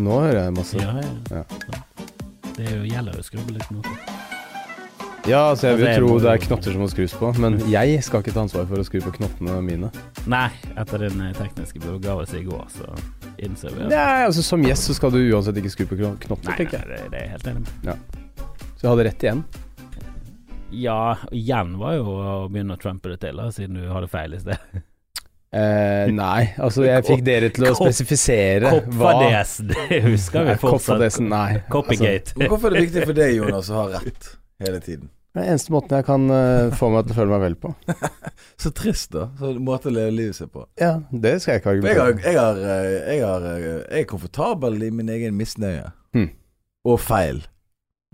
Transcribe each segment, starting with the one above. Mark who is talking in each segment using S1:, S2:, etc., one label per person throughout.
S1: masse.
S2: Ja, ja.
S1: Ja.
S2: Det er jo gjelder jo å skrubbe litt nå.
S1: Ja, altså jeg
S2: Altså,
S1: vil
S2: jeg
S1: tro
S2: må Mm.
S1: det er
S2: jo-
S1: knotter som må skrus på, men jeg skal ikke ta ansvar for å skru på knottene mine.
S2: Nei, etter den eh, tekniske begavelsen i går, så innser vi at
S1: Nei, altså Som gjest så skal du uansett ikke skru på kno- knotter,
S2: Nei, nei,
S1: tenker jeg.
S2: det, det er jeg helt enig med.
S1: Så jeg hadde rett igjen.
S2: Ja, igjen var jo å begynne å trumpe det til, da, siden du hadde feil i sted.
S1: Eh, nei, altså jeg fikk dere til å
S2: Kopp-
S1: spesifisere hva
S2: Koppades, det husker vi
S1: Nei,
S2: fortsatt.
S1: Koppadesen, nei. altså,
S2: Copygate.
S3: Hvorfor er det viktig for deg, Jonas, å ha rett hele tiden?
S1: Det er eneste måten jeg kan eh, få meg til å føle meg vel på.
S3: Så trist, da. Så en måte å leve livet sitt på.
S1: Ja, det skal jeg ikke
S3: For jeg,
S1: argumentere
S3: har, jeg, har, eh, jeg, har, eh, jeg er komfortabel i min egen misnøye.
S1: Hmm.
S3: Og feil.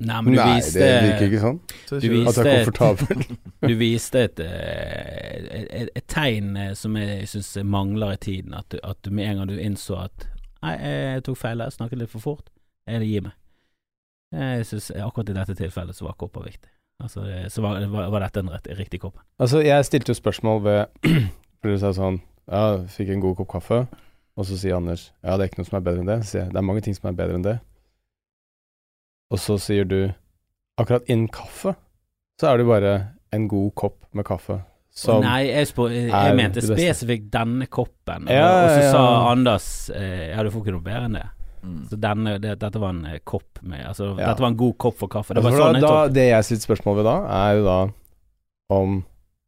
S2: Nei, men du
S1: Nei,
S2: viste
S1: det virker ikke sånn.
S3: Så
S2: Du
S3: ikke-
S1: At jeg er
S2: viste-
S1: komfortabel.
S2: Du viste et, eh, et, et tegn eh, som jeg syns mangler i tiden. At du, at du med en gang du innså at Nei, eh, jeg tok feil her, snakket litt for fort. Jeg gir meg. Eh, Jeg synes akkurat i dette tilfellet så var kopper viktig. Altså, eh, så var, var, var dette en rett, riktig kopp.
S1: Altså, jeg stilte jo spørsmål ved For du sa sånn Ja, fikk en god kopp kaffe. Og så sier Anders Ja, det er ikke noe som er bedre enn det. Så sier jeg det er mange ting som er bedre enn det. Og så sier du Akkurat innen kaffe så er det jo bare en god kopp med kaffe som
S2: Nei, jeg, spør, eh, jeg,
S1: er
S2: jeg mente
S1: det beste.
S2: spesifikt denne koppen. Og,
S1: Ja, ja,
S2: og så sa
S1: ja.
S2: Anders eh, Ja, du får ikke noe bedre enn det.
S3: Mm.
S2: Så denne, det, dette var en eh, kopp med Altså,
S1: Ja.
S2: dette var en god kopp for kaffe. Det
S1: Altså,
S2: var
S1: for
S2: sånn jeg
S1: da,
S2: tok
S1: da, det jeg sitter spørsmål ved da, er jo da om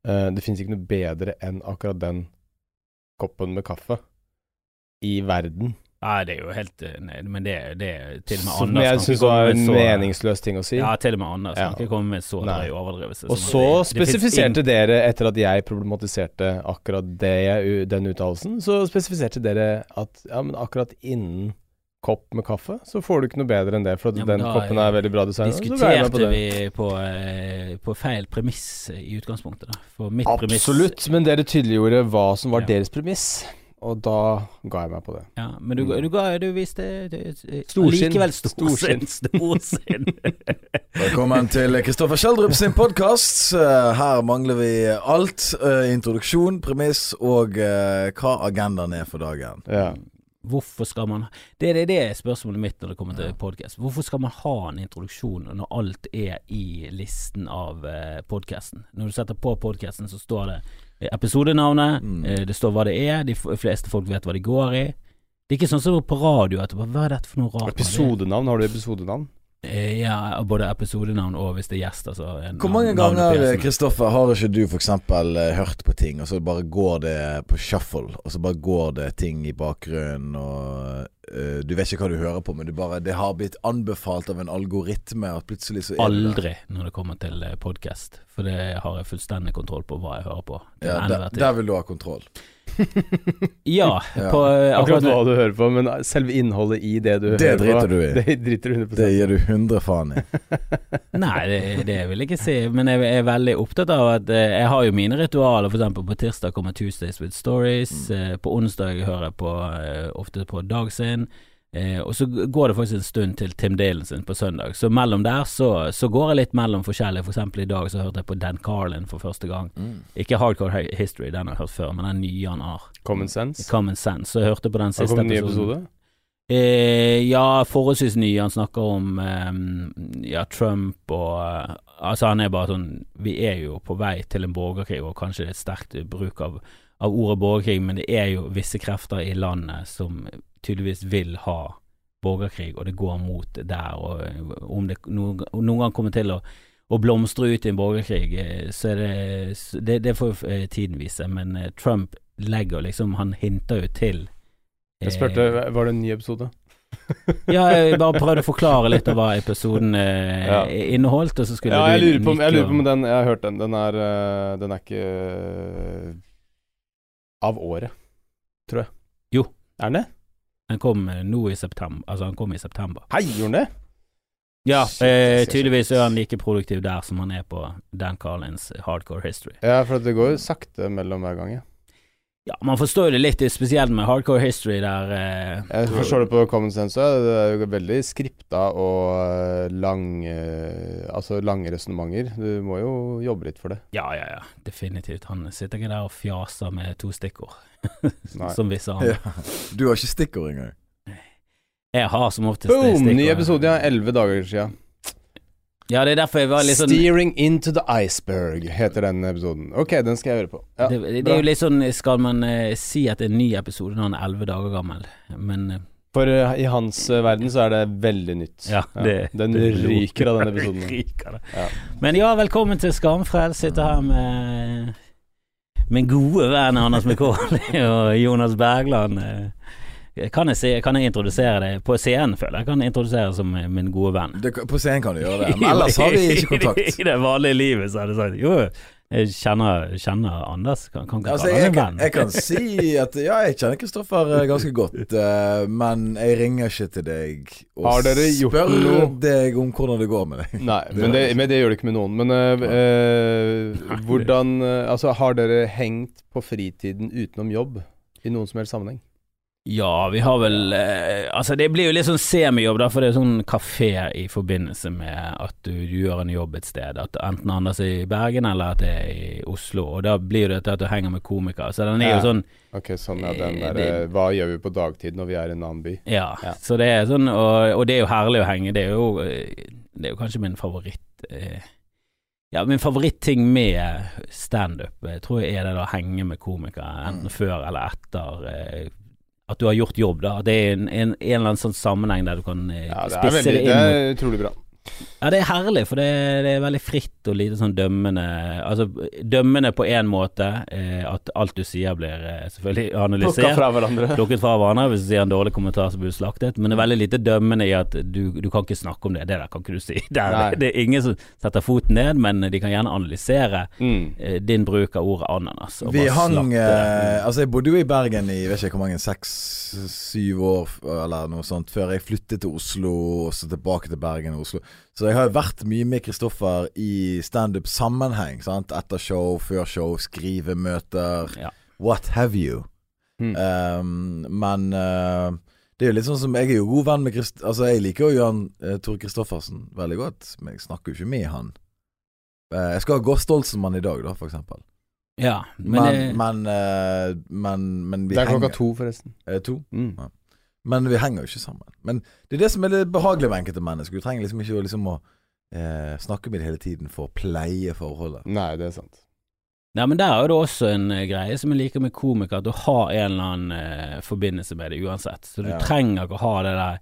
S1: eh, det finnes ikke noe bedre enn akkurat den koppen med kaffe i verden.
S2: Nei, det er jo helt eh, nei, Men det, det er til og med
S1: Som
S2: Anders
S1: jeg
S2: kan ikke
S1: syns
S2: komme
S1: var
S2: med
S1: en
S2: så-
S1: meningsløs ting å si.
S2: Ja, til og med Anders
S1: Ja.
S2: kan ikke komme med så
S1: Nei.
S2: drøy overdrivelse.
S1: og
S2: som
S1: så
S2: at det- det finnes
S1: spesifiserte dere, etter at jeg problematiserte akkurat det jeg, den uttalelsen, så spesifiserte dere at ja, men akkurat innen kopp med kaffe, så får du ikke noe bedre enn det, for at
S2: Ja, men
S1: den
S2: da,
S1: koppen er veldig bra
S2: ingen-
S1: designet. så ble jeg med
S2: Diskuterte
S1: på det.
S2: vi på, eh, på feil premiss i utgangspunktet, da. For mitt premiss
S1: Absolutt, men dere tydeliggjorde hva som var
S2: Ja.
S1: deres premiss, og da ga jeg meg på det.
S2: Ja, men du, du, ga, du viste du-
S1: Storsinn.
S2: Likevel storsinn. Storsinn.
S3: Velkommen til Kristoffer Schjelderup sin podkast. Her mangler vi alt. eh, Introduksjon, premiss og eh, hva agendaen er for dagen.
S1: Ja.
S2: Hvorfor skal man Det er det, det er spørsmålet mitt når det kommer til podkast. Hvorfor skal man ha en introduksjon når alt er i listen av eh, podkasten? Når du setter på podkasten, så står det eh, episodenavnet,
S3: Mm.
S2: eh, det står hva det er, de f- fleste folk vet hva de går i. Det er ikke sånn som på radio at bare, Hva er dette for noe rart?
S1: Episodenavn, har du episodenavn?
S2: Det- eh, Ja, både episodenavn og hvis det er gjest, altså. en
S3: Hvor mange
S2: navn- navn på
S3: ganger eh,
S2: gjesten.
S3: Kristoffer, har ikke du f.eks. hørt på ting, og så bare går det på shuffle, og så bare går det ting i bakgrunnen, og eh, du vet ikke hva du hører på, men du bare, det har blitt anbefalt av en algoritme at plutselig så er det der.
S2: Aldri når det kommer til podkast, for det har jeg fullstendig kontroll på hva jeg hører på. til
S3: Ja,
S2: enhver
S3: der,
S2: tid.
S3: der vil du ha kontroll.
S2: Ja,
S3: Ja. altså,
S2: på eh,
S1: Akkurat
S2: akkurat
S1: hva du hører på, men selve innholdet i det du
S3: Det
S1: hører
S3: driter
S1: på
S3: du i.
S1: Det driter du 100
S3: Det gir du 100 faen i.
S2: Nei, det, det vil jeg ikke si, men jeg er veldig opptatt av at eh, jeg har jo mine ritualer. For eksempel på tirsdag kommer Tuesdays with Stories,
S1: Mm.
S2: eh, på onsdag hører jeg på, eh, ofte på Dag sin, eh, og så går det faktisk en stund til Tim Dalen sin på søndag. Så mellom der så, så går jeg litt mellom forskjellige. For eksempel i dag så hørte jeg på Dan Carlin for første gang. Ikke Hardcore Hi- History, den har jeg hørt før, men den nye han har.
S1: Common sense.
S2: Common Sense. Så jeg hørte på den
S1: Har det
S2: siste
S1: kommet en ny
S2: episoden.
S1: episode?
S2: Eh, ja, forholdsvis ny. Han snakker om eh, ja, Trump og eh, Altså, han er bare sånn Vi er jo på vei til en borgerkrig, og kanskje det er et sterkt bruk av, av ordet borgerkrig, men det er jo visse krefter i landet som tydeligvis vil ha borgerkrig, og det går mot det der. Og eh, om det noen, noen gang kommer til å å blomstre ut i en borgerkrig, eh, så er det så Det, det får eh, tiden vise, men eh, Trump legger liksom Han hinter jo til eh,
S1: Jeg spurte var det en ny episode.
S2: ja, jeg bare prøvde å forklare litt av hva episoden eh,
S1: Ja.
S2: inneholdt, og så skulle
S1: Ja, jeg
S2: du
S1: lurer, på, om- jeg
S2: nikke
S1: lurer på om
S2: og-
S1: den Jeg har hørt den. Den er, eh, den er ikke eh, av året, tror jeg.
S2: Jo.
S1: Er den det?
S2: Den kom eh, nå i september. Altså, han kom i september.
S1: Hei, gjorde den det?
S2: Ja,
S1: Shit,
S2: eh,
S1: shit, shit.
S2: tydeligvis er han like produktiv der som han er på Dan Carlins eh, Hardcore History.
S1: Ja, for at det går jo sakte mellom hver gang, ja.
S2: Ja, man forstår jo det litt, spesielt med Hardcore History der eh,
S1: Jeg forstår det på common sense også. Det er jo veldig skripta og eh, lang, eh, altså lange resonnementer. Du må jo jobbe litt for det.
S2: Ja, ja, ja, definitivt. Han sitter ikke der og fjaser med to stikkord,
S1: Nei.
S2: som visse andre.
S3: Ja. Du har ikke stikkord engang.
S2: Jeg har som oftest det
S4: Boom!
S2: stikkordet.
S4: Ny episode, ja. Elleve dager siden.
S2: Ja, det er derfor jeg var litt sånn det,
S4: 'Steering into the iceberg' heter den episoden. Ok, den skal jeg høre på. Ja,
S2: det, det er jo litt sånn Skal man eh, si at det er en ny episode når han er elleve dager gammel? Men eh,
S4: For eh, i hans eh, verden så er det veldig nytt.
S2: ja, det
S4: Den
S2: det
S4: ryker av den episoden.
S2: ryker det.
S4: Ja.
S2: Men ja, velkommen til Skamfrelst. Sitter her med min gode venn Anders Mikaeli og Jonas Bergland. Eh, Kan jeg, si, kan jeg introdusere deg på scenen, føler jeg? Kan jeg introdusere deg som eh, min gode venn?
S3: Det, på scenen kan du gjøre det, men ellers har vi ikke kontakt.
S2: I det vanlige livet så har du sagt jo, jeg kjenner, kjenner Anders. Kan, kan ikke
S3: Altså,
S2: kalle
S3: jeg,
S2: han en
S3: kan, jeg
S2: venn.
S3: kan si at ja, jeg kjenner Kristoffer eh, ganske godt, eh, men jeg ringer ikke til deg og
S4: Har dere gjort
S3: spør
S4: noe?
S3: deg om hvordan det går med deg.
S4: Nei, men det, men det gjør det ikke med noen. Men eh, eh, hvordan eh, Altså, har dere hengt på fritiden utenom jobb i noen som helst sammenheng?
S2: Ja, vi har vel eh, Altså, det blir jo litt sånn semijobb, da, for det er sånn kafé i forbindelse med at du, du gjør en jobb et sted. At enten Anders er i Bergen, eller at det er i Oslo. Og da blir det til at du henger med komikere. Så den er
S4: Ja.
S2: jo sånn
S4: Ok, sånn ja, den
S2: Eh,
S4: der eh, Hva gjør vi på dagtid når vi er i en annen by?
S2: Ja,
S4: Ja.
S2: så det er sånn, og, og det er jo herlig å henge. Det er jo, eh, det er jo kanskje min favoritt eh, Ja, min favoritting med standup eh, tror jeg er det å henge med komikere, enten
S3: Mm.
S2: før eller etter. eh, At du har gjort jobb, da. At det er en, en, en eller annen sånn sammenheng der du kan eh,
S4: Ja, det er,
S2: spisse
S4: veldig,
S2: det
S4: det
S2: inn.
S4: er utrolig bra.
S2: Ja, det er herlig, for det, det er veldig fritt og lite sånn dømmende Altså dømmende på én måte, eh, at alt du sier blir eh, selvfølgelig analysert.
S4: Plukka fra hverandre.
S2: plukket fra hverandre. Hvis du sier en dårlig kommentar, så blir du slaktet. Men det er veldig lite dømmende i at du, du kan ikke snakke om det. Det der kan ikke du si. Det
S4: Nei.
S2: er, det er ingen som setter foten ned, men de kan gjerne analysere
S4: Mm.
S2: eh, din bruk av ordet ananas. og
S3: Vi
S2: bare
S3: hang
S2: slakte.
S3: eh, Altså, jeg bodde jo i Bergen i vet ikke hvor mange, seks-syv år f- eller noe sånt, før jeg flyttet til Oslo, og så tilbake til Bergen og Oslo. Så jeg har jo vært mye med Kristoffer i standup-sammenheng. sant? Etter show, før show, skrivemøter,
S2: Ja.
S3: what have you.
S4: Mm.
S3: Um, men eh, det er jo litt sånn som Jeg er jo god venn med Krist... Altså, jeg liker jo Jan eh, Tore Kristoffersen veldig godt, men jeg snakker jo ikke med han. Eh, jeg skal ha Gård Stolzenmann i dag, da, for eksempel.
S2: Ja, men,
S3: Men,
S2: eh,
S3: men, eh, men, men vi
S4: Det er klokka
S3: henger
S4: to, forresten.
S3: Eh, to.
S4: Mm.
S3: Men vi henger jo ikke sammen. Men det er det som er det behagelige med enkelte mennesker. Du trenger liksom ikke å, liksom, å eh, snakke med dem hele tiden for å pleie forholdet.
S4: Nei, det er sant.
S2: Nei, men der er det også en eh, greie som jeg liker med komikere, at du har en eller annen eh, forbindelse med det uansett. Så du
S3: Ja.
S2: trenger ikke å ha det der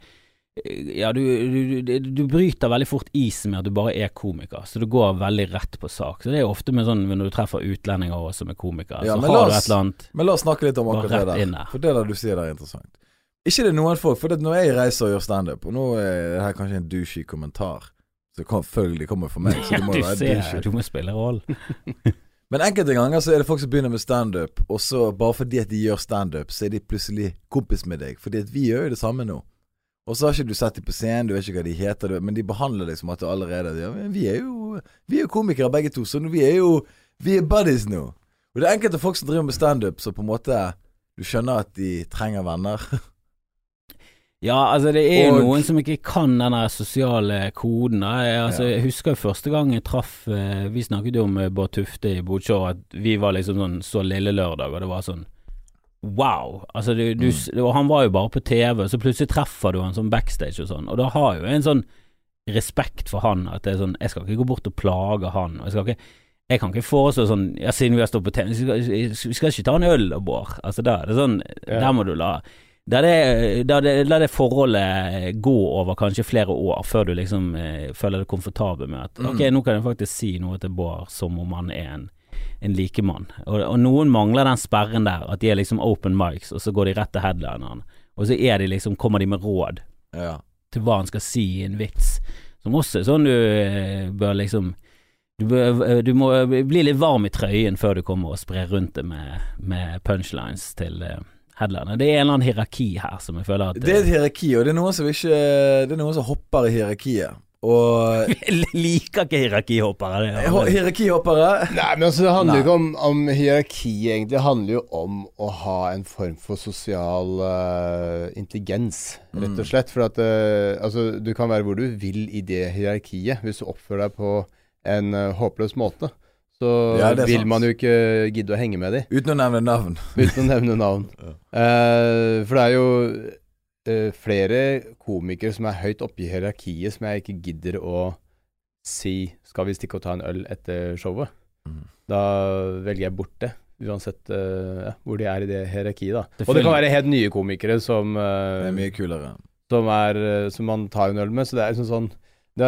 S2: eh, ja, du, du, du, du bryter veldig fort isen med at du bare er komiker, så du går veldig rett på sak. Så Det er ofte med sånn når du treffer utlendinger også med komikere,
S3: Ja,
S2: så
S3: men
S2: har
S3: la
S2: du
S3: oss-
S2: et eller annet
S3: Men la oss snakke litt om
S2: Bare
S3: akkurat det
S2: rett
S3: der.
S2: inn der.
S3: For det der du sier der er interessant. Ikke det er noen folk, for det at når jeg reiser og gjør standup, og nå er det her kanskje en douchey kommentar, så kom- selvfølgelig kommer det fra meg, så det må
S2: Du
S3: jo være
S2: ser,
S3: douchey.
S2: du må spille rollen.
S3: Men enkelte ganger så er det folk som begynner med standup, og så bare fordi at de gjør standup, så er de plutselig kompis med deg. Fordi at vi gjør jo det samme nå. Og så har ikke du sett dem på scenen, du vet ikke hva de heter, du- men de behandler deg som at du allerede ja, men vi, er jo, vi er jo komikere begge to, så vi er jo Vi er buddies nå. Og det er enkelte folk som driver med standup, så på en måte Du skjønner at de trenger venner.
S2: Ja, altså det er jo
S3: Og-
S2: noen som ikke kan den der sosiale koden. da. Jeg, altså,
S3: Ja.
S2: jeg husker jo første gang jeg traff eh, Vi snakket jo om eh, Bård Tufte i Bodsjå, at vi var liksom sånn så lille lørdag, og det var sånn Wow! Altså, du,
S3: Mm.
S2: du, s- og han var jo bare på TV, og så plutselig treffer du han sånn backstage og sånn, og da har jo jeg en sånn respekt for han, at det er sånn Jeg skal ikke gå bort og plage han, og jeg skal ikke jeg kan ikke foreslå sånn Ja, siden vi har stått på TV, vi skal, vi skal ikke ta en øl, Bård. Altså, da er det sånn
S4: Ja.
S2: Der må du la da er det, da er det, la det forholdet gå over kanskje flere år før du liksom eh, føler deg komfortabel med at ok, nå kan jeg faktisk si noe til Bård som om han er en, en likemann. Og, og noen mangler den sperren der, at de er liksom open mics, og så går de rett til headlineren. Og så er de liksom, kommer de med råd
S3: Ja.
S2: til hva han skal si i en vits, som også er sånn du eh, bør liksom du, bør, eh, du må bli litt varm i trøyen før du kommer og sprer rundt det med, med punchlines til eh, headliner. Det er en eller annen hierarki her som jeg føler at
S3: Det er et hierarki, og det er noen som ikke Det er noen som hopper i hierarkiet. Og
S2: eh, Jeg liker ikke hierarkihoppere. Det, er-
S3: hierarkihoppere
S4: Nei, men altså, det handler
S3: Nei.
S4: jo ikke om, om hierarki, egentlig. Det handler jo om å ha en form for sosial eh, intelligens, rett
S3: Mm.
S4: og slett. For at eh, altså, du kan være hvor du vil i det hierarkiet. Hvis du oppfører deg på en eh, håpløs måte, så
S3: Ja, det er
S4: vil
S3: sant.
S4: man jo ikke gidde å henge med de,
S3: Uten å nevne navn.
S4: uten å nevne navn. Eh, for det er jo
S1: eh, flere komikere som er høyt oppe i hierarkiet, som jeg ikke gidder å si 'skal vi stikke og ta en øl etter showet'?
S3: Mm.
S1: Da velger jeg bort det. Uansett eh, ja, hvor de er i det hierarkiet, da.
S2: Det
S1: og det kan
S2: følger-
S1: være helt nye komikere som, eh,
S3: Det er mye kulere.
S1: som, er, eh, som man tar en øl med, så det er liksom sånn Det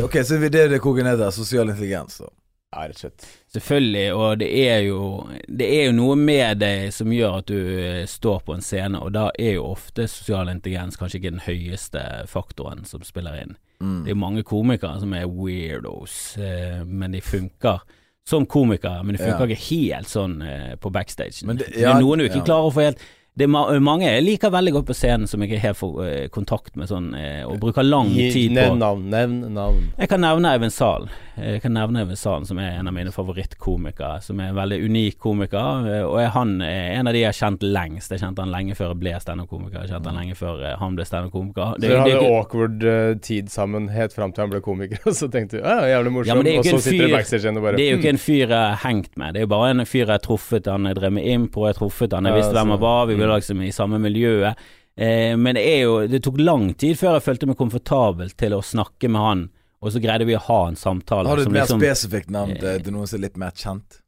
S1: er
S3: Ok, så det er det koken heter. Sosial intelligens. Da.
S1: ja, rett og slett
S2: Selvfølgelig, og det er, jo, det er jo noe med deg som gjør at du eh, står på en scene, og da er jo ofte sosial intelligens kanskje ikke den høyeste faktoren som spiller inn.
S3: Mm.
S2: Det er jo mange komikere som er weirdos, eh, men de funker som komikere, men de funker
S3: Ja.
S2: ikke helt sånn eh, på backstagen.
S3: Men
S2: Det,
S3: det- ja,
S2: er noen du ikke
S3: ja.
S2: klarer å få helt det er ma Mange jeg liker veldig godt på scenen som jeg ikke helt får eh, kontakt med sånn, eh, og bruker lang
S1: Gi-
S2: tid på.
S1: Nevn navn, nevn navn.
S2: Jeg kan nevne Eivind Salen. Jeg kan nevne Eivind Salen, som er en av mine favorittkomikere. Som er en veldig unik komiker, eh, og er han er en av de jeg har kjent lengst. Jeg kjente han lenge før jeg ble standup-komiker. Jeg
S3: Mm.
S2: kjente han lenge før eh, han ble standup-komiker. Det-
S1: Så dere
S2: det er
S1: hadde
S2: ikke-
S1: awkward eh, tid sammen helt fram til han ble komiker, og så tenkte du ja, ja, jævlig
S2: Ja,
S1: morsom,
S2: men det er jo
S1: og
S2: ikke
S1: så
S2: en
S1: sitter du
S2: fyr-
S1: backstage igjen og bare
S2: Det er jo ikke
S1: «Hm,
S3: Mm.
S2: en fyr jeg har hengt med, det er jo bare en fyr jeg har truffet. Han jeg drev med impro, jeg har truffet han, jeg
S1: Ja,
S2: visste hvem han
S1: så-
S2: var, vi
S1: mm.
S2: var liksom i samme miljøet. Eh, men det er jo Det tok lang tid før jeg følte meg komfortabel til å snakke med han, og så greide vi å ha en samtale.
S3: Har du et
S2: som
S3: mer
S2: liksom-
S3: spesifikt navn til til noen som er litt mer kjent?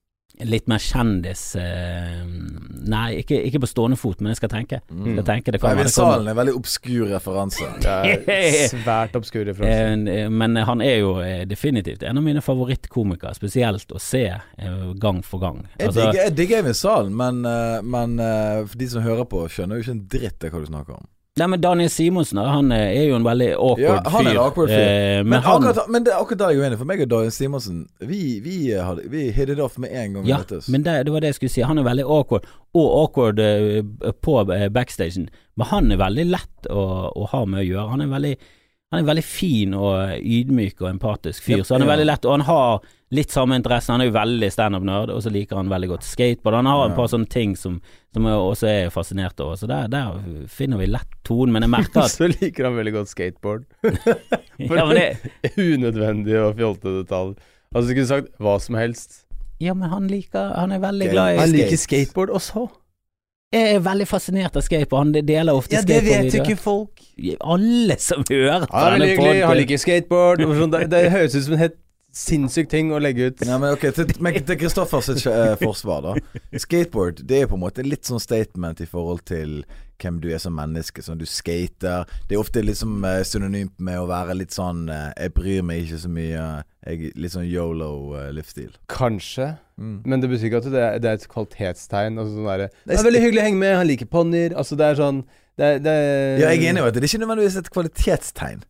S2: litt mer kjendis eh, Nei, ikke, ikke på stående fot, men jeg skal tenke.
S3: Mm.
S2: Skal tenke det
S3: Nei,
S2: kan være
S3: men
S2: det kommer.
S3: Salen er en veldig obskur referanse.
S1: «Hmm, Det er svært obskur referanse.
S2: Eh, Men han er jo eh, definitivt en av mine favorittkomikere, spesielt å se eh, gang for gang.
S3: Jeg
S2: Altså,
S3: digger- jeg digger Eivind Salen, men, eh, men eh, for de som hører på, skjønner jo ikke en dritt av hva du snakker om.
S2: nei, men Daniel Simonsen da, han eh, er jo en veldig
S3: Ja,
S2: awkward
S3: han er en
S2: fyr.
S3: awkward fyr.
S2: Eh, Men,
S3: Men,
S2: han
S3: akkurat, men det er akkurat der jeg er uenig. For meg og Daniel Simonsen, vi, vi, eh, hadde- vi hit it off med en gang vi
S2: ja,
S3: møttes.
S2: men det, det var det jeg skulle si. Han er veldig awkward, og awkward eh, på eh, backstagen. Men han er veldig lett å, å ha med å gjøre. Han er veldig, han er veldig fin og eh, ydmyk og empatisk fyr,
S3: Yep,
S2: så han er
S3: ja.
S2: veldig lett. Og han har litt samme interesse. Han er jo veldig standup-nerd, og så liker han veldig godt skateboard. Han har
S3: Ja.
S2: et par sånne ting som, som jeg også er fascinert over, så der, der finner vi lett tonen. Men jeg merker at
S1: Så liker han veldig godt skateboard.
S2: ja, men det,
S1: Unødvendig og fjolte detaljer. Altså, du kunne sagt hva som helst.
S2: ja, men han liker Han er veldig
S3: Ok.
S2: glad i
S3: Han liker
S1: skateboard også.
S2: Jeg er veldig fascinert av skateboard. Han deler ofte skateboardvideoer.
S1: folk.
S2: alle som hører på
S1: Han er veldig
S2: denne
S1: hyggelig, han
S2: podcasten.
S1: liker skateboard. og sånn. Det, det høres ut som en helt sinnssyk ting å legge ut.
S3: Nei, men ok, til, men til Kristoffers eh, forsvar, da. Skateboard det er på en måte litt sånn statement i forhold til hvem du er som menneske. Sånn, du skater. Det er ofte liksom eh, synonymt med å være litt sånn eh, 'jeg bryr meg ikke så mye', jeg, litt sånn yolo-livsstil.
S1: Kanskje,
S3: Mm.
S1: men det betyr ikke at det er, det er et kvalitetstegn. Altså sånn derre
S3: Nei,
S1: Det er veldig hyggelig å henge med, han liker ponnier. Altså, det er sånn det er, det er,
S3: Ja, jeg er enig i at det er ikke nødvendigvis et kvalitetstegn.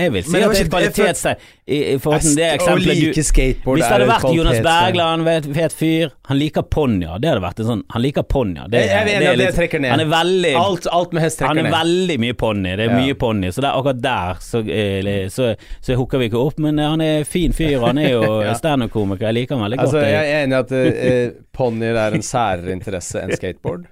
S2: Jeg vil si
S3: Men det
S2: at
S3: var
S2: det er
S3: ikke-
S2: kvalitetstegn. I, i forhold til det
S1: Å
S2: eksempelet du
S1: like skateboard
S2: Hvis det hadde
S1: er et
S2: vært Jonas
S1: kvalitetstegn.
S2: Bergland, vet, vet fyr Han liker ponnier. Det hadde vært en sånn Han liker ponnier. Det,
S1: Jeg, jeg er enig i
S2: det
S1: at det
S2: litt-
S1: trekker ned.
S2: Han er veldig
S1: alt, alt med hest
S2: han
S1: trekker
S2: er
S1: ned.
S2: veldig mye ponni, det er
S1: Ja.
S2: mye ponni, så der, akkurat der så, eh, så, så hooker vi ikke opp. Men eh, han er fin fyr, han er jo
S1: Ja.
S2: standup-komiker, jeg liker han veldig godt.
S1: Altså,
S2: jeg-
S1: jeg er enig i at eh, ponnier er en særere interesse enn skateboard.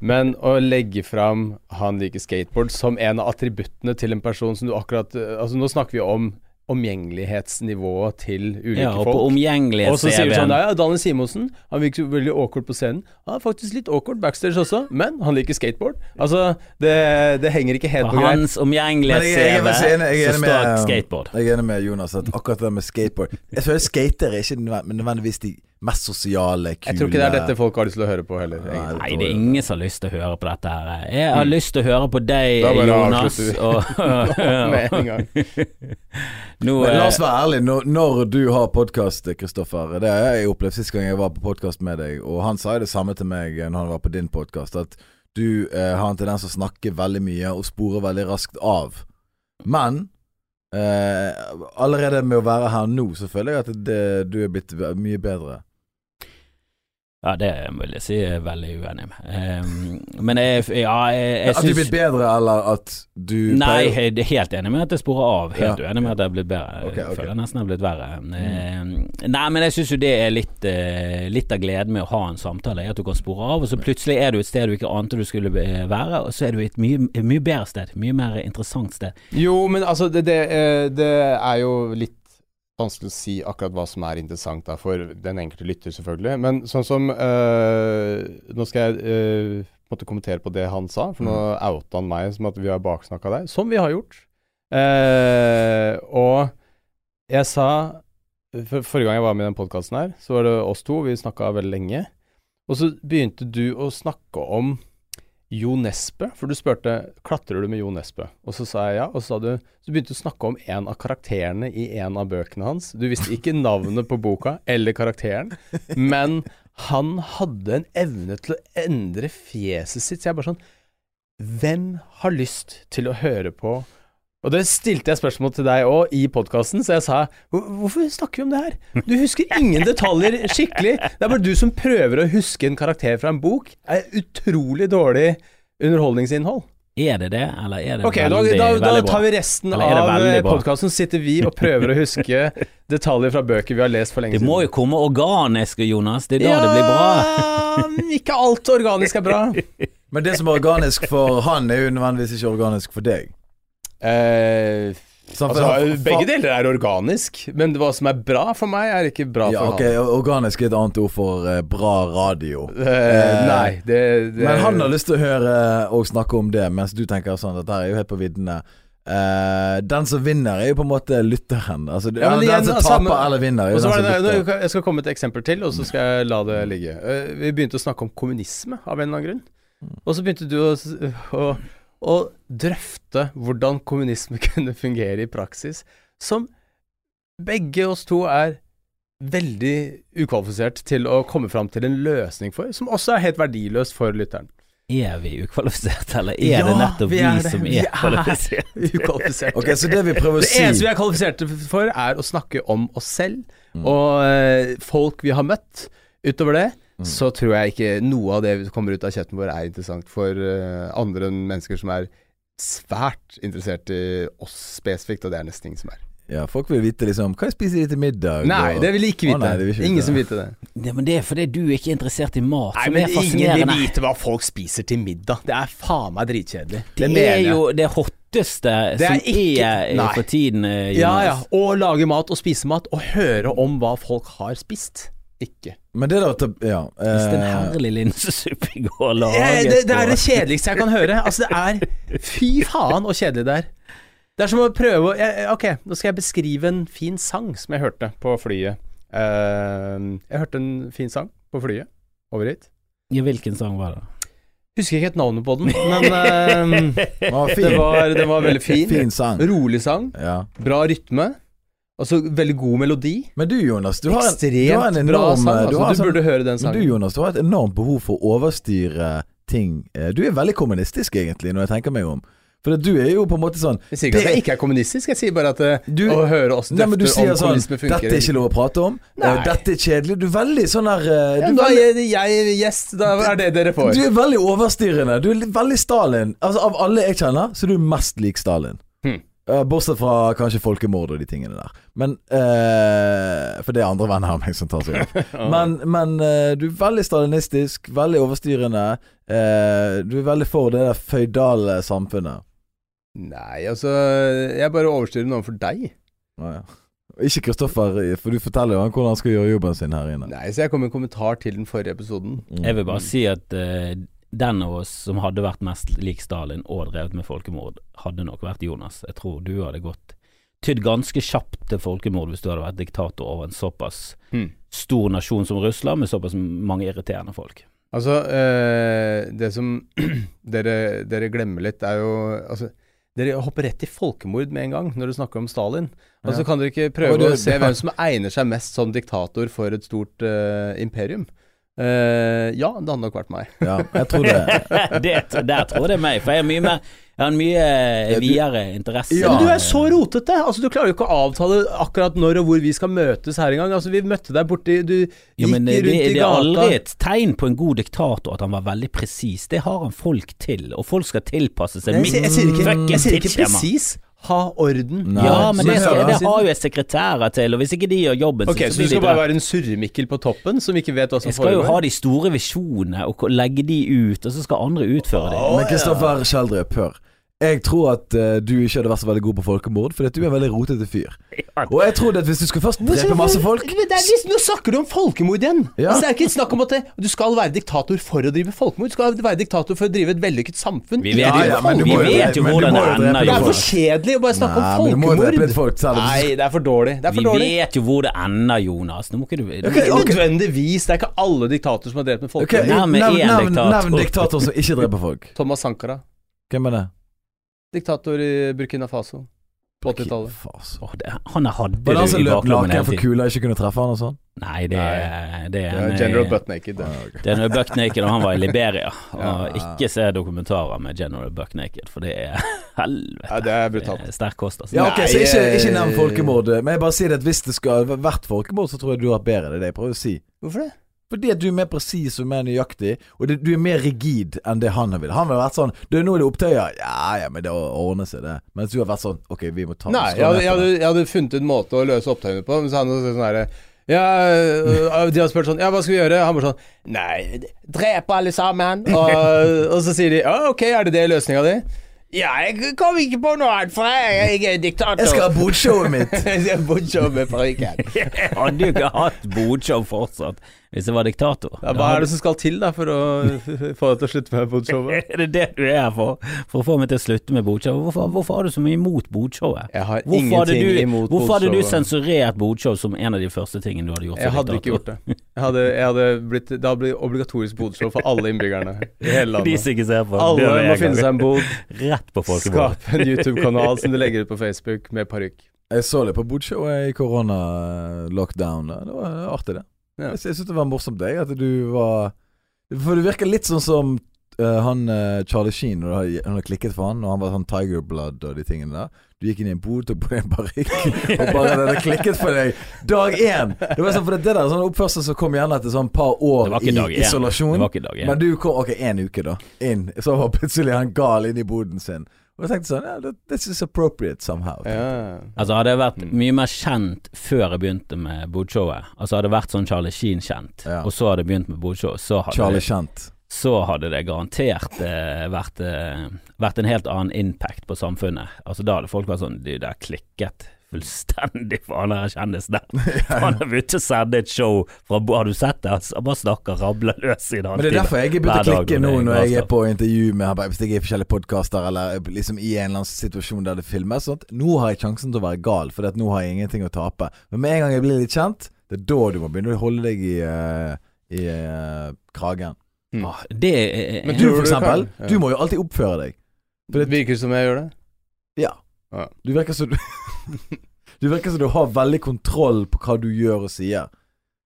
S1: Men å legge fram han liker skateboard som en av attributtene til en person som du akkurat eh, Altså, nå snakker vi om omgjengelighetsnivået til ulike
S2: ja, og på
S1: folk. Og så sier du sånn
S2: omgjengelighets-CV-en.
S1: Ja, Daniel Simonsen, han virker jo veldig awkward på scenen. Han er faktisk litt awkward backstage også, men han liker skateboard. Altså, det, det henger ikke helt
S2: På
S1: på greip.
S2: hans
S3: Men jeg- jeg er veldig enig- jeg er
S2: omgjengelighets-CV så
S3: enig
S2: står
S3: med- eh,
S2: skateboard.
S3: Jeg er enig med Jonas at akkurat det med skateboard Jeg føler skatere er ikke nødvendig- nødvendigvis de mest sosiale, kule
S1: Jeg tror ikke det er dette folk har lyst til å høre på heller.
S3: Nei,
S1: egentlig.
S2: Nei, det er ingen som har lyst til å høre på dette her. Jeg
S3: Mm.
S2: har lyst til å høre på deg,
S1: Da bare
S2: Jonas.
S1: avslutter vi.
S2: Og,
S1: Med en gang.
S2: nå,
S3: Men la
S2: eh,
S3: oss være ærlige. Når, når du har podkast, Kristoffer Det har jeg opplevd sist gang jeg var på podkast med deg, og han sa jo det samme til meg eh, når han var på din podkast, at du eh, har en tendens til å snakke veldig mye og spore veldig raskt av. Men eh, allerede med å være her nå, så føler jeg at det, du er blitt ve- mye bedre.
S2: eh, ja, det vil jeg si jeg er veldig uenig med. Eh, men jeg, ja, jeg, jeg
S3: At du er blitt
S2: syns
S3: bedre, eller at du
S2: Nei,
S3: pleier-
S2: jeg er helt enig med at det sporer av. Helt
S3: Ja.
S2: uenig med at det er blitt bedre.
S3: Ok, ok.
S2: Jeg føler nesten jeg er blitt verre. Eh, Nei, men jeg syns jo det er litt, eh, litt av gleden med å ha en samtale, er at du kan spore av, og så plutselig er du et sted du ikke ante du skulle eh, være, og så er du et mye, mye bedre sted. Mye mer interessant sted.
S1: Jo, men altså, det, det, eh, det er jo litt vanskelig å si akkurat hva som er interessant da, for den enkelte lytter, selvfølgelig. Men sånn som eh, Nå skal jeg eh, på en måte kommentere på det han sa, for nå outa han meg som at vi har baksnakka deg, som vi har gjort. Eh, og jeg sa for, Forrige gang jeg var med i den podkasten her, så var det oss to, vi snakka veldig lenge. Og så begynte du å snakke om Jo Nesbø, for du spurte klatrer du med Jo Nesbø, og så sa jeg ja, og så sa du Så begynte du å snakke om en av karakterene i en av bøkene hans. Du visste ikke navnet på boka eller karakteren, men han hadde en evne til å endre fjeset sitt. Så jeg er bare sånn Hvem har lyst til å høre på Og det stilte jeg spørsmål til deg òg i podkasten, så jeg sa "Hvor- Hvorfor snakker vi om det her? Du husker ingen detaljer skikkelig. Det er bare du som prøver å huske en karakter fra en bok. er utrolig dårlig underholdningsinnhold.
S2: Er det det, eller er det
S1: Ok, da,
S2: veldig,
S1: da, da
S2: veldig bra?
S1: tar vi resten
S2: Eller er det veldig
S1: av
S2: bra?
S1: podkasten. Sitter vi og prøver å huske detaljer fra bøker vi har lest for lenge
S2: Det
S1: siden.
S2: må jo komme organisk, Jonas. Det er da det blir bra.
S1: men ikke alt organisk er bra.
S3: Men det som er organisk for han, er jo nødvendigvis ikke organisk for deg. Sånn, for
S1: altså,
S3: han-
S1: begge deler er organisk, men hva som er bra for meg, er ikke bra
S3: Ja,
S1: for
S3: ok, Organisk er et annet ord for eh, bra radio.
S1: han. Eh, nei, det, det
S3: Men han har lyst til å høre eh, og snakke om det, mens du tenker sånn Dette er jo helt på viddene. Eh, den som vinner, er jo på en måte lytteren. Altså,
S1: Ja, men
S3: den
S1: igjen,
S3: som
S1: altså,
S3: taper
S1: men-
S3: eller vinner, er
S1: Og
S3: jo
S1: så var
S3: den
S1: det,
S3: som lytter.
S1: nå- jeg skal komme med et eksempel til, og så skal jeg la det ligge. Eh, Vi begynte å snakke om kommunisme, av en eller annen grunn. Og så begynte du å, s- å, å drøfte hvordan kommunisme kunne fungere i praksis, som begge oss to er veldig ukvalifisert til å komme fram til en løsning for, som også er helt verdiløs for lytteren.
S2: Er vi ukvalifiserte, eller er
S1: Ja,
S2: det nettopp
S1: vi
S2: vi,
S1: er det.
S2: som
S1: Vi
S2: er
S1: er
S2: kvalifisert?
S1: Ukvalifisert.
S3: Ok, Så det vi prøver å
S1: Det eneste
S3: si
S1: vi er kvalifiserte for, er å snakke om oss selv
S3: Mm.
S1: og eh, folk vi har møtt. Utover det
S3: Mm.
S1: så tror jeg ikke noe av det som kommer ut av kjeften vår, er interessant for eh, andre enn mennesker som er svært interessert i oss spesifikt, og det er nesten ingen som er.
S3: ja, Folk vil vite liksom Hva spiser de til middag?
S1: Nei,
S3: og-
S1: det vil de ikke
S3: Å,
S1: vite.
S3: nei, det vil ikke vite.
S1: ingen som vil vite det.
S2: Ja, men det er fordi du er ikke er interessert i mat,
S1: Nei,
S2: som
S1: men
S2: er
S1: ingen vil
S2: fascinerende.
S1: vite hva folk spiser til middag. Det er faen meg dritkjedelig.
S2: Det, er
S1: mener jeg.
S2: jo det hotteste
S1: Det er
S2: som
S1: ikke-
S2: er eh,
S1: Nei.
S2: for tiden, eh, Jonas.
S1: Ja, ja. Å lage mat og spise mat, og høre om hva folk har spist. Ikke.
S3: Men det da Ja.
S2: Hvis det er en
S3: eh,
S2: herlig linsesuppe i går laget
S1: Ja, det, det er
S2: på-
S1: det kjedeligste jeg kan høre. Altså, det er Fy faen så kjedelig det er. Det er som å prøve å jeg, Ok, nå skal jeg beskrive en fin sang som jeg hørte på flyet. Eh, jeg hørte en fin sang på flyet over hit.
S2: Ja, hvilken sang var det?
S1: Husker ikke helt navnet på den, men eh,
S3: å, fin,
S1: det, var, den var veldig fin.
S3: fin sang.
S1: Rolig sang,
S3: Ja.
S1: bra rytme. Altså veldig god melodi.
S3: Men du, Jonas, du har, en, du har en
S1: Ekstremt
S3: enorm
S1: bra sang.
S3: du,
S1: Altså,
S3: har en
S1: du
S3: sånn,
S1: burde høre den
S3: men du,
S1: sangen.
S3: Jonas, du har et enormt behov for å overstyre ting. Eh, Du er veldig kommunistisk, egentlig, når jeg tenker meg om. For du er jo på en måte sånn
S1: Jeg sier ikke at
S3: det-
S1: jeg ikke er kommunistisk, jeg sier bare at eh,
S3: Du-
S1: å høre oss
S3: Nei, men du
S1: drøfte
S3: sier
S1: om
S3: sånn
S1: kommunisme funker
S3: Dette er ikke lov å prate om.
S1: Nei.
S3: eh, Dette er kjedelig. Du er veldig sånn der eh,
S1: Ja,
S3: du,
S1: da
S3: er veldig,
S1: er jeg gjest, da er det dere får.
S3: du er veldig overstyrende. Du er litt- veldig Stalin. Altså Av alle jeg kjenner, så er du mest lik Stalin.
S2: Hm.
S1: Hmm.
S3: Eh, Bortsett fra kanskje folkemord og de tingene der. Men eh, For det er andre venner av meg som tar seg av. Men, men eh, du er veldig stalinistisk, veldig overstyrende. eh, du er veldig for det der føydale samfunnet.
S1: Nei, altså Jeg bare overstyrer noe for deg.
S3: Å, ja. Ikke Kristoffer, for du forteller jo han hvordan han skal gjøre jobben sin her inne.
S1: Nei, Så jeg kom med en kommentar til den forrige episoden.
S3: Mm.
S2: Jeg vil bare si at eh, den av oss som hadde vært mest lik Stalin og drevet med folkemord, hadde nok vært Jonas. Jeg tror du hadde gått tydd ganske kjapt til folkemord hvis du hadde vært diktator over en såpass
S1: Hmm.
S2: stor nasjon som Russland, med såpass mange irriterende folk.
S1: Altså, eh, det som dere, dere glemmer litt, er jo altså, Dere hopper rett til folkemord med en gang når du snakker om Stalin. Og så
S3: Ja.
S1: kan dere ikke
S3: Og
S1: prøve
S3: du-
S1: å se hvem som egner seg mest som diktator for et stort eh, imperium. Eh, ja, det hadde nok vært meg.
S3: Mm. Ja, jeg tror det.
S2: det, der tror jeg det er meg, for jeg er mye mer jeg har en mye eh,
S3: Ja, du-
S2: videre interesse. eh,
S3: Ja,
S1: Men du er så rotete! Altså, du klarer jo ikke å avtale akkurat når og hvor vi skal møtes her engang. Altså, vi møtte deg borti Du gikk
S2: Jo, men det,
S1: rundt
S2: det,
S1: i
S2: er
S1: gata.
S2: aldri et tegn på en god diktator at han var veldig presis. Det har han folk til, og folk skal tilpasse seg.
S1: Nei,
S2: mitt
S1: jeg, sier- jeg sier ikke,
S2: fucking
S1: jeg sier ikke
S2: tidsskjema.
S1: presis ha orden.
S3: Nei.
S2: Ja, men det,
S3: Men
S2: skal,
S3: hør,
S2: det
S3: siden-
S2: har jo jeg sekretærer til, og hvis ikke de gjør jobben
S1: Ok,
S2: sin,
S1: Så du skal bare være en surremikkel på toppen som ikke vet hva som
S2: Jeg skal jo ha
S1: foregår?
S2: de store visjonene og ko- legge de ut, og så skal andre utføre det.
S3: Men Kristoffer Kjeldrup, hør. Jeg tror at eh, du ikke hadde vært så veldig god på folkemord, fordi at du er en veldig rotete fyr. Og jeg tror at hvis du skulle først drepe masse folk
S5: Men det er, liksom- nå snakker du om folkemord igjen!
S3: Ja.
S5: Altså, det er ikke snakk om at det, du skal være diktator for å drive folkemord. Du skal være diktator for å drive et vellykket samfunn.
S2: Vi
S5: Ikke
S2: vet,
S5: drive
S3: ja, men du
S2: vi
S3: må jo
S2: vet
S3: drepe-
S2: jo
S3: men du
S2: hvordan
S3: må
S2: det
S3: jo drepe
S2: ender.
S5: Det er
S2: jo.
S5: for kjedelig å bare snakke
S3: Nei,
S5: om
S3: men du må jo drepe litt
S5: folkemord.
S3: folk selv om du
S5: Nei, det er for dårlig. Det er for
S2: Vi
S5: dårlig.
S2: vet jo hvor det ender, Jonas. Nå må ikke du
S5: Det er
S2: Ok.
S1: altså-
S5: ikke nødvendigvis. Det er ikke alle diktatorer som har drept med folk.
S3: Ok,
S2: Nevn
S3: nevn,
S2: én
S3: nevn,
S2: diktator.
S3: nevn diktator som ikke dreper folk.
S5: Thomas Sankara.
S3: Hvem er det?
S5: Diktator i Burkina Faso. På 80-tallet.
S3: Faen.
S2: Åh, det- Han hadde
S3: Var det han
S2: det
S3: som
S2: i
S3: løp
S2: baklommen
S3: naken
S2: hele
S3: for
S2: tiden.
S3: kula, ikke kunne treffe han og sånn?
S2: Nei, det er det er en- eh,
S1: General Buttnaked. det.
S2: Det er når Buck Naked og han var i Liberia. Og
S1: Ja.
S2: ikke se dokumentarer med General Buck Naked, for det er helvete.
S1: Ja, det er
S2: det er
S1: brutalt.
S2: Sterk kost, altså.
S3: Ja, ok,
S1: Nei,
S3: så ikke,
S1: eh,
S3: ikke nevn folkemord. Men jeg bare sier det at hvis det skal vært folkemord, så tror jeg du har bedre. Det er det jeg prøver å si.
S5: Hvorfor det?
S3: Fordi at du er mer presis og mer nøyaktig, og det, du er mer rigid enn det han vil. Han ville vært sånn Du, nå er det opptøyer. Ja ja, men det ordner seg, det. Mens du har vært sånn Ok, vi må ta
S1: Nei,
S3: slå
S1: jeg hadde,
S3: ned
S1: jeg,
S3: på
S1: hadde,
S3: det.
S1: jeg hadde funnet en måte å løse opptøyene på, men så hadde han sånn herre ja, øh, De hadde spurt sånn Ja, hva skal vi gjøre? Han bare sånn Nei, drep alle sammen. Og, og så sier de Ja, ok, er det det løsninga di? Ja, jeg kom ikke på noe annet, for jeg, jeg er diktator.
S3: Jeg skal ha bordshowet mitt!
S1: Jeg bor ikke med parykken.
S2: Jeg hadde jo ikke hatt Bodshow fortsatt hvis jeg var diktator.
S5: Ja, hva er det som skal til da for å få deg til å slutte med
S2: Da
S5: Bodshovet?
S2: hadde- er det det du er her for? For å få meg til å slutte med Bodshow? Hvorfor, hvorfor har du så mye imot Bodshowet?
S1: Jeg har
S2: Hvorfor hadde du,
S1: ingenting imot
S2: hvorfor hadde du
S1: Bolshoi.
S2: sensurert Bodshow som en av de første tingene du hadde gjort? som
S1: Jeg hadde ikke
S2: diktator?
S1: gjort det. Jeg hadde, jeg hadde blitt, det hadde blitt obligatorisk bodshow for alle innbyggerne i hele
S2: De
S1: landet.
S2: som ikke ser på.
S1: Alle
S2: det er
S1: må
S2: jeg
S1: finne
S2: gang.
S1: seg en bod.
S2: Rett på folkemord.
S1: Skape en YouTube-kanal som du legger ut på Facebook med parykk.
S3: Jeg så litt på Bodshowet i korona-lockdown. da. Det var artig, det.
S1: Ja.
S3: Jeg, sy- jeg syns det var morsomt, deg, at du var For du virker litt sånn som eh, han eh, Charlie Sheen, når du har, når du har klikket for han, og han var sånn Tiger Blood og de tingene der. Du gikk inn i en bod, tok på deg en parykk, og bare det hadde klikket for deg dag én! Det var sånn, for det der er sånn oppførsel som kom gjerne etter sånn par
S2: Det
S3: år
S2: var ikke
S3: i
S2: dag én. Det
S3: isolasjon.
S2: var ikke dag én.
S3: Men du kom Ok, én uke, da. Inn. Så var plutselig han gal inn i boden sin. Og jeg tenkte sånn yeah, This is appropriate somehow.
S1: Ja.
S2: Altså Hadde jeg vært
S1: Mm.
S2: mye mer kjent før jeg begynte med Bodshowet, altså hadde jeg vært sånn Charlie Sheen kjent,
S3: Ja.
S2: og så hadde jeg begynt med Bodshow, så, hadde
S3: Charlie
S2: det-
S3: Kjent.
S2: så hadde det garantert eh, vært, eh, vært en helt annen impact på samfunnet. Altså Da hadde folk vært sånn Du, det har klikket fullstendig for han der kjendisen der. Han har begynt å sende et show fra Bo- Har du sett det? Altså, han bare snakker rabler løs i det
S3: Men det er
S2: halvtime.
S3: derfor jeg
S2: Hver
S3: begynte å
S2: dag
S3: klikke
S2: når
S3: nå
S2: det er
S3: når jeg er
S2: galskap.
S3: på intervju med han, bare Hvis jeg er i forskjellige podkaster eller liksom i en eller annen situasjon der det filmes sånt. Nå har jeg sjansen til å være gal, for nå har jeg ingenting å tape. Men med en gang jeg blir litt kjent, det er da du må begynne å holde deg i, eh, i eh, kragen.
S2: Ah, det er,
S1: Men
S3: Du,
S1: tror
S3: for
S1: du
S3: eksempel,
S1: kan? Ja.
S3: du må jo alltid oppføre deg.
S1: Det virker som jeg gjør det.
S3: Ja.
S1: Ja.
S3: Du virker som du Du virker som du har veldig kontroll på hva du gjør og sier.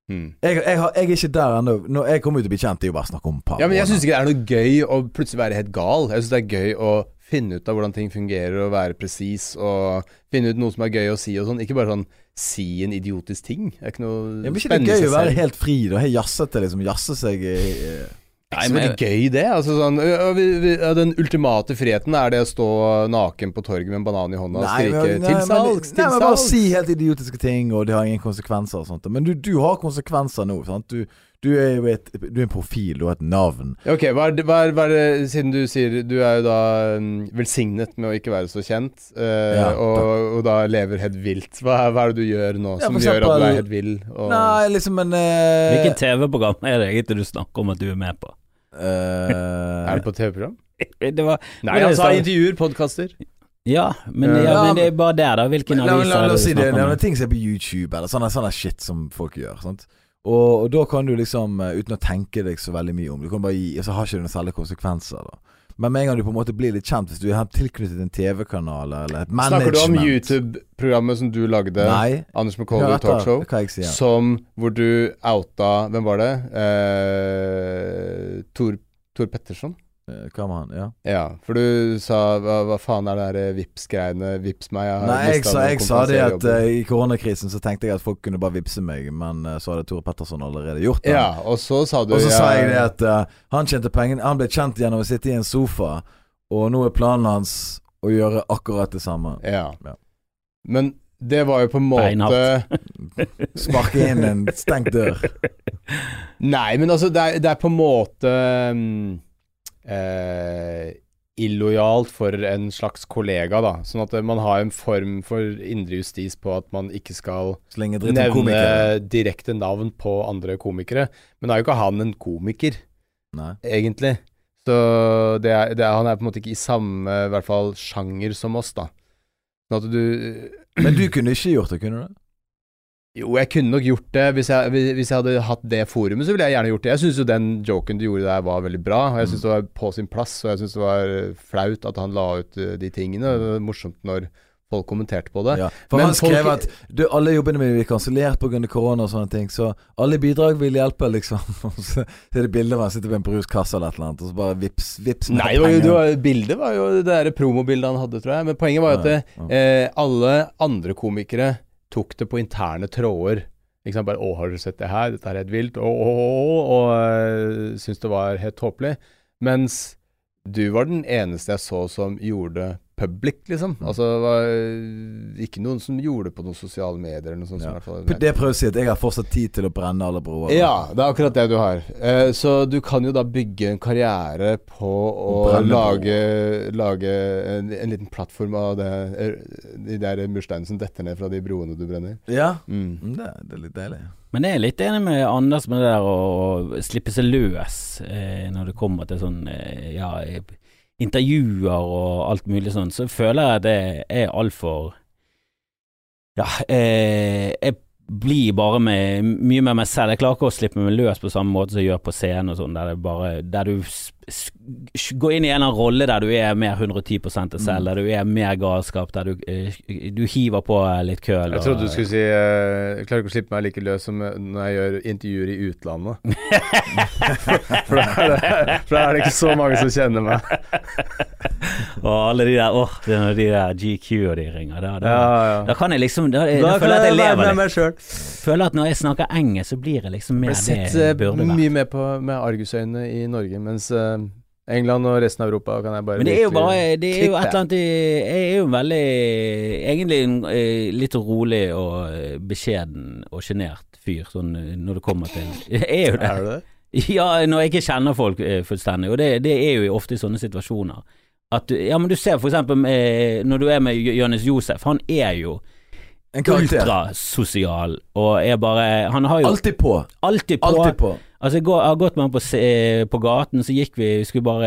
S5: Hmm.
S3: Jeg, jeg, har, jeg er ikke der ennå. Når jeg kommer ut og blir kjent, det er jo bare snakk om et par
S1: Ja, men jeg
S3: måneder.
S1: syns ikke det er noe gøy å plutselig være helt gal. Jeg syns det er gøy å finne ut av hvordan ting fungerer, og være presis, og finne ut noe som er gøy å si og sånn. Ikke bare sånn si en idiotisk ting. Det er ikke noe
S3: Ja, men ikke det
S1: spennende i
S3: gøy
S1: seg
S3: å være
S1: selv.
S3: helt fri da? Helt jazzete, liksom. Jazze seg eh, i i-
S1: Det er ikke så veldig gøy, det. Altså, sånn, ø, ø, vi, vi, ø, den ultimate friheten er det å stå naken på torget med en banan i hånda og skrike
S3: men-
S1: 'til salgs,
S3: nei,
S1: til
S3: men bare
S1: salgs'.
S3: si helt idiotiske ting, og det har ingen konsekvenser og sånt. Men du, du har konsekvenser nå, sant. Du, du er jo et, du er en profil, du har et navn.
S1: Ja, Ok, hva er, det- hva, er, hva er det Siden du sier Du er jo da mm, velsignet med å ikke være så kjent, eh,
S3: Ja,
S1: og, og da lever helt vilt. Hva er, hva er det du gjør nå
S3: Ja,
S1: som
S3: for
S1: gjør at du
S3: eksempel-
S1: er helt vill? Og,
S3: Nei, liksom en eh,
S2: Hvilket TV-program er det egentlig du snakker om at du er med på?
S1: er
S3: eh,
S1: det på TV-program?
S2: Det var
S1: Nei,
S2: det
S1: han sa
S2: sa-
S1: intervjuer, podkaster.
S2: Ja, men,
S1: Eh,
S2: ja,
S3: ja,
S2: men det er bare der, da. Hvilken
S3: Men La,
S2: avis
S3: la,
S2: er
S3: la
S2: det
S3: oss si
S2: du
S3: det,
S2: snakker
S3: det
S2: om?
S3: er ting som er på YouTube, eller sånne, sånne shit som folk gjør. Sant? Og, og da kan du liksom, eh, uten å tenke deg så veldig mye om Du kan bare gi, og så har ikke det noen særlige konsekvenser. Da. Men med en gang du på en måte blir litt kjent, hvis du er tilknyttet en TV-kanal eller et management
S1: Snakker du om YouTube-programmet som du lagde?
S3: Nei.
S1: Anders
S3: Hør
S1: McCauley
S3: etter
S1: Talkshow?
S3: Hva jeg sier.
S1: Som hvor du outa Hvem var det? Eh, Tor, Tor Petterson?
S3: Eh, Hva med han? Ja.
S1: Ja, for du sa hva, hva faen er det der Vips-greiene? Vips meg, jeg har
S3: Nei, jeg
S1: mistet
S3: sa,
S1: noen
S3: jeg sa det at
S1: kompenserjobber.
S3: eh, i koronakrisen så tenkte jeg at folk kunne bare vippse meg, men eh, så hadde Tore Petterson allerede gjort det.
S1: Ja, og så sa du
S3: Og så
S1: ja,
S3: sa jeg det at eh, han tjente pengene Han ble kjent gjennom å sitte i en sofa, og nå er planen hans å gjøre akkurat det samme.
S1: ja.
S3: Ja.
S1: Men det var jo på en måte
S2: Beinhardt.
S3: Sparke inn en stengt dør.
S1: Nei, men altså, det er, det er på en måte mm, eh, illojalt for en slags kollega, da. Sånn at eh, man har en form for indre justis på at man ikke skal
S3: Så lenge dritten er
S1: nevne
S3: komiker.
S1: direkte navn på andre komikere. Men er jo ikke han en komiker,
S3: Nei.
S1: egentlig. Så det er, det er, han er på en måte ikke i samme, i hvert fall, sjanger som oss, da. Sånn at du
S3: Men du kunne ikke gjort det, kunne du?
S1: Jo, jeg kunne nok gjort det. Hvis jeg, hvis- hvis jeg hadde hatt det forumet, så ville jeg gjerne gjort det. Jeg syns jo den joken du gjorde der var veldig bra, og jeg syns det var på sin plass, og jeg syns det var eh, flaut at han la ut eh, de tingene. og Det var morsomt når folk kommenterte på det.
S3: Ja. For
S1: Men
S3: han skrev
S1: folk-
S3: at du, alle jobbene mine blir kansellert pga. korona og sånne ting, så alle bidrag vil hjelpe, liksom. Og så er det bilde av han sitter ved en bruskasse eller et eller annet, og så bare vips, vips. med
S1: Nei, det var jo,
S3: penger.
S1: det var, bildet var jo det der promobildet han hadde, tror jeg. Men poenget var jo at det,
S3: Ja,
S1: eh, alle andre komikere tok det på interne tråder. Ikke sant? Bare 'Å, har dere sett det her? Dette er helt vilt.' Å, å, å, å, og eh, syntes det var helt tåpelig. Mens du var den eneste jeg så som gjorde det public, liksom.
S3: Mm.
S1: Altså det var eh, ikke noen som gjorde det på noen sosiale medier eller noe sånt.
S3: Ja.
S1: som i hvert fall-
S3: Det prøver å si at jeg har fortsatt tid til å brenne alle broer.
S1: ja, det er akkurat det du har. Eh, så du kan jo da bygge en karriere på å
S3: Brenne broer.
S1: lage, lage en, en liten plattform av det, eh, de der mursteinene som detter ned fra de broene du brenner.
S3: ja.
S1: Mm.
S3: Mm, Det, det er litt deilig.
S2: Men jeg er litt enig med Anders med det der å å slippe seg løs eh, når det kommer til sånn eh, ja, eh, intervjuer og alt mulig sånn. Så føler jeg det er altfor Ja, eh, jeg blir bare med, mye med meg selv. Jeg klarer ikke å slippe meg løs på samme måte som jeg gjør på scenen og sånn, der, det bare, der du s- s- går inn i en eller annen rolle der du er mer 110 deg
S1: Mm.
S2: selv, der du er mer galskap, der du, eh, du hiver på litt køl.
S1: Jeg trodde du skulle si eh, 'Jeg klarer ikke å slippe meg like løs som eh, når jeg gjør intervjuer i utlandet'. For da er det, for da er det ikke så mange som kjenner meg.
S2: Og alle de der åh, det er når de der GQ og de ringer, da, da,
S1: Ja, ja.
S2: da kan jeg liksom Da, da føler jeg at jeg lever litt.
S1: meg sjøl.
S2: Føler at når jeg snakker engelsk, så blir jeg liksom mer
S1: Ble
S2: det
S1: sett
S2: jeg
S1: eh,
S2: burde være.
S1: mye med på med argusøyne i Norge, mens eh, England og resten av Europa kan jeg bare
S2: Men det er jo
S1: virkelig-
S2: bare Det er jo et
S1: Klipp
S2: eller annet i Jeg er jo en veldig Egentlig en eh, litt rolig og eh, beskjeden og sjenert fyr, sånn eh, når det kommer til Jeg er jo det.
S1: Er du det?
S2: Ja, når jeg ikke kjenner folk eh, fullstendig, og det, det er jo ofte i sånne situasjoner. At du, ja, men du ser for eksempel eh, når du er med Jo- Jonis Josef, han er jo
S3: En karakter.
S2: ultrasosial og er bare Han har jo
S3: Alltid på.
S2: alltid på
S3: Alltid på.
S2: Altså, jeg, går, jeg har gått med ham på, se- på gaten, så gikk vi skulle bare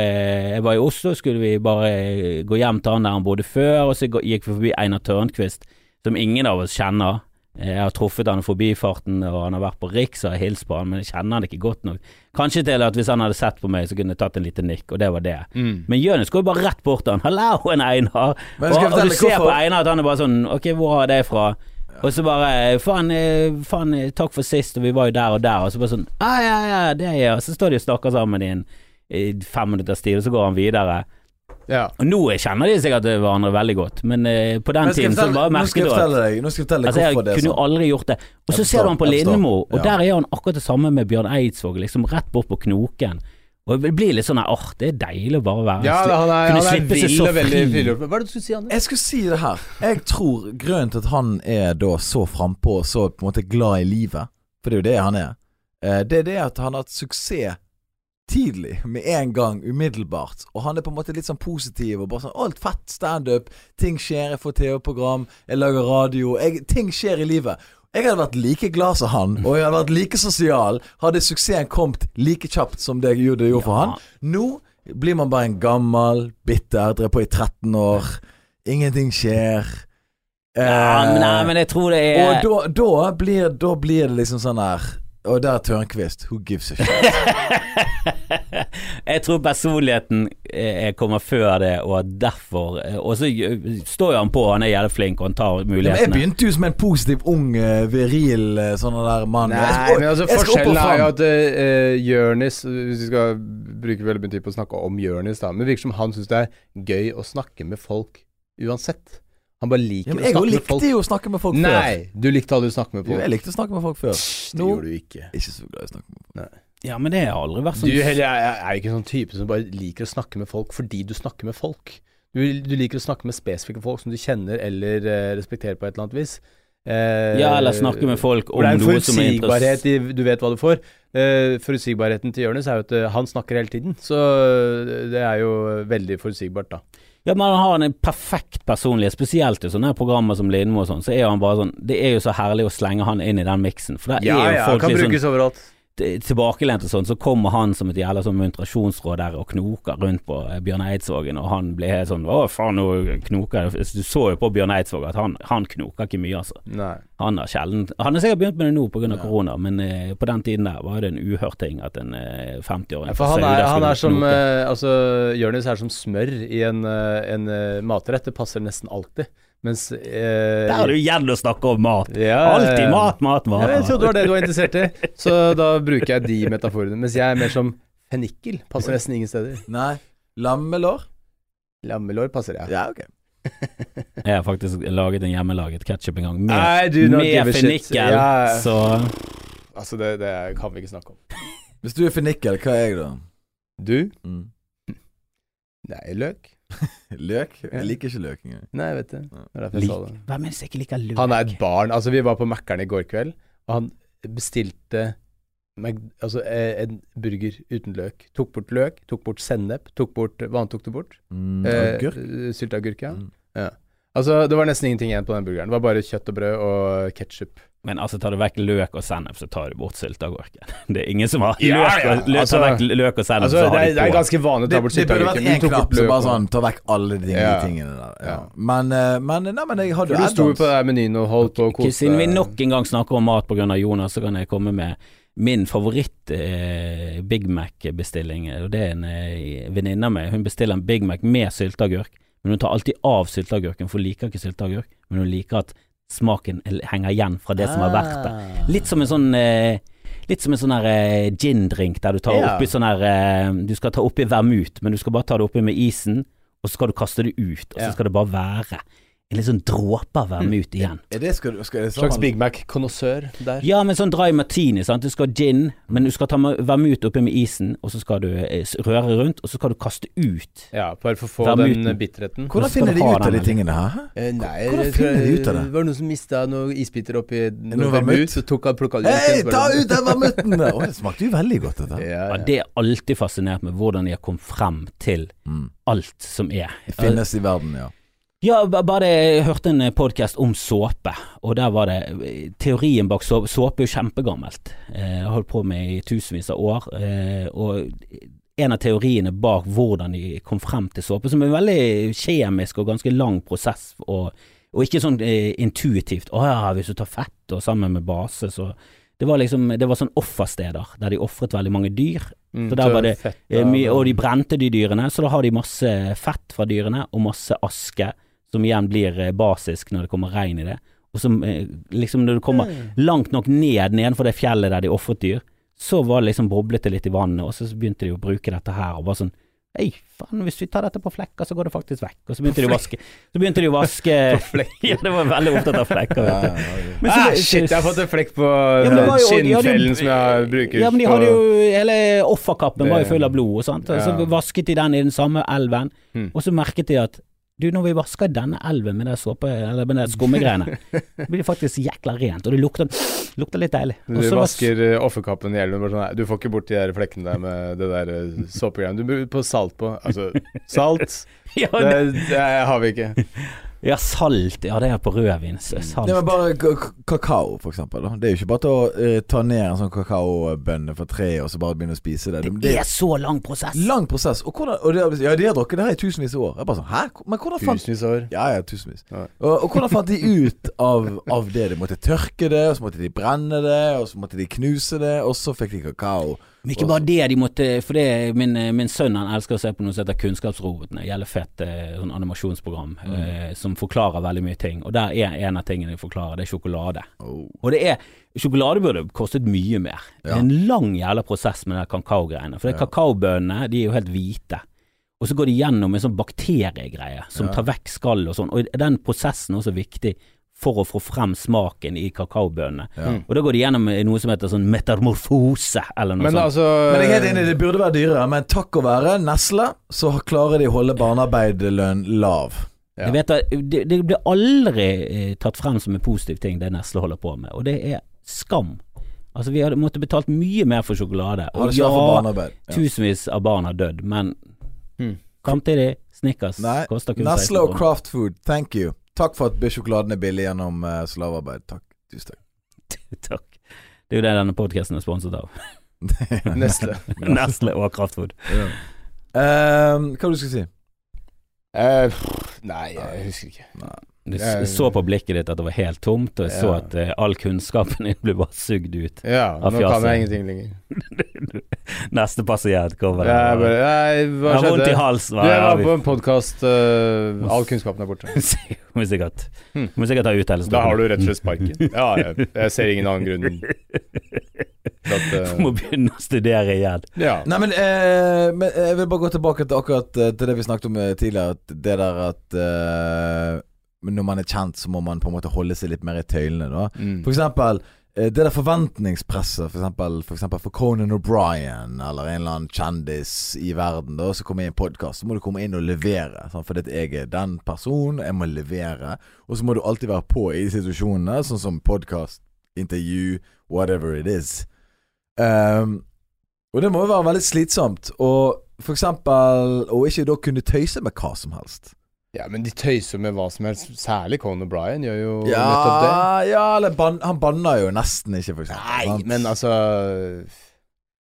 S2: Jeg var i Oslo, skulle vi bare gå hjem til han der han bodde før, og så gå- gikk vi forbi Einar Tørnquist, som ingen av oss kjenner. Eh, Jeg har truffet han i forbifarten, og han har vært på Riks og jeg har hilst på han, men jeg kjenner han ikke godt nok. Kanskje til at hvis han hadde sett på meg, så kunne jeg tatt en liten nikk, og det var det. Men Jonis går jo bare rett bort til han. 'Hallo, en Einar'.
S3: Men
S2: Og,
S3: skal jeg
S2: og du
S3: fortelle
S2: ser på
S3: hvorfor-
S2: Einar at han er bare sånn 'Ok, hvor har jeg deg fra?' Og så bare 'Faen, eh, faen, eh, takk for sist, og vi var jo der og der', og så bare sånn 'Ja, ja, ja, det er jeg', og så står de og snakker sammen i en i fem minutters tid, og så går han videre.
S1: Ja.
S2: Og nå kjenner de sikkert hverandre veldig godt, men eh, på den
S3: Men skal jeg
S2: tiden så
S3: fortelle-
S2: bare
S3: nå skal
S2: merket
S3: jeg
S2: du at
S3: fortelle deg, nå skal jeg fortelle deg
S2: Altså, jeg
S3: hvorfor det er
S2: kunne jo
S3: sånn.
S2: aldri gjort det. Og så
S3: Jeg
S2: ser du han på
S3: forstår, jeg
S2: Lindmo, og
S3: forstår, ja.
S2: der er han akkurat det samme med Bjørn Eidsvåg, liksom rett bort på knoken. Og det blir litt sånn her, åh, det er deilig å bare være
S1: ja,
S2: sli-
S1: han er,
S2: kunne
S1: han er
S2: slippe seg
S1: vill
S2: så
S1: og veldig
S2: fri.
S1: frigjort. Hva er det du skulle si, Anders?
S3: Jeg skulle si det her. Jeg tror grunnen til at han er da så frampå og så på en måte glad i livet, for det er jo det han er, eh, det er det at han har hatt suksess tidlig, med en gang, umiddelbart. Og han er på en måte litt sånn positiv og bare sånn Alt fett, standup, ting skjer, jeg får TV-program, jeg lager radio, jeg, ting skjer i livet. Jeg hadde vært like glad som han, og jeg hadde vært like sosial, hadde suksessen kommet like kjapt som det jeg gjorde, det gjorde for
S2: Ja.
S3: han. Nå blir man bare en gammel, bitter, drevet på i 13 år. Ingenting skjer. Eh,
S2: Ja,
S1: Eh,
S2: men nei, men jeg tror det er
S3: Og da, da, blir, da blir det liksom sånn her Og der er Tørnquist. Who gives a shit?
S2: Jeg tror personligheten eh, kommer før det, og at derfor eh, Og så eh, står jo han på, han er jævlig flink, og han tar
S3: Men jeg
S2: mulighetene.
S3: begynte jo som en positiv, ung, eh, viril eh, sånn der mann. Jeg
S1: Nei,
S3: skal-
S1: men altså
S3: jeg skal opp og
S1: Forskjellen er jo
S3: fram.
S1: at uh, Jørnis Hvis vi skal bruke veldig mye tid på å snakke om Jørnis, da Men det virker som han syns det er gøy å snakke med folk uansett. Han bare liker
S3: ja, men
S1: å
S3: jeg jo
S1: snakke med folk.
S3: likte jo å snakke med folk før.
S1: Nei, du likte aldri å snakke med
S3: Jo, jeg
S1: folk.
S3: likte å snakke med folk før.
S1: Det
S3: Nå-
S1: gjorde du ikke.
S3: Ikke så glad i å snakke med folk.
S2: Ja, men det har aldri vært
S1: Du
S2: sånn
S1: heller er, er ikke en sånn type som bare liker å snakke med folk fordi du snakker med folk. Du, du liker å snakke med spesifikke folk som du kjenner eller eh, respekterer på et eller annet vis. eh,
S2: Ja, eller snakke med folk om
S1: For det er en
S2: noe som er interessant.
S1: forutsigbarhet i Du vet hva du får. Eh, forutsigbarheten til Jonis er jo at eh, han snakker hele tiden, så eh, det er jo veldig forutsigbart, da.
S2: Ja, men han har en perfekt personlighet, spesielt i sånne her programmer som Lindmo og sånn, så er han bare sånn Det er jo så herlig å slenge han inn i den miksen, for der er jo folk litt sånn
S1: overalt.
S2: t- tilbakelent og sånn, så kommer han som et jævla sånn muntrasjonsråd der og knoker rundt på eh, Bjørn Eidsvågen, og han blir helt sånn Å, faen, nå knoker jeg Du så jo på Bjørn Eidsvåg at han, han knoker ikke mye, altså.
S1: Nei.
S2: Han har sjelden Han har sikkert begynt med det nå pga. korona, men eh, på den tiden der var det en uhørt ting at en eh, 50-åring
S1: For
S2: fra
S1: han er,
S2: Sauda
S1: han
S2: skulle
S1: er som
S2: knoke.
S1: eh, Altså, Jonis er som smør i en, eh, en eh, matrett. Det passer nesten alltid. Mens eh,
S2: Der har du igjen å snakke om mat!
S1: ja,
S2: Alltid
S1: ja.
S2: mat, mat, mat.
S1: Ja, jeg trodde det var det du var interessert i, så da bruker jeg de metaforene. Mens jeg er mer som fennikel. Passer nesten ingen steder.
S3: Nei. Lammelår?
S1: Lammelår passer jeg.
S3: Ja, ok.
S2: Jeg har faktisk laget en hjemmelaget ketsjup en gang, med,
S1: I do not
S2: med
S1: give a shit.
S2: fennikel,
S1: Ja,
S2: så
S1: altså, det, det kan vi ikke snakke om.
S3: Hvis du er fennikel, hva er jeg da?
S1: Du?
S3: Mm.
S1: Nei, løk.
S3: Løk? Jeg liker ikke løk engang.
S1: Nei, jeg vet det. Det er derfor jeg sa det.
S2: Hvem er det som ikke liker løk?
S1: Han er et barn. Altså, vi var på Mækkern i går kveld, og han bestilte Mac, altså, eh, en burger uten løk. Tok bort løk, tok bort sennep, tok bort Hva annet tok du bort?
S3: Mm,
S1: Eh,
S3: agurk?
S1: Sylteagurk, ja.
S3: Mm.
S1: Altså, det var nesten ingenting igjen på den burgeren. Det var bare kjøtt og brød og ketsjup.
S2: Men altså, tar du vekk løk og sennep, så tar du bort sylteagurken. Det er ingen som har
S1: Ja,
S2: løk,
S1: ja,
S2: og, løk,
S1: altså-
S2: tar vekk løk og sennep,
S1: Altså,
S2: så
S1: det,
S2: har
S1: er- det er
S2: du på.
S1: ganske vanlig å
S3: Det,
S1: ta bort
S3: det burde vært
S1: sylteagurken. men
S3: én
S1: du tok
S3: knapp
S1: bort
S3: som
S1: løk
S3: bare
S1: og-
S3: sånn Ta vekk alle de
S1: Ja.
S3: tingene der. Ja.
S1: Ja.
S3: Men, eh, men Nei, men jeg hadde
S1: For du sto jo på
S3: add-ons.
S1: den menyen og holdt på å
S2: Ok,
S1: kose
S2: Siden vi nok en gang snakker om mat pga. Jonas, så kan jeg komme med min favoritt eh, Big Mac-bestilling. Og Det er en eh, venninne av meg. Hun bestiller en Big Mac med sylteagurk, men hun tar alltid av sylteagurken, for hun liker ikke sylteagurk. Men hun liker at smaken el- henger igjen fra det som har vært der.
S1: Ah.
S2: Litt som en sånn eh, Litt som en sånn her eh, gin-drink der du tar
S1: Ja.
S2: oppi sånn her eh, Du skal ta oppi vermut, men du skal bare ta det oppi med isen, og så skal du kaste det ut, og så
S1: Ja. Mm.
S2: skal det bare være en litt sånn dråpe av vermut igjen.
S3: Er det skal, du- skal, er det
S1: Slags
S3: sånn-
S1: Big Mac-konnoissør der.
S2: Ja, men sånn dry martini, sant. Du skal ha gin, men du skal ta ma- vermut oppi med isen, og så skal du eh, s- røre rundt, og så skal du kaste ut.
S1: Ja, bare for å få
S2: Vermuten.
S1: den eh, bitterheten.
S3: Hvordan
S2: skal
S3: finner
S2: du
S3: de
S2: ha
S3: ut av
S2: den,
S3: de
S2: eller?
S3: tingene her? hæ?
S1: Eh, nei,
S3: hvordan
S1: jeg
S3: finner
S1: tror-
S3: de ut av det?
S1: var noen som mista noen isbiter oppi noe
S3: Noe vermut?
S1: vermut, så tok han plukka det
S3: Hei,
S1: ut.
S3: ta ut den vermuten! Å, det smakte jo veldig godt, dette.
S1: Ja,
S2: Ja,
S1: ja.
S2: det er alltid fascinert med hvordan de har kommet frem til
S3: Mm.
S2: alt som er.
S3: Det finnes i verden, ja.
S2: Ja, ba- bare jeg hørte en podkast om såpe, og der var det eh, Teorien bak såpe Såpe er jo kjempegammelt. Eh, Jeg har holdt på med i tusenvis av år. eh, Og en av teoriene bak hvordan de kom frem til såpe, som er en veldig kjemisk og ganske lang prosess, og, og ikke sånn eh, intuitivt Å ja, hvis du tar fett og sammen med base, så Det var liksom Det var sånn offersteder der de ofret veldig mange dyr.
S1: Mm,
S2: Så der var det,
S1: fett,
S2: Eh,
S1: da.
S2: mye, og de brente de dyrene, så da har de masse fett fra dyrene og masse aske, som igjen blir eh, basisk når det kommer regn i det. Og som eh, liksom når du kommer
S1: Mm.
S2: langt nok ned nedenfor det fjellet der de ofret dyr, så var det liksom boblet det litt i vannet, og så begynte de å bruke dette her og var sånn Hei, faen, hvis vi tar dette på flekker, så går det faktisk vekk. Og så begynte de å vaske Så begynte de å vaske Ja, det var veldig opptatt av flekker, vet
S3: ja,
S2: du.
S3: ja, ja.
S2: Men så-
S1: ah, Shit, jeg har fått en flekk på
S2: Ja, men det var jo- de hadde jo-
S1: skinnfellen som jeg bruker.
S2: Ja, men de
S1: på-
S2: hadde jo Hele offerkappen var jo
S1: Det-
S2: full av blod, og sånt. Og
S1: Ja.
S2: så vasket de den i den samme elven,
S1: Hmm.
S2: og så merket de at du, når vi vasker denne elven med det såpe, eller med det skummegreiene, blir det faktisk jækla rent, og det lukter, lukter litt deilig. Og
S1: du
S2: så var-
S1: vasker eh, offerkappen i hjelmen bare sånn, nei, Du får ikke bort de der flekkene der med det der eh, såpegreiene. Du bruker på salt på Altså, salt
S2: Ja, det-
S1: det, det har vi ikke.
S2: ja, salt. Ja, det er på rødvin. s-
S1: Mm.
S2: Salt.
S3: Nei, men bare k- k- kakao, for eksempel. Da. Det er jo ikke bare til å eh, ta ned en sånn kakaobønne fra treet og så bare begynne å spise det.
S2: det er så lang prosess.
S3: lang prosess. Og hvordan, og det, er- ja, de har drukket det her i tusenvis av år. Jeg bare sånn, hæ? Men hvordan fant
S1: Tusenvis av år.
S3: Ja, ja, tusenvis.
S1: Ja.
S3: Og, og hvordan fant de ut av, av det? De måtte tørke det, og så måtte de brenne det, og så måtte de knuse det, og så fikk de kakao.
S2: Men ikke bare det, de måtte For det, min, min sønn han elsker å se på noe som heter Kunnskapsrobotene. Jævlig fett eh, sånn animasjonsprogram
S3: Mm.
S2: eh, som forklarer veldig mye ting. Og der er en av tingene de forklarer, det er sjokolade.
S3: Oh.
S2: Og det er Sjokolade burde kostet mye mer. Det
S3: Ja.
S2: er en lang jævla prosess med de kakaogreiene. For det er
S3: Ja.
S2: kakaobønnene de er jo helt hvite. Og så går de gjennom en sånn bakteriegreie som
S3: Ja.
S2: tar vekk skall og sånn. Og den prosessen er også viktig for å få frem smaken i kakaobønnene.
S3: Ja.
S2: Og da går de gjennom eh, noe som heter sånn metamorfose, eller noe
S1: Men
S2: sånt.
S1: altså
S3: Men jeg er helt enig, det burde være dyrere, men takk å være Nesle, så klarer de å holde barnearbeiderlønn lav.
S4: Ja.
S2: Jeg vet at det, det blir aldri eh, tatt frem som en positiv ting det Nesle holder på med, og det er skam. Altså, vi hadde måttet betalt mye mer for sjokolade.
S3: Ha
S2: Og
S3: det svært for
S2: ja,
S3: barnearbeid. Ja.
S2: tusenvis av barn har dødd, men
S4: Hmm.
S2: samtidig, Snickers
S3: Nei,
S2: koster kun
S3: Nestle
S2: 16
S3: og
S2: kroner.
S3: Craft Food, thank you. Takk for at sjokoladen er billig gjennom eh, slavearbeid. Takk. Tusen
S2: Takk. Det er jo det denne podkasten er sponset av.
S3: takk.
S4: eh, Neste.
S2: Nestle og Kraftfood.
S3: Ja. Ehm, hva var det du skulle si?
S4: Eh, pff, nei, jeg husker ikke.
S2: Du s-
S4: Jeg-
S2: så på blikket ditt at det var helt tomt, og jeg så
S4: Ja.
S2: at eh, all kunnskapen din ble bare sugd ut.
S4: Ja,
S2: Av
S4: nå kan
S2: fjaset.
S4: jeg ingenting lenger.
S2: Neste passient kommer.
S4: Jeg bare Nei, hva
S2: har vondt i
S4: skjedde?
S2: halsen.
S4: Du,
S2: Hva
S4: jeg
S2: er
S4: var
S2: det?
S4: på en podkast All kunnskapen er borte.
S2: Må sikkert
S4: Hmm.
S2: Må sikkert ha uttalelse.
S4: Da har du rett og slett sparken. Ja, jeg, jeg ser ingen annen grunn til at eh,
S2: Må begynne å studere igjen.
S4: Ja.
S3: Nei, men, eh, men jeg vil bare gå tilbake til akkurat eh, til det vi snakket om eh, tidligere. At det der at eh, men når man er kjent, så må man på en måte holde seg litt mer i tøylene. da
S4: Mm.
S3: For eksempel eh, det der forventningspresset, for eksempel, for eksempel for Conan O'Brien eller en eller annen kjendis i verden, da, som kommer i en podkast, så må du komme inn og levere. Sant? Fordi at jeg er den personen, jeg må levere. Og så må du alltid være på i de situasjonene, sånn som podkast, intervju, whatever it is. Ehm, og det må jo være veldig slitsomt. Og for eksempel å ikke da kunne tøyse med hva som helst.
S4: ja, men de tøyser med hva som helst. Særlig Conan O'Brien gjør jo nettopp det.
S3: Ja, ja eller ban han banner jo nesten ikke, for eksempel.
S4: Nei,
S3: sant?
S4: men altså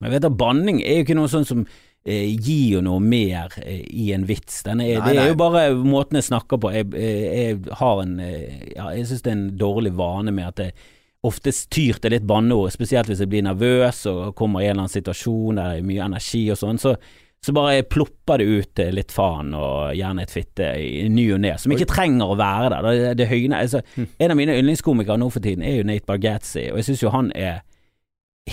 S2: Men jeg vet at banning er jo ikke noe sånn som eh, gir jo noe mer eh, i en vits. Den er,
S3: Nei,
S2: det
S3: nei.
S2: er jo bare måten jeg snakker på. Jeg, eh, jeg har en eh, ja, Jeg syns det er en dårlig vane med at jeg ofte tyr til litt banneord, spesielt hvis jeg blir nervøs og kommer i en eller annen situasjon der det er mye energi og sånn. så så bare jeg plopper det ut til litt faen og gjerne et fitte i ny og ne, som ikke trenger å være der. Det, det høyner. Altså,
S3: Hm.
S2: en av mine yndlingskomikere nå for tiden er jo Nate Bargatze, og jeg syns jo han er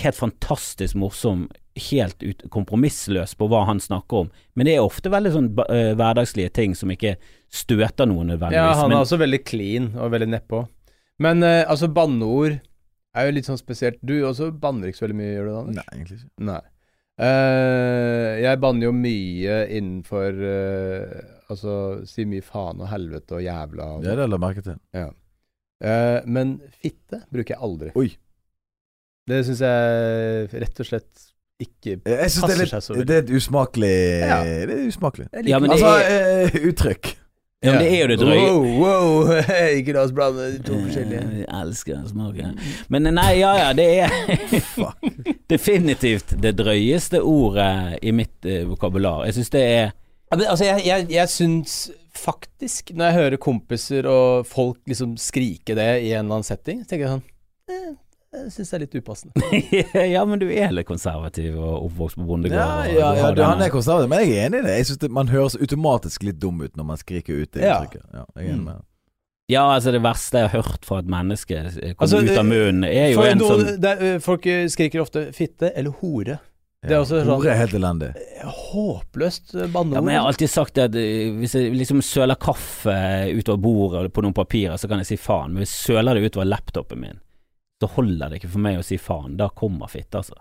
S2: helt fantastisk morsom, helt ut, kompromissløs på hva han snakker om. Men det er ofte veldig sånn ba- eh, hverdagslige ting som ikke støter noen nødvendigvis.
S4: Ja, han er
S2: men,
S4: også veldig clean og veldig nedpå. Men eh, altså, banneord er jo litt sånn spesielt. Du også banner ikke så veldig mye, gjør du det? Anders?
S3: Nei, egentlig ikke.
S4: Nei. Eh, jeg banner jo mye innenfor eh, Altså, si mye faen og helvete og jævla og
S3: Det er det jeg la merke til.
S4: Eh, men fitte bruker jeg aldri.
S3: Oi.
S4: Det syns jeg rett og slett ikke
S3: Eh, Jeg synes det,
S4: Passer
S3: er
S4: seg så
S3: litt,
S4: veldig.
S3: det er et usmakelig
S4: Ja.
S3: Det er usmakelig.
S4: jeg
S2: Ja, men det
S3: Altså,
S2: er,
S3: eh, uttrykk.
S2: ja, men det er jo det drøye.
S4: Wow,
S2: Eh,
S4: wow, ikke la oss blande de to forskjellige.
S2: Jeg elsker den smaken. Men eh, nei, ja ja, det er definitivt det drøyeste ordet i mitt eh, vokabular. Jeg syns det er
S1: Ja, men, altså, jeg, jeg, jeg syns faktisk, når jeg hører kompiser og folk liksom skrike det i en eller annen setting, så tenker jeg sånn eh, Jeg syns det er litt upassende.
S2: Ja, men du er litt konservativ og oppvokst på
S3: Ja,
S2: bondegård. og
S3: ja,
S2: du
S3: ja
S2: har
S3: du, han
S2: denne-
S3: er konservativ, men jeg er enig i det. Jeg synes det, Man høres automatisk litt dum ut når man skriker ut det
S1: Ja.
S3: uttrykket. Ja, jeg er enig med det.
S2: Ja, altså det verste jeg har hørt fra et menneske eh, kommer
S1: Altså,
S2: ut av
S1: eh,
S2: munnen, er jo
S1: For
S2: en
S1: noen,
S2: sånn
S1: det er, ø, folk ø, skriker ofte 'fitte' eller 'hore'. Det er
S3: Ja.
S1: også sånn-
S3: Ordet er helt elendig.
S1: Håpløst ø,
S2: ja,
S1: banneord.
S2: men Jeg har alltid sagt at eh, hvis jeg liksom søler kaffe utover bordet og på noen papirer, så kan jeg si faen, men hvis jeg søler det utover laptopen min, så holder det ikke for meg å si faen. Da kommer fitte, altså.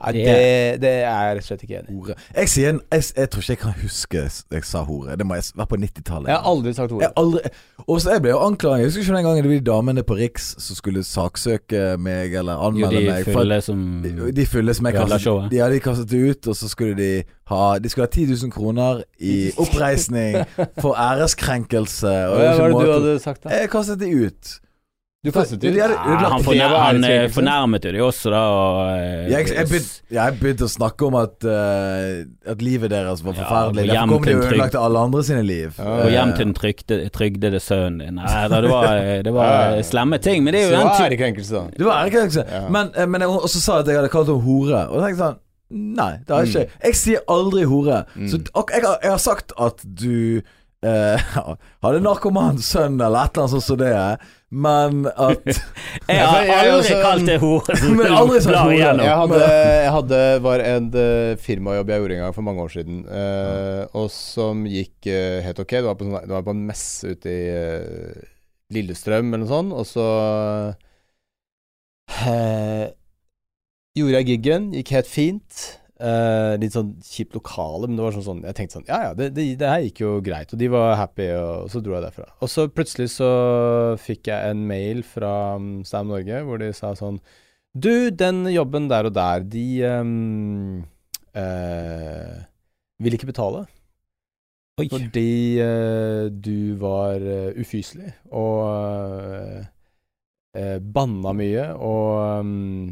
S1: Nei, det, det er jeg rett og slett ikke enig i.
S3: Hore. Jeg, sier, en- jeg, jeg tror ikke jeg kan huske s- jeg sa hore. Det må jeg s- være på 90-tallet.
S1: Jeg har aldri sagt
S3: Jeg
S1: hore.
S3: har aldri Og så jeg ble jo anklaget. Jeg husker ikke den gangen det var de damene på Riks som skulle saksøke meg eller
S2: Jo,
S3: anmelde
S2: de
S3: meg. for at-
S2: føler som
S3: De- De fylle som jeg
S2: Ødela
S3: kastet,
S2: showet.
S3: de, ja, de kastet det ut, og så skulle de ha De skulle ha 10 000 kroner i oppreisning for æreskrenkelse. Og
S1: Hva
S3: det
S1: var
S3: var ikke
S1: det du
S3: måte-
S1: hadde sagt, da?
S3: Jeg kastet de ut.
S1: Du kastet
S3: de
S1: ut?
S3: hadde
S2: ja,
S3: ødelagt
S2: han,
S4: det
S2: fornær,
S4: var
S2: han eh,
S4: æreskrenkelse.
S2: fornærmet jo de også, da. Og, eh,
S3: Jeg, jeg, begynte, jeg begynte å snakke om at, eh, at livet deres var
S2: Ja,
S3: forferdelig.
S2: gå hjem
S3: Derfor kom de
S2: til en
S3: og
S2: trygg-
S3: ødelagte alle andre sine liv.
S4: Ja.
S2: og
S4: Gå
S2: hjem til den trygde, trygdede sønnen din. Nei, da, det var, eh, det var
S4: Ja.
S2: slemme ting, men det er jo
S4: Så
S2: den type
S4: ærekrenkelse, da.
S3: Det var ærekrenkelse.
S4: Ja.
S3: Men, eh, men jeg, og så sa jeg at jeg hadde kalt henne hore. Og da tenkte jeg sånn Nei, det har jeg
S1: Mm.
S3: ikke. Jeg sier aldri hore. Så ak- jeg, har- jeg har sagt at du eh, hadde narkoman sønn eller et eller annet sånt som det er, men at
S2: Jeg har
S3: Altså,
S4: Ja, for jeg er
S2: aldri
S4: også-
S2: kalt det hore.
S3: sånn- Men aldri sagt
S2: Blar
S3: hore.
S2: igjennom.
S4: Jeg hadde, jeg hadde var en eh, firmajobb jeg gjorde en gang for mange år siden, eh, og som gikk eh, helt ok. Det var på, sånn, det var på en messe ute i eh, Lillestrøm eller noe sånt, og så eh, gjorde jeg giggen. Gikk helt fint.
S1: Eh, litt sånn kjipt lokale, men det var sånn sånn Jeg tenkte sånn Ja ja, det, det, det her gikk jo greit, og de var happy, og så dro jeg derfra. Og så plutselig så fikk jeg en mail fra mm, Stam Norge hvor de sa sånn Du, den jobben der og der, de ehm, eh, vil ikke betale
S2: Oi.
S1: fordi eh, du var eh, ufyselig og eh, banna mye og mm,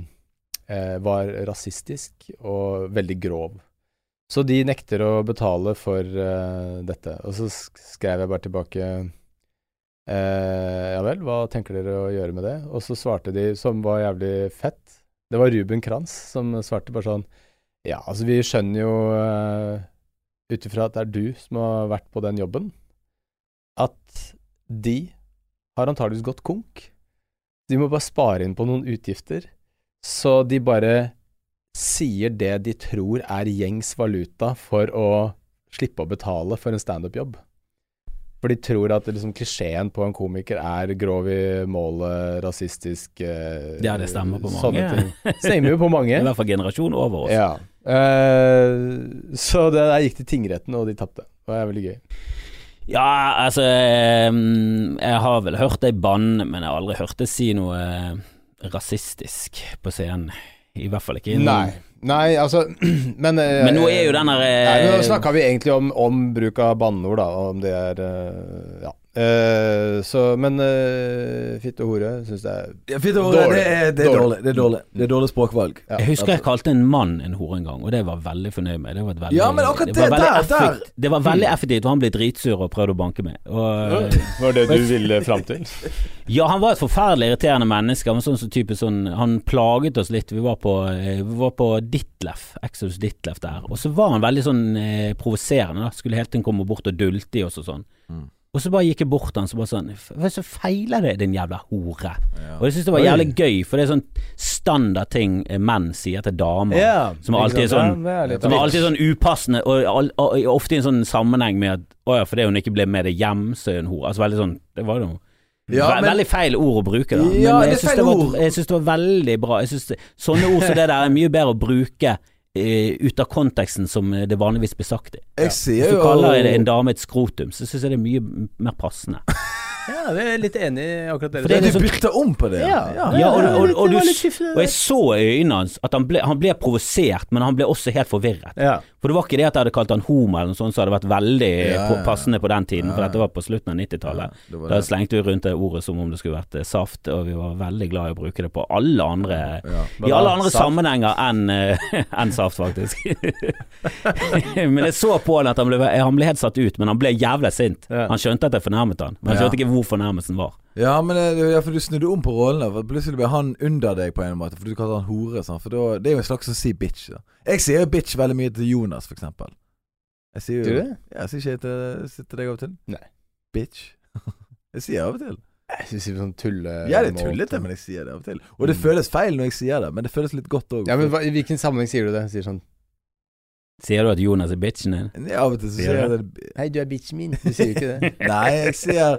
S1: eh, var rasistisk og veldig grov. Så de nekter å betale for eh, dette. Og så sk- skrev jeg bare tilbake eh, Ja vel, hva tenker dere å gjøre med det? Og så svarte de, som var jævlig fett Det var Ruben Kranz som svarte bare sånn Ja, altså, vi skjønner jo eh, ut ifra at det er du som har vært på den jobben, at de har antageligvis gått konk. De må bare spare inn på noen utgifter. Så de bare sier det de tror er gjengs valuta for å slippe å betale for en standup-jobb. For de tror at liksom, klisjeen på en komiker er grov i målet, rasistisk eh,
S2: Ja, det stemmer på mange.
S1: Sånne ting. Stemmer jo på mange.
S2: I hvert fall generasjon over oss.
S1: Ja. Eh, så det der gikk til tingretten, og de tapte. Det var veldig gøy.
S2: Ja, altså eh, Jeg har vel hørt deg banne, men jeg har aldri hørt deg si noe eh, rasistisk på scenen. I hvert fall ikke i
S1: Nei. Nei, altså Men, eh,
S2: Men nå er jo den her
S1: Nei,
S2: eh,
S1: men Nå snakka vi egentlig om, om bruk av banneord, da, og om det er eh, Ja. Eh, så Men eh, fitte og hore syns jeg er
S3: Ja, fint å høre.
S1: Dårlig.
S3: Det er, det er
S1: Dårlig.
S3: dårlig. Det er dårlig. Det er dårlig språkvalg.
S1: ja,
S2: Jeg husker jeg kalte en mann en hore en gang, og det var jeg veldig fornøyd med. Det var et veldig,
S3: Ja, men akkurat
S2: var
S3: det
S2: veldig
S3: der- Hmm.
S2: effekt- Det var veldig effektivt, og han ble dritsur og prøvde å banke meg. Og,
S4: Var det du ville fram til?
S2: ja, han var et forferdelig irriterende menneske. Han, var sånn, som type sånn, han plaget oss litt. Vi var på, eh, vi var på Ditlef, Exos Ditlef der, og så var han veldig sånn eh, provoserende. da. Skulle hele tiden komme bort og dulte i oss og sånn.
S3: Mm.
S2: Og så bare gikk jeg bort til han så bare sånn "F- Hva så feiler det, din jævla hore?
S3: Ja.
S2: Og jeg syns det var
S1: Oi.
S2: jævlig gøy, for det er sånn standard ting eh, menn sier til damer.
S1: Ja,
S2: Som
S1: ikke
S2: alltid er
S1: sant?
S2: sånn-
S1: Ja, det er litt
S2: Som er
S1: av-
S2: alltid sånn upassende, og, al- og, og ofte i en sånn sammenheng med at å ja, fordi hun ikke ble med deg hjem, så er hun hore. Altså veldig sånn Det var jo
S3: Ja,
S2: ve
S3: men-
S2: veldig feil ord å bruke, da.
S3: Ja,
S2: Men
S3: det er
S2: jeg syns det,
S3: feil
S2: var-
S3: ord.
S2: jeg syns det var veldig bra. Jeg synes det, sånne ord som det der er mye bedre å bruke eh, ut av konteksten som eh, det vanligvis blir sagt i.
S3: Jeg
S2: Hvis
S3: sier
S2: du
S3: jo
S2: kaller en, en dame et skrotum, så syns jeg det er mye m- mer passende.
S1: Ja, vi er litt enig i akkurat det.
S2: For
S3: Ja,
S2: det er
S3: Du
S2: liksom-
S3: bytter om på det.
S1: Ja.
S2: Ja, og, og, og,
S1: det
S2: du,
S1: var litt
S2: s-
S1: skiftende.
S2: og jeg så i øynene hans at han ble, han ble provosert, men han ble også helt forvirret.
S1: ja.
S2: For det var ikke det at jeg hadde kalt han homo eller noe sånt som hadde vært veldig
S3: Ja, ja, ja.
S2: på- passende på den tiden, for
S3: Ja.
S2: dette var på slutten av 90-tallet.
S3: Ja, det var
S2: Da
S3: det.
S2: slengte vi rundt det ordet som om det skulle vært eh, saft, og vi var veldig glad i å bruke det på alle andre eh,
S3: Ja.
S2: I alle andre
S1: Saft?
S2: sammenhenger enn eh, enn saft, faktisk. men jeg så på han at han ble, han ble helt satt ut, men han ble jævlig sint.
S1: Ja.
S2: Han skjønte at jeg fornærmet han, men han
S3: Ja.
S2: skjønte ikke hvor fornærmelsen var.
S3: Ja, men det det er derfor du snudde om på rollene. For Plutselig ble han under deg på en måte, for du kaller han hore. Sant? For da, Det er jo en slags som sier bitch. Da. Jeg sier jo bitch veldig mye til Jonas, for eksempel. Jeg sier jo
S1: Sier du det?
S3: Ja, jeg sier ikke jeg til, sier til deg av og til.
S1: Nei.
S3: Bitch. jeg sier av og til.
S1: Jeg synes det er sånn tulle...
S3: Ja, det er tullete, men jeg sier det av og til. Og det
S1: Mm.
S3: føles feil når jeg sier det, men det føles litt godt òg.
S1: Ja, men hva, I hvilken sammenheng sier du det? Sier sånn
S2: Sier du at Jonas er bitchen din?
S3: Av og til så
S2: Sier
S3: sier jeg
S2: du
S3: det
S1: Hei, du er bitchen min. Du sier jo ikke det.
S3: Nei, jeg sier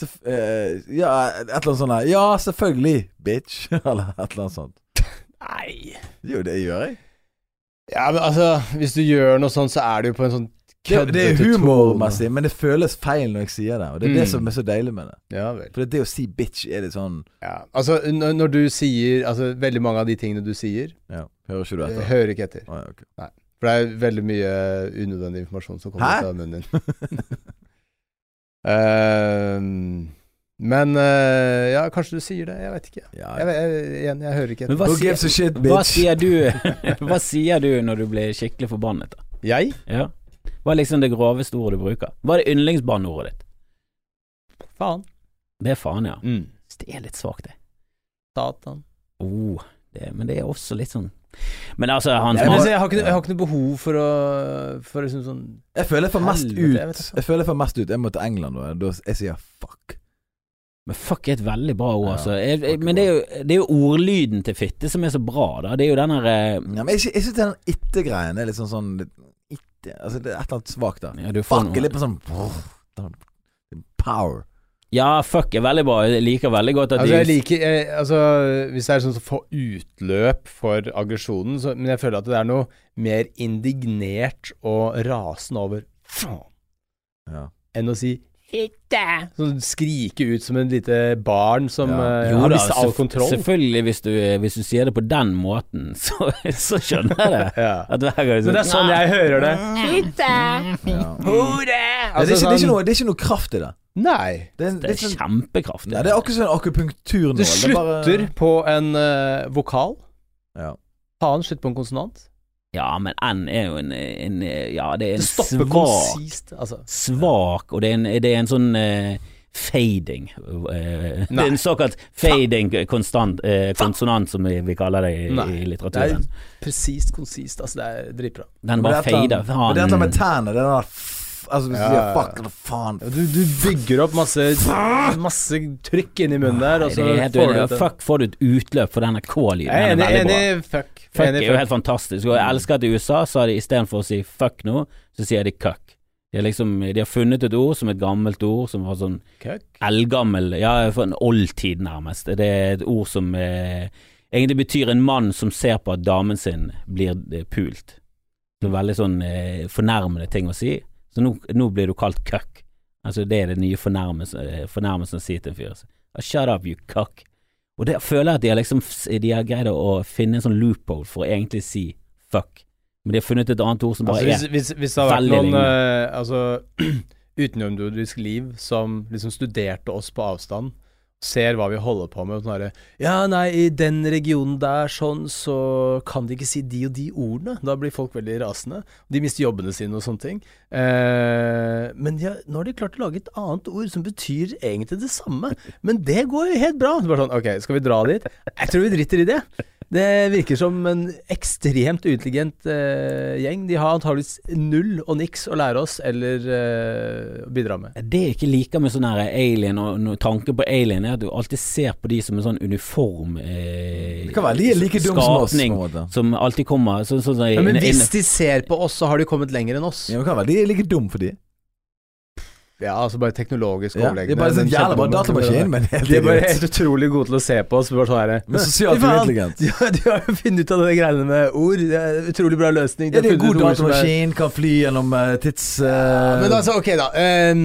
S3: så, eh, Ja, et eller annet sånt her. Ja, selvfølgelig, bitch. eller et eller annet sånt.
S1: Nei.
S3: Jo, det gjør jeg.
S1: Ja, men altså, hvis du gjør noe sånt, så er det jo på en sånn
S3: Det,
S1: køddete
S3: det er
S1: tone.
S3: humormessig, men det føles feil når jeg sier det. Og det er det
S1: Mm.
S3: som er så deilig med det.
S1: Ja vel.
S3: For det, det å si bitch er litt sånn
S1: Ja. Altså, når, når du sier Altså, veldig mange av de tingene du sier,
S3: ja, Hører ikke du
S1: eh,
S3: etter?
S1: hører ikke etter.
S3: Å, ja, ok.
S1: For det er veldig mye unødvendig informasjon som kommer
S3: Hæ?
S1: ut av munnen din. Ehm, men eh, ja, kanskje du sier det. Jeg vet ikke.
S3: Ja,
S1: Jeg,
S3: ja.
S1: vet- jeg, igjen, jeg hører ikke
S2: Men
S1: etter.
S2: hva
S3: Who
S2: sier,
S3: gives a shit,
S2: hva,
S3: bitch?
S2: sier du, hva sier du når du blir skikkelig forbannet? da?
S1: Jeg?
S2: Ja. Hva er liksom det groveste ordet du bruker? Hva er det yndlingsbanneordet ditt?
S1: Faen.
S2: Det er faen, ja.
S1: Mm.
S2: Det er litt svakt, det.
S1: Satan.
S2: Oh, det. Men det er også litt sånn Men altså, han
S1: Jeg,
S2: som
S1: men, altså,
S2: har
S1: jeg, har ikke, noe- jeg har ikke noe behov for å For liksom sånn
S3: Jeg føler jeg får mest
S1: Helvete, jeg vet
S3: ut.
S1: ikke.
S3: Jeg føler jeg får mest ut Jeg må til England, og da jeg sier fuck.
S2: Men fuck er et veldig bra ord,
S3: Ja,
S2: altså. Jeg, jeg,
S3: fuck er
S2: men det er, jo, det er jo ordlyden til fitte som er så bra, da. Det er jo den her eh,
S3: Ja, men jeg, sy- jeg syns den itte-greien er litt sånn sånn litt itte, Altså, det er et eller annet svakt der.
S2: ja, du får
S3: Fuck
S2: noe-
S3: er litt på sånn brrr, sånn Power.
S2: Ja, fuck er veldig bra. Jeg liker veldig godt at
S1: Altså, jeg
S2: de
S1: liker jeg, altså, Hvis det er sånn å få utløp for aggresjonen, så, men jeg føler at det er noe mer indignert og rasende over faen
S3: Ja.
S1: enn å si Hitte! Sånn skrike ut som en lite barn som
S3: Ja.
S1: eh,
S2: Jo
S1: har
S2: da,
S1: mistet all
S2: selvf-
S1: kontroll.
S2: Selvfølgelig, hvis du, eh, hvis du sier det på den måten, så, så skjønner jeg det.
S1: Ja.
S2: At hver gang
S1: Men det er sånn jeg hører det.
S3: Ja.
S2: Altså,
S3: Nei, det, er
S1: Altså,
S3: ikke, det, er ikke
S1: sånn,
S3: noe, det er ikke noe kraft i det.
S1: nei.
S3: Det er,
S2: Det
S3: det er,
S2: er
S3: sånn,
S2: kjempekraftig.
S3: nei, det er akkurat som en akupunkturnål.
S1: Du
S3: det er bare-
S1: slutter på en eh, vokal.
S3: Ja.
S1: Faen, slutt på en konsonant.
S2: Ja, men N er jo en, en Ja, det er en
S1: Det stopper
S2: svak
S1: konsist. Altså.
S2: Svak, og det er en, det er en sånn eh, fading eh, Det
S1: Nei.
S2: er en såkalt fading konstant, eh, konsonant, som vi, vi kaller det i,
S1: Nei.
S2: i
S1: Det er
S2: litteraturen.
S1: presist, konsist. Altså, det er dritbra.
S2: Den
S3: Men
S2: bare
S3: det er et eller
S2: fader.
S3: annet- men Det er dette med
S2: Faen.
S3: tennene. Det er den der f- Altså, hvis du
S1: Ja,
S3: sier
S1: ja, ja.
S3: fuck eller faen
S1: Ja, Du, du bygger opp masse, masse trykk inni munnen
S3: altså,
S1: der, og
S2: Det
S1: så
S2: er helt
S1: får du
S2: uenig.
S1: ut en-
S2: Fuck, får du et utløp for denne K-lyden.
S1: Jeg er
S2: Den
S1: enig,
S2: er veldig bra.
S1: enig fuck.
S2: Fuck
S1: enig,
S2: er jo helt fantastisk, og jeg elsker at i USA så har de istedenfor å si fuck nå, så sier de cuck. De har, liksom, de har funnet et ord som et gammelt ord, som var sånn
S1: Køkk.
S2: eldgammel Ja, for en oldtid, nærmest. Det er et ord som eh, egentlig betyr en mann som ser på at damen sin blir eh, pult. Det
S1: Mm.
S2: er veldig sånn eh, fornærmende ting å si. Så nå, nå blir du kalt cuck. Altså, det er det nye fornærmelsen, eh, fornærmelsen å si til en fyr. Så, «Ah, Shut up, you cuck. Og det føler jeg at de har liksom De har greid å finne en sånn loophole for å egentlig si fuck. Men de har funnet et annet ord som bare
S1: Altså, hvis,
S2: er
S1: hvis, hvis det hadde vært
S2: veldig
S1: noen
S2: lenge.
S1: eh, altså, utenomjordisk liv som liksom studerte oss på avstand, ser hva vi holder på med, og sånn herre Ja, nei, i den regionen der sånn, så kan de ikke si de og de ordene. Da blir folk veldig rasende. De mister jobbene sine og sånne ting. Eh, men ja, nå har de klart å lage et annet ord som betyr egentlig det samme. Men det går jo helt bra. Så bare sånn, ok, skal vi dra dit? Jeg tror vi driter i det. Det virker som en ekstremt uintelligent eh, gjeng. De har antageligvis null og niks å lære oss eller eh, bidra med.
S2: Det jeg ikke liker med sånn her alien, og no, tanken på alien, er at du alltid ser på de som en sånn uniform eh,
S3: Det kan være de er like dumme som oss, på en
S2: skapning
S3: måte.
S2: som alltid kommer sånn sånn, sånn,
S1: Ja, men
S2: inn-
S1: hvis
S2: inn-
S1: de ser på oss, så har de kommet lenger enn oss.
S3: Ja, men det kan være de er like dumme for de.
S1: Ja, altså bare teknologisk
S3: Ja,
S1: overlegne.
S3: de er bare sånn
S1: men
S3: jævla bra
S1: kjempedumme.
S3: datamaskin, men helt
S1: De er bare
S3: idiot.
S1: helt utrolig gode til å se på oss. Bare sånn her,
S3: Men sosialt
S1: Fy faen,
S3: uintelligent.
S1: De, har- de har jo funnet ut av de greiene med ord. Det er utrolig bra løsning.
S3: Ja, de er
S1: har funnet
S3: god
S1: ut ord som er-
S3: datamaskin, kan fly gjennom eh, tids... eh,
S1: Ja, Men altså, ok, da. ehm,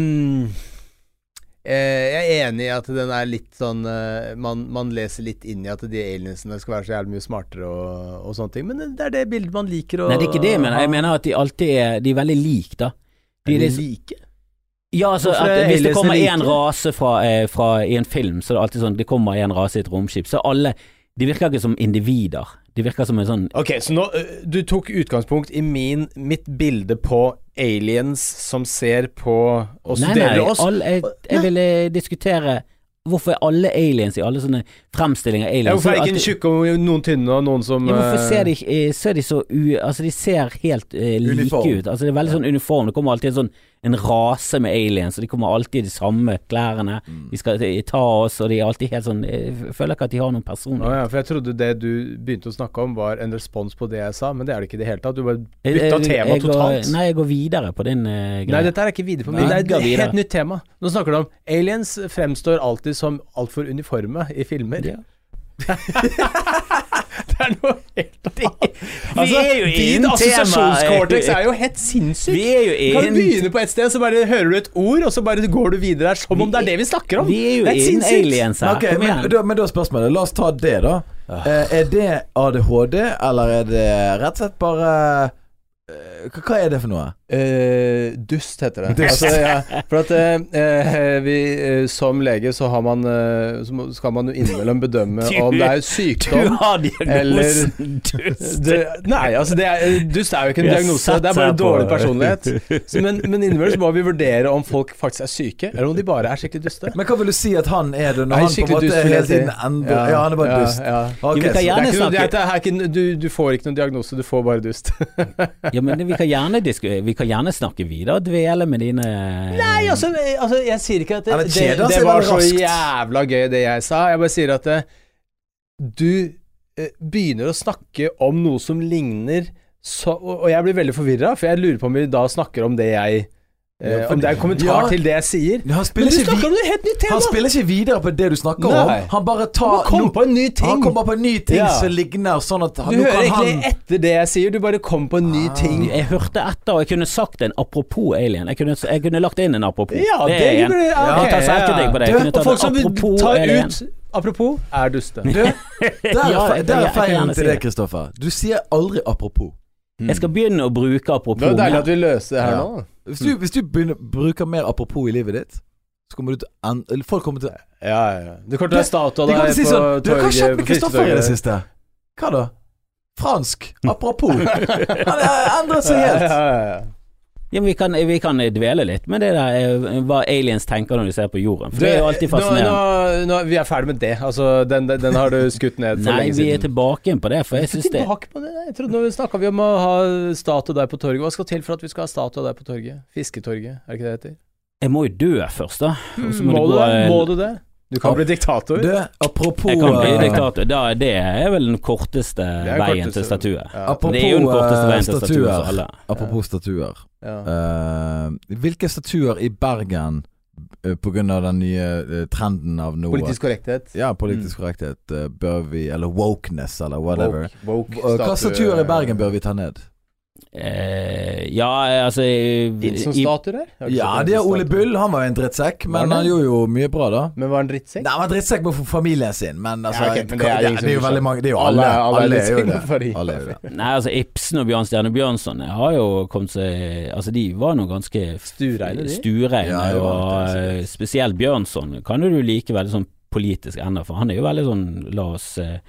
S1: eh, jeg er enig i at den er litt sånn eh, man, man leser litt inn i at de aliensene skal være så jævlig mye smartere og, og sånne ting, men det er det bildet man liker å
S2: Nei, det er ikke det jeg mener. Jeg mener at de alltid er De er veldig like, da. De er liksom,
S1: like.
S2: ja, altså,
S1: Hvorfor
S2: at
S1: er
S2: hvis det
S1: aliensene
S2: kommer én
S1: like?
S2: rase fra, eh, fra i en film, så er det alltid sånn Det kommer én rase i et romskip. Så alle De virker ikke som individer. De virker som en sånn
S1: Ok, så nå eh, Du tok utgangspunkt i min, mitt bilde på aliens som ser på og
S2: Nei,
S1: studerer
S2: nei,
S1: oss.
S2: all, jeg, jeg ville diskutere Hvorfor er alle aliens i alle sånne fremstillinger av aliens
S1: Ja, hvorfor er
S2: så
S1: ikke en
S2: alltid-
S1: tjukk og noen tynne og noen som
S2: Ja, hvorfor
S1: eh,
S2: ser de, ikke- eh, ser de så u... Altså, de ser helt eh, like
S3: Uniform.
S2: ut. Altså, det er veldig sånn uniform. Det kommer alltid en sånn en rase med aliens, og de kommer alltid i de samme klærne.
S1: Mm.
S2: De skal eh, ta oss, og de er alltid helt sånn Jeg føler ikke at de har noen
S1: Å
S2: personer.
S1: ja, for jeg trodde det du begynte å snakke om var en respons på det jeg sa, men det er det ikke i det hele tatt. Du bare
S2: Jeg-
S1: bytta
S2: jeg-
S1: tema
S2: Eh, jeg går-
S1: totalt.
S2: Nei, jeg går videre på din eh, greie.
S1: Nei, dette her er ikke videre på
S2: Nei.
S1: min. Det er
S2: Videre.
S1: et helt nytt tema. Nå snakker du om aliens fremstår alltid som altfor uniforme i filmer.
S2: Ja.
S1: det er noe helt annet. Altså,
S2: er jo innen
S1: din
S2: temaet.
S1: assosiasjonskortex er jo helt
S2: Vi
S1: sinnssyk.
S2: er jo
S1: Kan du
S2: innen
S1: begynne på et sted, så bare hører du et ord, og så bare går du videre der som om det er det vi snakker om.
S2: Vi er jo
S1: det er helt
S2: innen
S1: sinnssykt.
S2: aliens her.
S3: Ok,
S2: Kom igjen.
S3: men, da, men da er spørsmålet, la oss ta det da
S1: Ah.
S3: Eh, Er det ADHD, eller er det rett og slett bare eh, hva- Hva er det for noe?
S1: Eh, dust heter det.
S3: Dust.
S1: Altså, ja, for at eh, eh, vi, eh, som lege så har man eh, så må- skal man jo innimellom bedømme
S2: Du-
S1: om det er
S2: Du
S1: sykdom
S2: har
S1: Eller-
S2: diagnosen dust.
S1: det, Nei, altså det er, dust er jo ikke en
S2: Vi har
S1: diagnose,
S2: satt
S1: det er bare
S2: her på-
S1: dårlig personlighet. Så, men men innimellom så må vi vurdere om folk faktisk er syke, eller om de bare er skikkelig duste.
S3: Men hva vil du si at han er det
S1: Nei,
S3: Når han på en
S1: skikkelig
S3: måte
S1: dust, vil
S3: hele
S1: jeg si.
S3: tiden endrer ja, han er bare
S1: ja,
S3: dust
S1: ja.
S2: Jo,
S3: Ok,
S2: men hva
S3: så-
S1: Det er ikke noe,
S2: snakke-
S1: det er, det er ikke, du, du får ikke noen diagnose, du får bare dust.
S2: Ja, men vi kan gjerne, disku vi kan gjerne snakke videre og dvele med dine
S1: Nei, altså, altså jeg sier ikke at det,
S3: Ja, men
S1: det,
S3: kjede,
S1: det,
S3: altså,
S1: var
S3: det
S1: så
S3: var raskt.
S1: jævla gøy det jeg sa. Jeg bare sier at eh, du eh, begynner å snakke om noe som ligner så, og, og jeg blir veldig forvirra, for jeg lurer på om vi da snakker om det jeg
S6: Eh,
S3: Ja, for-
S6: om det er en kommentar
S3: Ja.
S6: til det jeg sier.
S3: Men han
S6: Men
S3: spiller,
S6: du
S3: ikke,
S6: snakker
S3: vi,
S6: om et helt nytt
S3: han
S6: tema!
S3: spiller ikke videre på det du snakker
S6: Nei.
S3: om. Han bare
S6: Du må
S3: tar
S6: komme
S3: nå-
S6: på en ny ting!
S3: Han kommer på en ny ting
S6: Ja.
S3: som ligner, sånn at han,
S6: Du
S3: nå
S6: hører
S3: kan
S6: egentlig
S3: han
S6: etter det jeg sier, du bare kommer på en ny
S3: Ah.
S6: ting.
S2: Jeg hørte etter, og jeg kunne sagt en apropos alien. Jeg kunne, jeg kunne lagt inn en apropos.
S6: Ja, det,
S2: er en.
S6: burde
S3: Ja,
S2: Jeg tar selvkritikk på det. Jeg
S6: Du,
S2: kunne
S6: og
S2: tatt
S6: folk som
S2: en apropos
S6: tar
S2: alien.
S6: ut Apropos er duste.
S3: Du, der er,
S2: Ja,
S3: fe-
S2: jeg-
S3: der
S2: jeg
S3: er
S2: kan
S3: feilen
S2: gjerne si
S3: til
S2: det.
S3: deg, Kristoffer. Du sier aldri apropos.
S2: Jeg skal begynne å bruke apropos.
S1: Det var deilig
S2: mer.
S1: at vi løste det her
S3: Ja.
S1: nå.
S3: Hvis du, hvis du begynner, bruker mer apropos i livet ditt, så kommer du til en, eller Folk kommer til
S1: Ja, ja. Du kommer til å ha statua
S3: De
S1: der
S3: kommer til å si
S1: på
S3: sånn Du, hva har skjedd
S1: torget.
S3: med Kristoffer i det siste? Hva da? Fransk. Apropos. Han har endret seg helt.
S2: Ja, men vi, kan, vi kan dvele litt med det der eh, hva aliens tenker når de ser på jorden. For det er jo alltid fascinerende.
S1: Nå, nå, nå, vi er ferdig med det. Altså, den, den, den har du skutt ned for
S2: Nei,
S1: lenge
S2: vi er
S1: siden.
S2: tilbake igjen på det, for jeg syns det
S1: Tilbake på det. Jeg trodde nå snakka vi om å ha statue der på torget. Hva skal til for at vi skal ha statue der på torget? Fisketorget, er det ikke det det heter?
S2: Jeg må jo dø først, da. Og så må
S1: Må
S2: det
S1: du
S2: gå
S1: det?
S2: en-
S1: Må du det? Du kan bli diktator.
S3: Du, apropos
S2: Jeg kan bli
S3: eh,
S2: diktator. Da, er det er vel den korteste
S1: er
S2: veien
S1: korteste-
S2: til statue.
S1: Ja.
S3: Apropos
S2: Det er jo den korteste
S3: eh,
S2: veien til statue for
S3: statuer.
S2: alle.
S3: Apropos statuer.
S1: Ja.
S3: Eh, hvilke statuer i Bergen, eh, på grunn av den nye eh, trenden av noe
S1: Politisk korrekthet.
S3: Ja, politisk korrekthet eh, bør vi Eller wokeness, eller whatever. eh,
S1: Woke, woke
S3: Hva slags statuer i Bergen bør vi ta ned?
S2: Eh, ja, altså i- i-
S1: Wilson-statuer her? Jeg har ikke
S3: Ja,
S1: sett
S3: det er
S1: Wilson-statuer.
S3: Ole Bull. Han var jo en drittsekk, men
S1: Var det?
S3: han gjorde jo mye bra, da.
S1: Men var han drittsekk?
S3: Nei, han var drittsekk med familien sin, men altså
S1: Ja, ok, men
S3: det,
S1: det er
S3: det,
S1: ingen som
S3: er jo
S1: bryr seg.
S3: veldig mange Det er jo alle. Alle, er jo det.
S1: drittsekker for de.
S3: Alle er jo det.
S2: Nei, altså Ibsen og Bjørn Stjerne Bjørnson jeg har jo kommet seg Altså, de var nå ganske
S1: Stureine, de.
S2: stureine,
S3: Ja, det var
S2: og
S3: det,
S2: eh, spesielt Bjørnson kan jo du like veldig sånn politisk ennå, for han er jo veldig sånn La oss eh,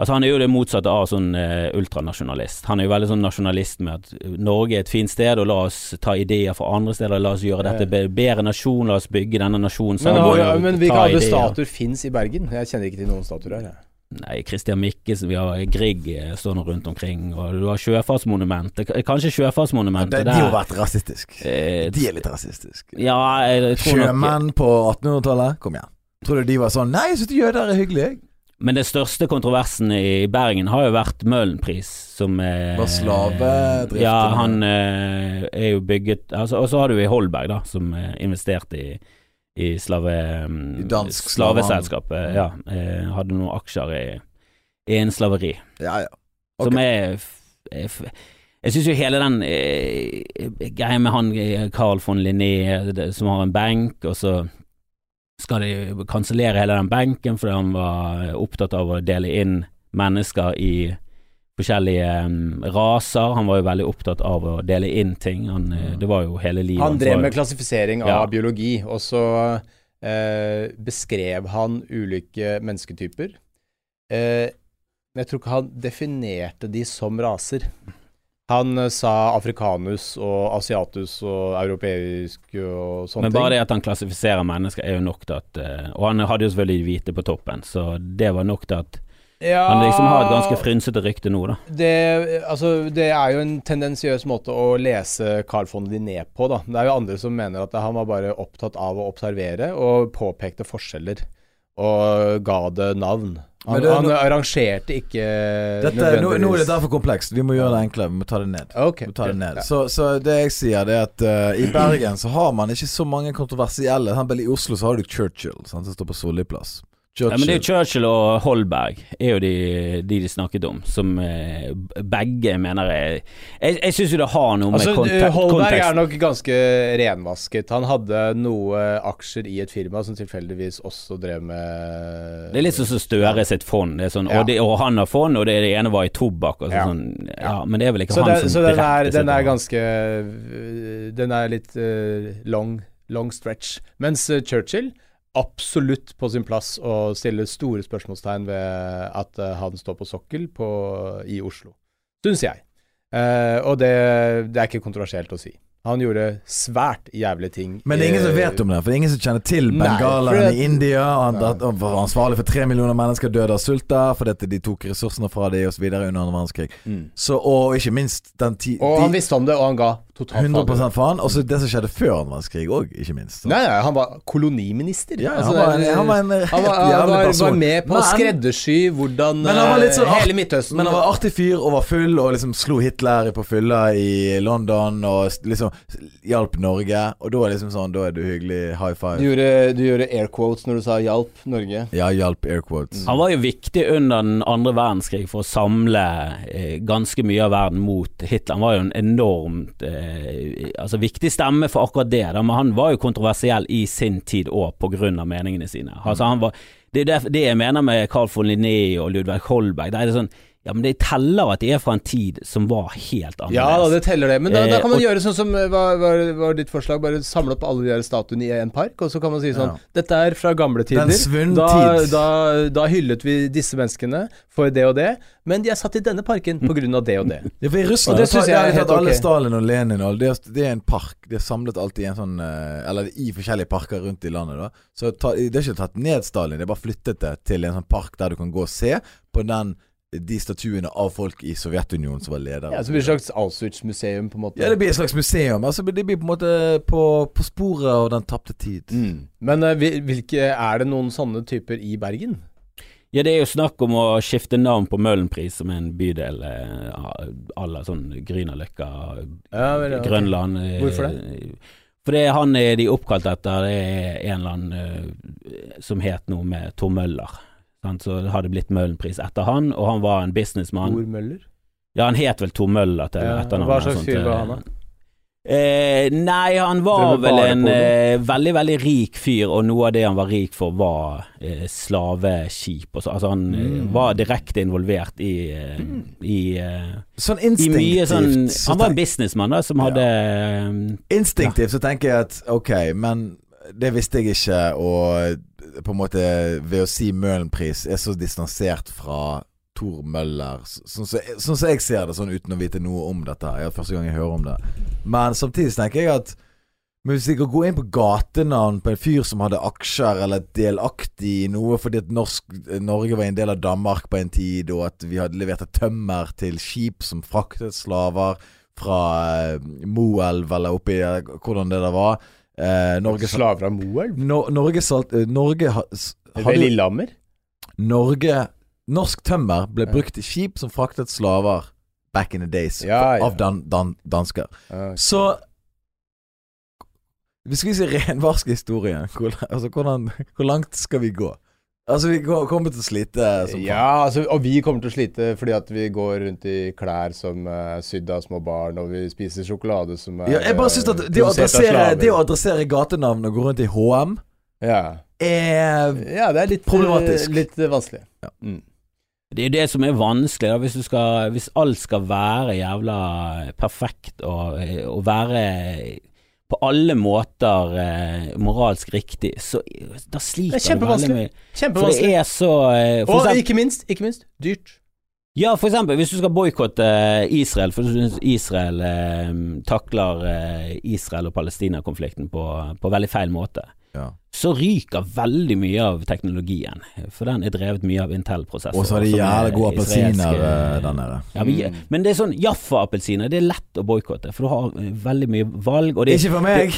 S2: Altså, han er jo det motsatte av sånn eh, ultranasjonalist. Han er jo veldig sånn nasjonalist med at eh, Norge er et fint sted, og la oss ta ideer fra andre steder, la oss gjøre dette be- bedre nasjon, la oss bygge denne nasjonen
S1: Men,
S2: sammen.
S1: har- ja, men hvilke
S2: ta
S1: andre
S2: ideer.
S1: statuer fins i Bergen? Jeg kjenner ikke til noen statuer her. jeg.
S2: Nei, Christian Mikkelsen, vi har Grieg eh, stående rundt omkring, og du har Sjøfartsmonumentet. K- Kanskje
S3: De
S2: Sjøfartsmonumentet
S3: de har
S2: der.
S3: vært rasistiske.
S2: eh,
S3: De er litt rasistiske.
S2: Ja, jeg tror nok
S3: Sjømenn på 1800-tallet, kom igjen. Tror du de var sånn Nei, jeg syns jøder er hyggelig, jeg.
S2: Men den største kontroversen i Bergen har jo vært Møhlenpris, som eh,
S3: Var slavedrift.
S2: Ja, han eh, er jo bygget altså, Og så har du i Holberg, da, som eh, investerte i i slave...
S3: I dansk
S2: slaveselskap. eh, Ja. Eh, hadde noen aksjer i, i en slaveri.
S3: Ja, ja.
S2: Som er f- er f- Jeg syns jo hele den eh, greia med han eh, Carl von Linné eh, det- som har en benk, og så skal de kansellere hele den benken fordi han var eh, opptatt av å dele inn mennesker i forskjellige eh, raser. Han var jo veldig opptatt av å dele inn ting. Han, eh, det var jo hele livet
S1: Mm. Han
S2: hans
S1: drev
S2: var
S1: med
S2: jo-
S1: klassifisering av
S2: Ja.
S1: biologi, og så eh, beskrev han ulike mennesketyper. Eh, men jeg tror ikke han definerte de som raser. Han eh, sa afrikanus og asiatus og europeisk og sånne
S2: men bare
S1: ting.
S2: det at han klassifiserer mennesker er jo nok til at eh, Og han hadde jo selvfølgelig de hvite på toppen, så det var nok til at
S1: Ja,
S2: han liksom har et ganske frynsete rykte nå, da.
S1: det, altså, det er jo en tendensiøs måte å lese Carl von Linné på, da. Det er jo andre som mener at han var bare opptatt av å observere og påpekte forskjeller, og ga det navn.
S3: Men
S1: Han,
S3: det er
S1: han
S3: no-
S1: arrangerte ikke
S3: Dette, nå, nå er det derfor komplekst. Vi må gjøre det enklere. Vi må ta det ned.
S1: Eh, Ok.
S3: Vi tar det ned.
S1: Ja.
S3: Så, så det jeg sier, det er at eh, i Bergen så har man ikke så mange kontroversielle. sant? Vel, I Oslo så har du Churchill, sant, som står på Solli plass.
S2: Ja, men det er
S3: Churchill.
S2: Churchill og Holberg er jo de de, de snakket om, som eh, begge mener er Jeg, jeg syns jo det har noe med
S1: Altså,
S2: kontek
S1: Holberg er
S2: kontekst
S1: nok ganske renvasket. Han hadde noe aksjer i et firma som tilfeldigvis også drev med
S2: Det er litt sånn som Støre sitt fond. Det er sånn,
S1: Ja.
S2: og, det, og han har fond, og det, det ene var i tobakk. Og
S1: Ja.
S2: sånn, sånn, ja, men det er vel ikke sånn
S1: Så,
S2: han
S1: den,
S2: som
S1: så den, er,
S2: direkte
S1: den
S2: sitter
S1: er
S2: med.
S1: ganske øh, Den er litt øh, long, long stretch. Mens øh, Churchill absolutt på sin plass å stille store spørsmålstegn ved at øh, han står på sokkel på, øh, i Oslo. Syns jeg. Eh, og det, det er ikke kontroversielt å si. Han gjorde svært jævlige ting. øh,
S3: Men det er ingen som vet om det, for det er ingen som kjenner til
S1: Nei, for
S3: bengalerne
S1: det-
S3: i India. Han at han var ansvarlig for tre millioner mennesker døde av sult der fordi at de tok ressursene fra dem osv. under andre verdenskrig.
S1: Mm.
S3: Så, og ikke minst den ti...
S1: Og han
S3: de-
S1: visste om det, og han ga Totalt
S3: 100
S1: fader.
S3: faen. Og så det som skjedde før annen verdenskrig òg, ikke minst.
S1: Nei, nei, han var koloniminister.
S3: Ja,
S1: Altså,
S3: han, var en,
S1: det er-
S3: han var en
S1: han
S3: helt
S1: var, han
S3: jævlig
S1: var, var
S3: person.
S1: med på å
S3: Men-
S1: skreddersy hvordan
S3: Men han var litt sånn
S1: eh, hele
S3: art-
S1: Midtøsten
S3: Men han var artig fyr og var full og liksom slo Hitler på fylla i London og s- liksom hjalp Norge. Og da er det liksom sånn Da er du hyggelig. High
S1: du,
S3: five.
S1: gjorde, du gjorde air quotes når du sa 'hjalp Norge'.
S3: Ja, hjalp air
S1: Mm.
S2: Mm.
S3: quotes.
S2: Han var jo viktig under den andre verdenskrig for å samle eh, ganske mye av verden mot Hitler. Han var jo en enormt eh, altså viktig stemme for akkurat det, da. men han var jo kontroversiell i sin tid òg pga. meningene sine.
S1: Mm.
S2: Altså, han var, det er derf- det jeg mener med Carl von Linné og Ludvig Holberg. Det er det sånn ja, men det teller at de er fra en tid som var helt annerledes.
S1: Ja da, det teller det. Men da,
S2: Eh,
S1: da kan man
S2: og-
S1: gjøre sånn som eh, var, var, var ditt forslag, bare samle opp alle de der statuene i en park, og så kan man si sånn
S3: Ja.
S1: Dette er fra gamle tider.
S3: Den svunn
S1: da,
S3: tid.
S1: Da, da hyllet vi disse menneskene for det og det, men de er satt i denne parken på grunn av det og det.
S3: Ja, for I
S1: Og
S3: Russland
S1: det
S3: så tar-
S1: synes jeg
S3: der
S1: er
S3: har de
S1: helt
S3: tatt alle
S1: ok.
S3: Stalin og Lenin og alle. det, er- det er en park. De er samlet alltid i en sånn eh, Eller i forskjellige parker rundt i landet. da Så ta, Det er ikke tatt ned Stalin, det er bare flyttet det til en sånn park der du kan gå og se på den eh, de statuene av folk i Sovjetunionen som var ledere.
S1: Ja, så blir det et slags Auschwitz-museum, på en måte.
S3: Ja, det blir et slags museum. Altså, det blir på en måte på, på sporet av den tapte tid.
S1: Mm. Men eh, hvil- hvilke, er det noen sånne typer i Bergen?
S2: Ja, det er jo snakk om å skifte navn på Møhlenpris, som er en bydel eh, à la sånn Grünerløkka,
S1: Ja, vel, ja, ok.
S2: Grønland. eh,
S1: Hvorfor
S2: Fordi han er de er oppkalt etter, det er en eller annen eh, som het noe med Tor Møller. Sant? Så det hadde blitt Møhlenpris etter han, og han var en businessmann.
S1: Tor Møller?
S2: Ja, han het vel Tor Møller til
S1: Ja,
S2: etternavn.
S1: hva
S2: eller
S1: slags
S2: sånt,
S1: fyr var
S2: eh.
S1: han da?
S2: Eh, nei, han var
S1: Drev med
S2: vel en
S1: barnepolo?
S2: eh, veldig, veldig rik fyr, og noe av det han var rik for, var eh, slaveskip. Og så, altså, han eh,
S1: Mm.
S2: var direkte involvert i, eh, i, eh,
S3: Sånn
S2: i mye
S3: instinktivt.
S2: sånn
S3: så
S2: Han var en
S3: tenk-
S2: businessmann da, som
S3: Ja.
S2: hadde eh,
S3: instinktivt så tenker jeg at ok, men det visste jeg ikke, og på en måte ved å si Møhlenpris er så distansert fra Tor Møller, s- sånn som jeg- sånn som jeg ser det, sånn uten å vite noe om dette. Det er første gang jeg hører om det. Men samtidig så tenker jeg at men hvis de kan gå inn på gatenavn på en fyr som hadde aksjer eller delaktig i noe fordi at norsk, Norge var en del av Danmark på en tid, og at vi hadde levert et tømmer til skip som fraktet slaver fra eh, Moelv eller oppi eh, hvordan det der var eh, Norge,
S1: Slaver av Moelv?
S3: Nor- Norge, salt, eh, Norge ha- s-
S1: Ved
S3: hadde,
S1: Lillehammer?
S3: Norge Norsk tømmer ble
S1: Ja.
S3: brukt i skip som fraktet slaver back in the days
S1: Ja, ja.
S3: av dan, dan, dansker.
S1: Ja,
S3: Så Vi skal ikke renvaske historien. Hvor, altså, hvordan, hvor langt skal vi gå? Altså, vi går- kommer til å slite som faen.
S1: Ja, altså, og vi kommer til å slite fordi at vi går rundt i klær som er sydd av små barn, og vi spiser sjokolade som er
S3: Ja, jeg bare synes at
S1: eh,
S3: det å,
S1: produsert av
S3: adressere,
S1: slaver.
S3: det å adressere gatenavn og gå rundt i HM
S1: ja.
S3: er
S1: ja, det er litt
S3: Problematisk.
S1: eh, Litt eh, vanskelig.
S2: Det er jo det som er vanskelig, da, hvis, du skal, hvis alt skal være jævla perfekt og, eh, og være på alle måter eh, moralsk riktig, så da sliter
S1: Det er
S2: du veldig
S1: kjempevanskelig.
S2: mye. For det
S1: Kjempevanskelig.
S2: er så eh, for
S1: Og
S2: eksempel,
S1: ikke minst, ikke minst, dyrt.
S2: Ja, for eksempel, hvis du skal boikotte Israel, for du syns Israel eh, takler eh, Israel og Palestina-konflikten på, på veldig feil måte,
S3: Ja.
S2: så ryker veldig mye av teknologien. For den er drevet mye av Intel-prosesser.
S3: Og så har de
S2: som
S1: Altså,
S2: er
S3: jævla gode appelsiner,
S2: israelske-
S3: eh, den der.
S2: Ja, men,
S1: Mm.
S2: men det er sånn Jaffa-appelsiner, det er lett å boikotte, for du har eh, veldig mye valg. Og det,
S3: Ikke for meg!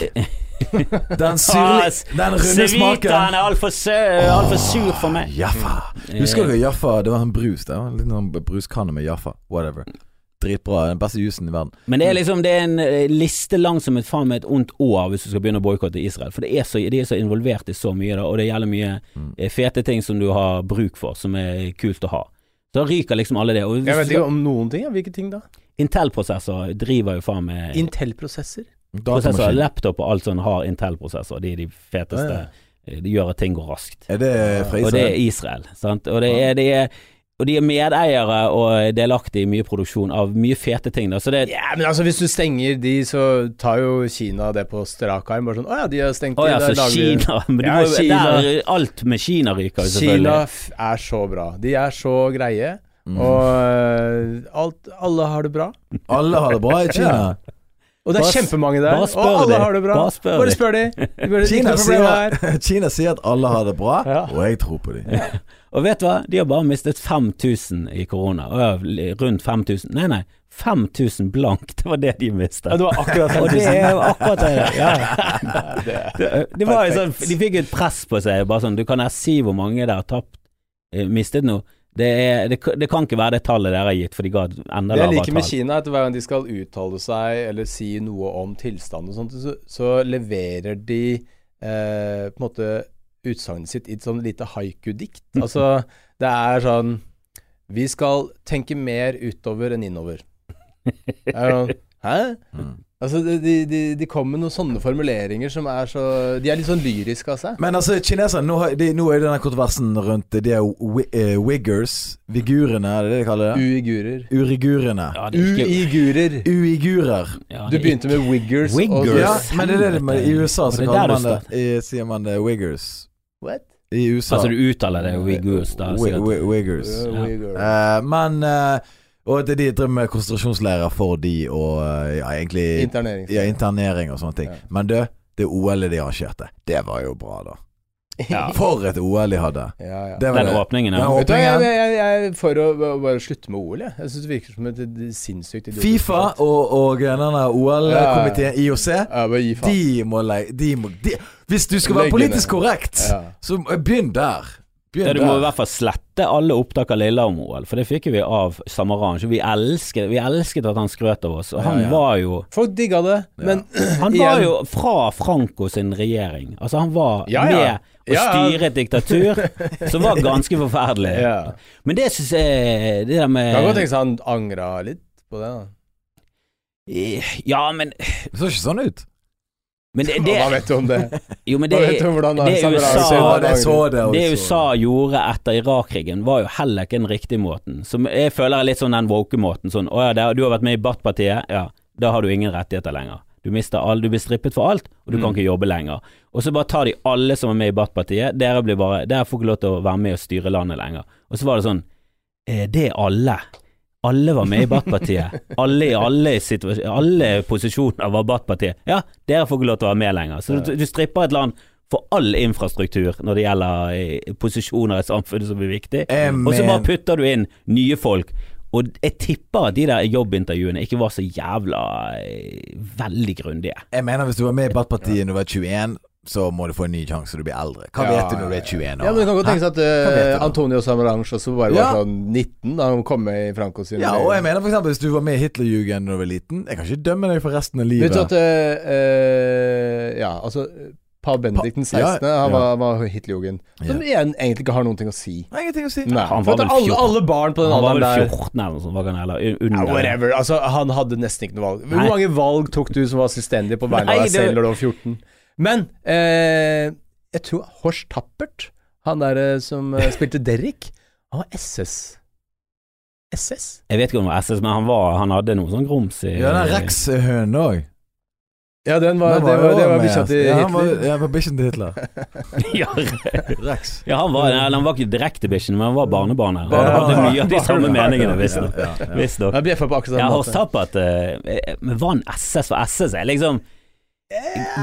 S3: Den
S2: Ah,
S3: surlige Den runde
S2: Cevitaen
S3: smaken.
S2: er altfor alt for sur for meg.
S3: Jaffa. Husker du Jaffa? Det var en brus. Det var en liten sånn bruskanne med Jaffa. Whatever. Dritbra. Den beste jusen i verden.
S2: Men det er liksom Det er en eh, liste lang som et faen meg et ondt år hvis du skal begynne å boikotte Israel. For det er så, de er så involvert i så mye, da, og det gjelder mye
S3: Mm.
S2: eh, fete ting som du har bruk for, som er kult å ha. Så ryker liksom alle det. Og
S1: Jeg vet
S2: hvis du-
S1: ikke om noen ting. ja. Hvilke ting da?
S2: Intel-prosesser driver jo faen med
S1: Intel-prosesser.
S2: prosesser,
S3: Datamaskin.
S2: Laptop og alt sånn har Intel-prosesser. De er de feteste.
S1: Ja,
S2: eh, De gjør at ting går raskt.
S3: Er det fra
S2: Og det er Israel.
S3: Israel?
S2: Sant? Og, det er, de er, og de er medeiere og delaktige i mye produksjon av mye fete ting. Da. Så det,
S1: Ja, men altså, hvis du stenger de, så tar jo Kina det på strak arm. Bare sånn Å ja, de har stengt
S2: Å ja,
S1: de, der
S2: så
S1: lager vi-
S2: Kina men du
S1: Ja,
S2: må jo-
S1: Kina.
S2: Der, Alt med Kina ryker jo
S1: Kina
S2: selvfølgelig.
S1: f- er så bra. De er så greie.
S3: Mm.
S1: Og eh, alt, alle har det bra.
S3: Alle har det bra i Kina.
S1: Og det er
S2: Bare s-
S1: kjempemange der,
S2: Bare
S1: og
S2: spør
S1: alle
S2: de.
S1: har det bra.
S2: Bare spør
S1: Bare
S2: de.
S1: spør de. de bare,
S3: Kina
S1: ikke noe problem her.
S3: sier, Kina sier at alle har det bra,
S1: Ja.
S3: og jeg tror på dem.
S2: Og vet du hva, de har bare mistet 5000 i korona. Å, ja, Rundt 5000. Nei, nei, 5000 blank, det var det de mistet.
S1: Ja, det var akkurat
S2: Og det
S1: 5000.
S2: er jo akkurat det. Ja.
S1: det-
S2: Det, det var jo sånn,
S1: Perfekt.
S2: de fikk jo et press på seg. Bare sånn, du kan her si hvor mange dere har tapt, eh, mistet nå. Det, er, det, det kan ikke være det tallet dere har gitt, for de ga et enda
S1: Det jeg
S2: lavere
S1: liker med
S2: tall.
S1: Kina, er at hver gang de skal uttale seg eller si noe om tilstanden og sånt, så, så leverer de eh, på en måte utsagnet sitt i et sånn lite haiku-dikt. Altså, det er sånn Vi skal tenke mer utover enn innover. Det Er sånn, Hæ? Altså, de, de- de, de kommer med noen sånne formuleringer som er så De er litt sånn lyriske av seg.
S3: Men altså, kineserne Nå, har- de, nå er det denne kontroversen rundt de er wi eh, wiggers. Vigurene, er det det de kaller det?
S1: Uigurer.
S3: Urigurene.
S2: Ja, det er ikke,
S1: Uigurer.
S3: Uigurer.
S2: ja,
S1: Du
S2: det er
S1: begynte med wiggers. og-
S2: Wiggers?
S3: Ja, men det er det med, i USA
S2: Og
S3: så
S2: det er
S3: kaller
S2: der
S3: man
S2: du
S3: det, i, sier man det wiggers.
S1: What?
S3: I USA.
S2: Altså, du uttaler det jo uigurs, da.
S3: Wi-
S2: sikkert.
S3: wi- wiggers.
S2: Ja.
S1: Uigurer.
S3: Eh, men eh, Og at de driver med konsentrasjonsleirer for de og eh, ja, egentlig
S1: Internering.
S3: ja, internering og sånne ting.
S1: Ja.
S3: Men du, det OL-et de arrangerte, det var jo bra, da.
S2: Ja.
S3: For et OL de hadde.
S1: Ja, ja.
S3: Det var
S2: Den
S3: det.
S2: åpningen,
S3: Den
S2: ja.
S1: Vet du, hva,
S3: åpningen.
S1: jeg, jeg, jeg, er for å b- bare slutte med OL, jeg. Jeg syns det virker som et et sinnssykt idiotisk
S3: Fifa
S1: prosjekt.
S3: og, og denne OL-komiteen, IOC,
S1: Ja, bare gi faen.
S3: de må lei... De må, de, hvis du skal være
S1: Legge ned.
S3: politisk korrekt,
S1: Ja.
S3: så begynn der.
S2: Ja,
S3: Begynn
S2: du må i
S3: der.
S2: hvert fall slette alle opptak av Lillehammer-OL, for det fikk jo vi av Samaranch. Vi, elsket- vi elsket at han skrøt av oss, og han
S3: ja.
S2: var jo
S1: Folk digga det, men
S2: Han var
S1: Igjen.
S2: jo fra Franco sin regjering. Altså, han var
S1: Ja, ja.
S2: med å
S1: Ja, ja.
S2: styre et diktatur som var ganske forferdelig.
S1: Ja.
S2: Men det syns jeg Det der med
S1: Kan godt tenke seg han angra litt på det. da.
S2: Ja, men,
S3: Det så ikke sånn ut.
S2: men det,
S1: Hva
S2: det,
S1: vet du om det?
S2: jo, men
S1: Hva
S2: det,
S1: vet du om hvordan han
S2: det er
S1: samler
S2: USA.
S1: seg
S2: Ja,
S1: og angrer?
S3: det, så det, altså.
S2: det
S3: også.
S2: USA gjorde etter Irak-krigen, var jo heller ikke den riktige måten. Som jeg føler er litt sånn den woke-måten. Sånn 'Å ja, det, du har vært med i Bath-partiet', ja, da har du ingen rettigheter lenger. Du mister all, du blir strippet for alt, og du
S3: Mm.
S2: kan ikke jobbe lenger. Og så bare tar de alle som er med i Bath-partiet. Dere blir bare Dere får ikke lov til å være med og styre landet lenger. Og så var det sånn eh, Det er alle. Alle var med i Bath-partiet. Alle i alle, situas- alle posisjoner var Bath-partiet. Ja, dere får ikke lov til å være med lenger. Så du, du stripper et land for all infrastruktur når det gjelder eh, posisjoner i samfunnet som er viktig,
S3: Jeg
S2: og så bare
S3: Eh, men-
S2: putter du inn nye folk. Og jeg tipper at de der jobbintervjuene ikke var så jævla eh, veldig grundige.
S3: Jeg mener hvis du var med i Battpartiet når du var 21, så må du få en ny sjanse når du blir eldre. Hva
S1: Ja,
S3: vet du når du er 21 år?
S1: Ja, men det kan godt tenke seg at
S3: Hva vet du
S1: eh,
S3: da?
S1: Antonio Samaranch også bare
S3: Ja.
S1: var sånn 19 da han kom med i Franco sin
S3: Ja, og jeg mener for eksempel hvis du var med i Hitlerjugend da du var liten. Jeg kan ikke dømme deg for resten av livet.
S1: Vet du at eh, eh, Ja, altså Pav Benedikt den
S3: Pa- ja,
S1: 16. Han
S3: ja.
S1: var, var Hitlerjugend. Som igjen egentlig ikke har noen ting å si.
S3: Nei, ingenting å si.
S1: Nei,
S2: Han
S1: for
S2: var
S1: at
S2: vel
S1: alle,
S2: 14.
S1: alle barn på den
S2: Han var
S1: alderen
S2: vel
S1: der
S2: 14 eller noe sånt, var han eller un-
S1: Ja,
S2: under.
S1: whatever. Altså, han hadde nesten ikke noe valg. Hvor
S2: Nei.
S1: mange valg tok du som var selvstendig på vegne
S2: Nei,
S1: av
S2: det-
S1: deg selv når du var 14? Men eh, jeg tror Horst Tappert, han der eh, som eh, spilte Derrik, han var SS. SS?
S2: Jeg vet ikke om det var SS, men han, var, han hadde noe sånn grums i
S3: Ja, den Rex-hønen òg.
S1: Ja, den var,
S3: Den
S1: det var,
S3: jo
S1: det var
S3: med.
S1: bikkja til
S3: ja, han var-
S1: Hitler.
S3: Ja, han var bikkjen til Hitler.
S2: ja,
S3: Rex.
S2: ja, han var, nei, han var ikke direkte bikkjen, men han var barnebarnet. Han
S3: Barnebarnet.
S2: hadde mye av de samme
S1: Barnebarnet.
S2: meningene, visstnok.
S3: Ja, ja, ja.
S2: Visstnok.
S1: Han bjeffa på akkurat
S2: Ja,
S1: samme
S2: Horst
S1: måte.
S2: Tappert eh, Men var han SS for SS? Er liksom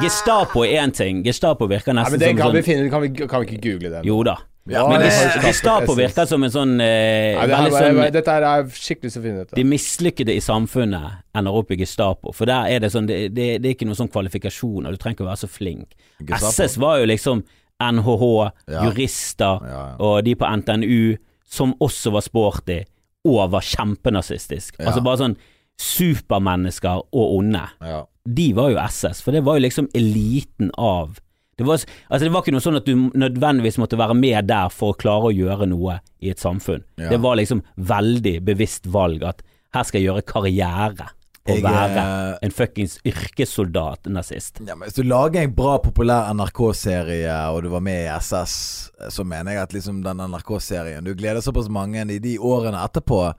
S2: Gestapo er én ting. Gestapo virker
S1: Nei,
S2: nesten
S1: men den kan
S2: som
S1: vi
S2: sånn
S1: finne Kan vi, kan vi ikke google den?
S2: Jo da.
S3: Ja,
S2: Men
S3: det-
S2: Ges- Gestapo virker som en sånn eh,
S1: Nei, det her,
S2: veldig
S1: var-
S2: sånn
S1: Dette her er skikkelig så finnet.
S2: de mislykkede i samfunnet ender opp i Gestapo, for der er det sånn Det, det, det er ikke noen sånn kvalifikasjoner, du trenger ikke å være så flink.
S3: Gestapo.
S2: SS var jo liksom NHH,
S3: Ja.
S2: jurister
S3: Ja, ja.
S2: og de på NTNU som også var sporty og var kjempenazistisk.
S3: Ja.
S2: Altså bare sånn supermennesker og onde.
S3: Ja.
S2: De var jo SS, for det var jo liksom eliten av det var, altså det var ikke noe sånn at du nødvendigvis måtte være med der for å klare å gjøre noe i et samfunn.
S3: Ja.
S2: Det var liksom veldig bevisst valg at her skal jeg gjøre karriere på å
S3: Jeg,
S2: være
S3: eh,
S2: en fuckings yrkessoldat-nazist.
S3: Ja, men hvis du lager en bra, populær NRK-serie, og du var med i SS, så mener jeg at liksom den NRK-serien Du gleder såpass mange i de årene etterpå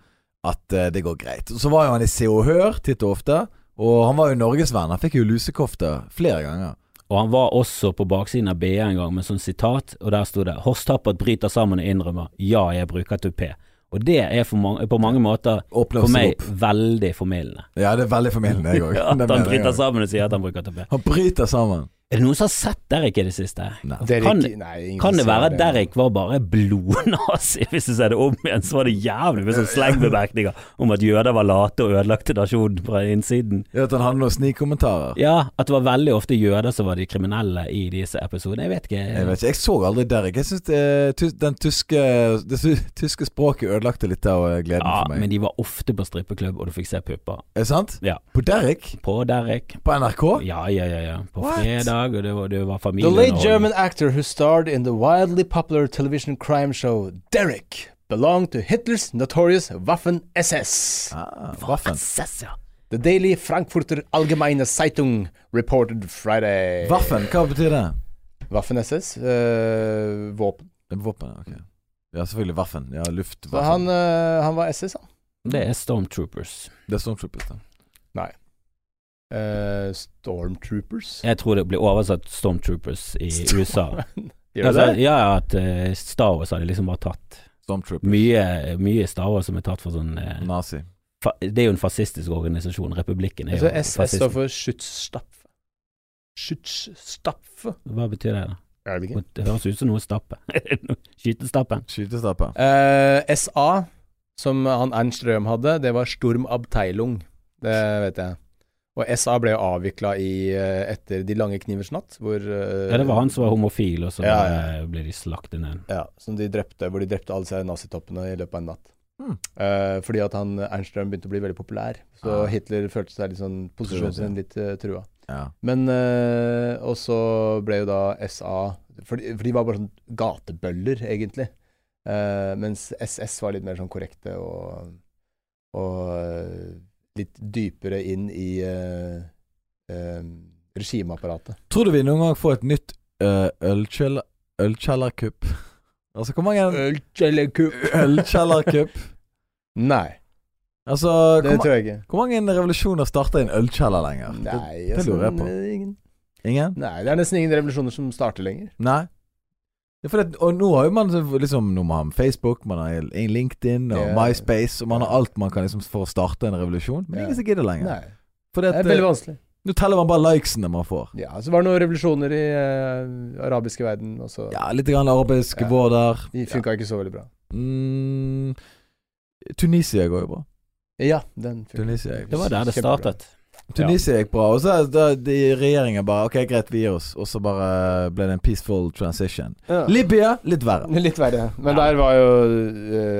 S3: at eh, det går greit. Så var jo han i Se og Hør titt og ofte, og han var jo norgesvenn. Han fikk jo lusekofte flere ganger.
S2: Og han var også på baksiden av BA en gang med sånn sitat, og der sto det 'Horst Tappert bryter sammen og innrømmer ja, jeg bruker tupé'. Og det er for mange, på mange måter
S3: Åpner
S2: for
S3: seg
S2: meg
S3: opp.
S2: veldig formildende.
S3: Ja, det er veldig formildende, jeg òg.
S2: At han bryter sammen og sier at han bruker ATP.
S3: Han bryter sammen.
S2: Er det noen som har sett Derek i det siste?
S3: Nei.
S1: Derek,
S2: Kan-
S1: nei, ingen
S2: Kan det
S1: ser
S2: være at Derek var bare blodnazi? Hvis du ser det om igjen, så var det jævlig mye sånn slengbemerkninger om at jøder var late og ødelagte nasjonen fra innsiden.
S3: Ja, at han hadde noen snikommentarer.
S2: Ja, at det var veldig ofte jøder som var de kriminelle i disse episodene. Jeg vet ikke.
S3: Jeg vet ikke, jeg så aldri Derek. Jeg syns det, tus- den tyske, det sy- tyske språket ødelagte litt av eh, gleden
S2: Ja,
S3: for meg.
S2: men de var ofte på strippeklubb, og du fikk se pupper.
S3: Er det sant?
S2: Ja.
S3: På Derek?
S2: På Derek.
S3: På NRK?
S2: Ja, ja, ja. ja. På
S3: What?
S2: fredag, og det var, det var familie.
S1: The late German actor who starred in the wildly popular television crime show Derek belonged to Hitler's notorious Waffen SS.
S3: Ah, Vaffen.
S2: Sess, ja.
S1: The Daily Frankfurter Allgemeine Zeitung reported Friday.
S3: Vaffen, hva betyr det?
S1: Waffen SS, eh, våpen.
S3: Det er våpen, ok. Ja, selvfølgelig Vaffen. Ja, luftvaffen.
S1: Så han, eh, han var SS, han.
S2: Det er Stormtroopers.
S3: Det er Stormtroopers, da.
S1: Eh, Stormtroopers.
S2: Jeg tror det blir oversatt Stormtroopers i USA.
S1: Gjør
S2: Altså,
S1: det det?
S2: ja, ja, at eh, Star Wars hadde liksom bare tatt
S3: Stormtroopers.
S2: mye, mye Star Wars som er tatt for sånn eh,
S3: Nazi.
S2: fa Det er jo en fascistisk organisasjon. Republikken er
S1: Altså,
S2: jo
S1: SS står
S2: fascistisk.
S1: for Schutzstapfe. Schutzstapfe?
S2: Hva betyr det, da?
S1: Er det ikke?
S2: Det høres ut som noe stappe. Skytestappe.
S3: Skytestappe.
S1: Eh, SA, som han Ernst Røhm hadde, det var Sturm Abteilung. Det vet jeg. Og SA ble jo avvikla etter De lange knivers natt, hvor eh,
S2: Ja, det var han som var homofil, og så
S1: Ja, ja,
S2: eh, ble de slaktet ned.
S1: Ja, som de drepte, hvor de drepte alle disse nazitoppene i løpet av en natt.
S3: Mm.
S1: Eh, fordi at han Ernst Røhm begynte å bli veldig populær, så
S3: Ah.
S1: Hitler følte seg litt sånn posisjonen sin litt eh, trua.
S3: Ja.
S1: Men eh, Og så ble jo da SA For de, for de var bare sånn gatebøller, egentlig. Eh, mens SS var litt mer sånn korrekte og, og eh, litt dypere inn i eh, eh, regimeapparatet.
S3: Tror du vi noen gang får et nytt uh, ølkjeller... Ølkjellerkupp? Altså, hvor
S1: Eh.
S3: mange Ølkjellerkupp?
S1: Nei,
S3: Altså,
S1: det
S3: hvor, ma
S1: tror jeg ikke.
S3: hvor mange revolusjoner starter i en ølkjeller lenger?
S1: Nei,
S3: det lurer jeg på.
S1: eh, Ingen,
S3: Ingen?
S1: nei, det er nesten ingen revolusjoner som starter lenger.
S3: Nei. Ja, for det, og nå har jo man liksom Nå må man ha Facebook, man har LinkedIn og
S1: Ja.
S3: MySpace, og man har alt man kan liksom for å starte en revolusjon. Men
S1: Ja.
S3: ingen som gidder lenger.
S1: Nei,
S3: For
S1: det
S3: det,
S1: er veldig vanskelig.
S3: nå teller man bare likesene man får.
S1: Ja, Så var det noen revolusjoner i eh, arabiske verden, og så
S3: Ja, litt grann arabisk
S1: Ja.
S3: vår der.
S1: De funka ikke så veldig bra.
S3: Mm, Tunisia går jo bra.
S1: Ja, den funka.
S3: Tunisia gikk
S2: Det var der det
S1: Kjempebra.
S2: startet.
S3: Tunisia gikk bra. Og så er det- de regjeringen bare OK, greit, vi gir oss. Og så bare ble det en peaceful transition.
S1: Ja.
S3: Libya litt verre.
S1: Litt verre. Men
S2: Ja.
S1: der var jo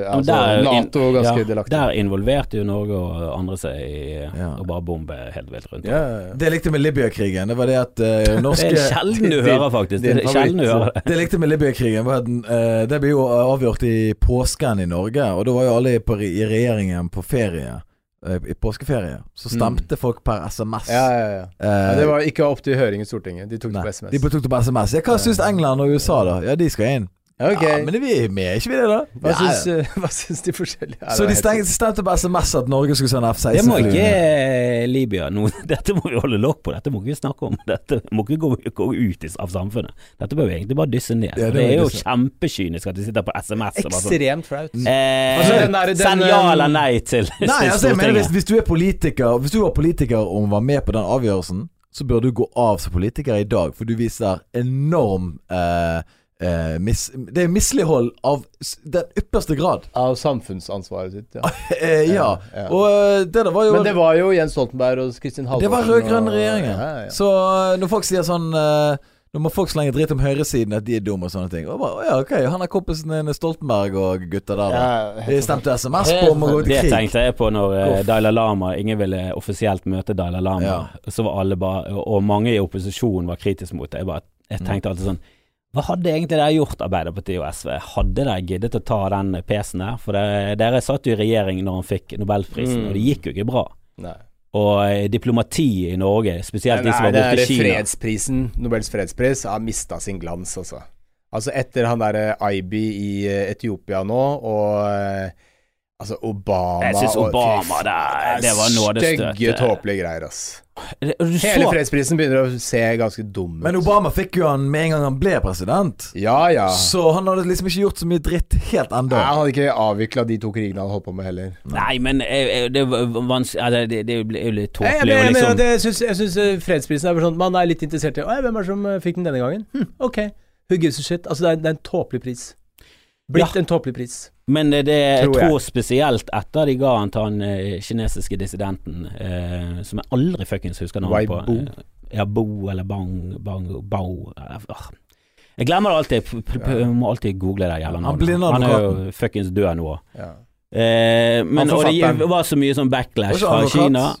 S1: eh, altså,
S2: der er jo inn-
S1: Nato ganske delaktig.
S2: Der involverte jo Norge og andre seg i
S3: Ja.
S2: å bare bombe helt vilt rundt.
S1: Ja, ja, ja.
S3: Det jeg likte med Libya-krigen, det var det at eh,
S2: Det
S3: norske
S2: er sjelden du
S1: Din-
S2: hører, faktisk. Det
S1: din
S2: er sjelden du
S1: favoritt.
S2: hører det.
S3: Det jeg likte med Libya-krigen, var at den, eh, det ble jo avgjort i påsken i Norge. Og da var jo alle på, re- i regjeringen på ferie. eh, I påskeferie. Så stemte folk per SMS.
S1: Mm. Ja, ja, ja.
S3: Eh,
S1: Men det var ikke opp til høring i Stortinget. De tok det
S3: nei,
S1: på SMS.
S3: De tok det på SMS. Ja, hva syns England og USA, da? Ja, de skal inn.
S1: Ok.
S3: Ja, men vi er med, ikke vi det, da?
S1: hva,
S3: Ja,
S1: syns,
S3: ja.
S1: eh, hva syns de forskjellige? Ja, det var
S3: Så de
S1: helt-
S3: stengte, stemte på SMS at Norge skulle sende F-16.
S2: Det må ikke
S3: flyene.
S2: eh, Libya nå, Dette må vi holde lokk på, dette må ikke vi snakke om. Dette må ikke gå, gå ut i- av samfunnet. Dette bør vi egentlig bare dysse ned.
S3: Ja, det
S2: det, er
S3: må
S2: jo
S3: vi dysse.
S2: kjempekynisk at de sitter på SMS og bare sånn
S1: Ekstremt flaut.
S2: eh,
S1: Altså, den der- den,
S2: Send ja eller nei til
S3: eh, Nei, altså, jeg mener, hvis,
S2: Stortinget.
S3: hvis du er politiker Hvis du var politiker og var med på den avgjørelsen, så bør du gå av som politiker i dag, for du viser enorm eh, eh, mis, Det er mislighold av s- den ypperste grad.
S1: Av samfunnsansvaret sitt, ja.
S3: Eh, ja.
S1: Ja, ja.
S3: Og eh, det der var jo
S1: Men det var jo Jens Stoltenberg og Kristin Halvorsen
S3: det var rød-grønn
S1: og-
S3: regjering.
S1: Ja, ja.
S3: Så eh, når folk sier sånn eh, Når må folk slenge dritt om høyresiden, at de er dumme og sånne ting. Og bare, «Å ja, ok, Han er kompisen din Stoltenberg og gutta der, da.
S1: Ja,
S3: De stemte SMS på om å gå
S2: Eh, Det
S3: til krig.
S2: tenkte jeg på når eh,
S3: Uff.
S2: Dalai Lama Ingen ville offisielt møte Dalai Lama.
S3: Ja.
S2: Så var alle bare Og mange i opposisjonen var kritiske mot det. Jeg, bare,
S1: Mm.
S2: jeg tenkte alltid sånn Hva hadde egentlig dere gjort, Arbeiderpartiet og SV? Hadde dere giddet å ta den pesen der? For dere, dere satt jo i regjering når han fikk nobelprisen,
S1: Mm.
S2: og det gikk jo ikke bra.
S1: Nei.
S2: Og eh, diplomatiet i Norge, spesielt de som
S1: Nei,
S2: var borte
S1: det
S2: i
S1: er
S2: Kina
S1: fredsprisen, Nobels fredspris, har mista sin glans, altså. Altså etter han derre Aibi i eh, Etiopia nå, og eh, Altså, Obama
S2: Jeg synes
S1: og-
S2: Obama,
S1: fy
S2: det er-
S1: faen,
S2: det var nådestøtet.
S1: Stygge, tåpelige greier, ass.
S2: Det- og Du
S1: Hele
S2: så
S1: fredsprisen begynner å se ganske dum ut.
S3: Men Obama fikk jo han med en gang han ble president.
S1: Ja, ja.
S3: Så han hadde liksom ikke gjort så mye dritt helt ennå.
S1: Jeg hadde ikke avvikla de to krigene han holdt på med, heller.
S2: Nei, men eh, eh, det var vanskelig altså, det, det er jo litt
S1: Nei, jeg,
S2: tåpelig å
S1: mener- jeg, mener
S2: liksom
S1: at jeg, syns, jeg syns eh, fredsprisen er bare sånn Man er litt interessert i «Å, ja, Hvem er det som eh, fikk den denne gangen? Hm, ok, who gives a shit? Altså, det er, det er en tåpelig pris. Blitt en tåpelig pris.
S2: Men eh, det, det jeg
S1: Tror jeg.
S2: tror spesielt etter de ga han til han eh, kinesiske dissidenten, eh, som jeg aldri fuckings husker navnet på.
S1: Weibo.
S2: Eh, Ja, Bo eller Bang, Bang Bao eh, ah. Jeg glemmer det alltid. P- p- p- Må alltid google det jævla
S3: Han
S2: navnet.
S3: blinde
S2: Han er
S3: advokaten.
S2: jo fuckings død nå.
S1: Ja.
S2: Eh, men, og det
S1: forfatteren.
S2: var så mye sånn backlash
S3: Også
S2: fra
S3: advokat.
S2: Kina.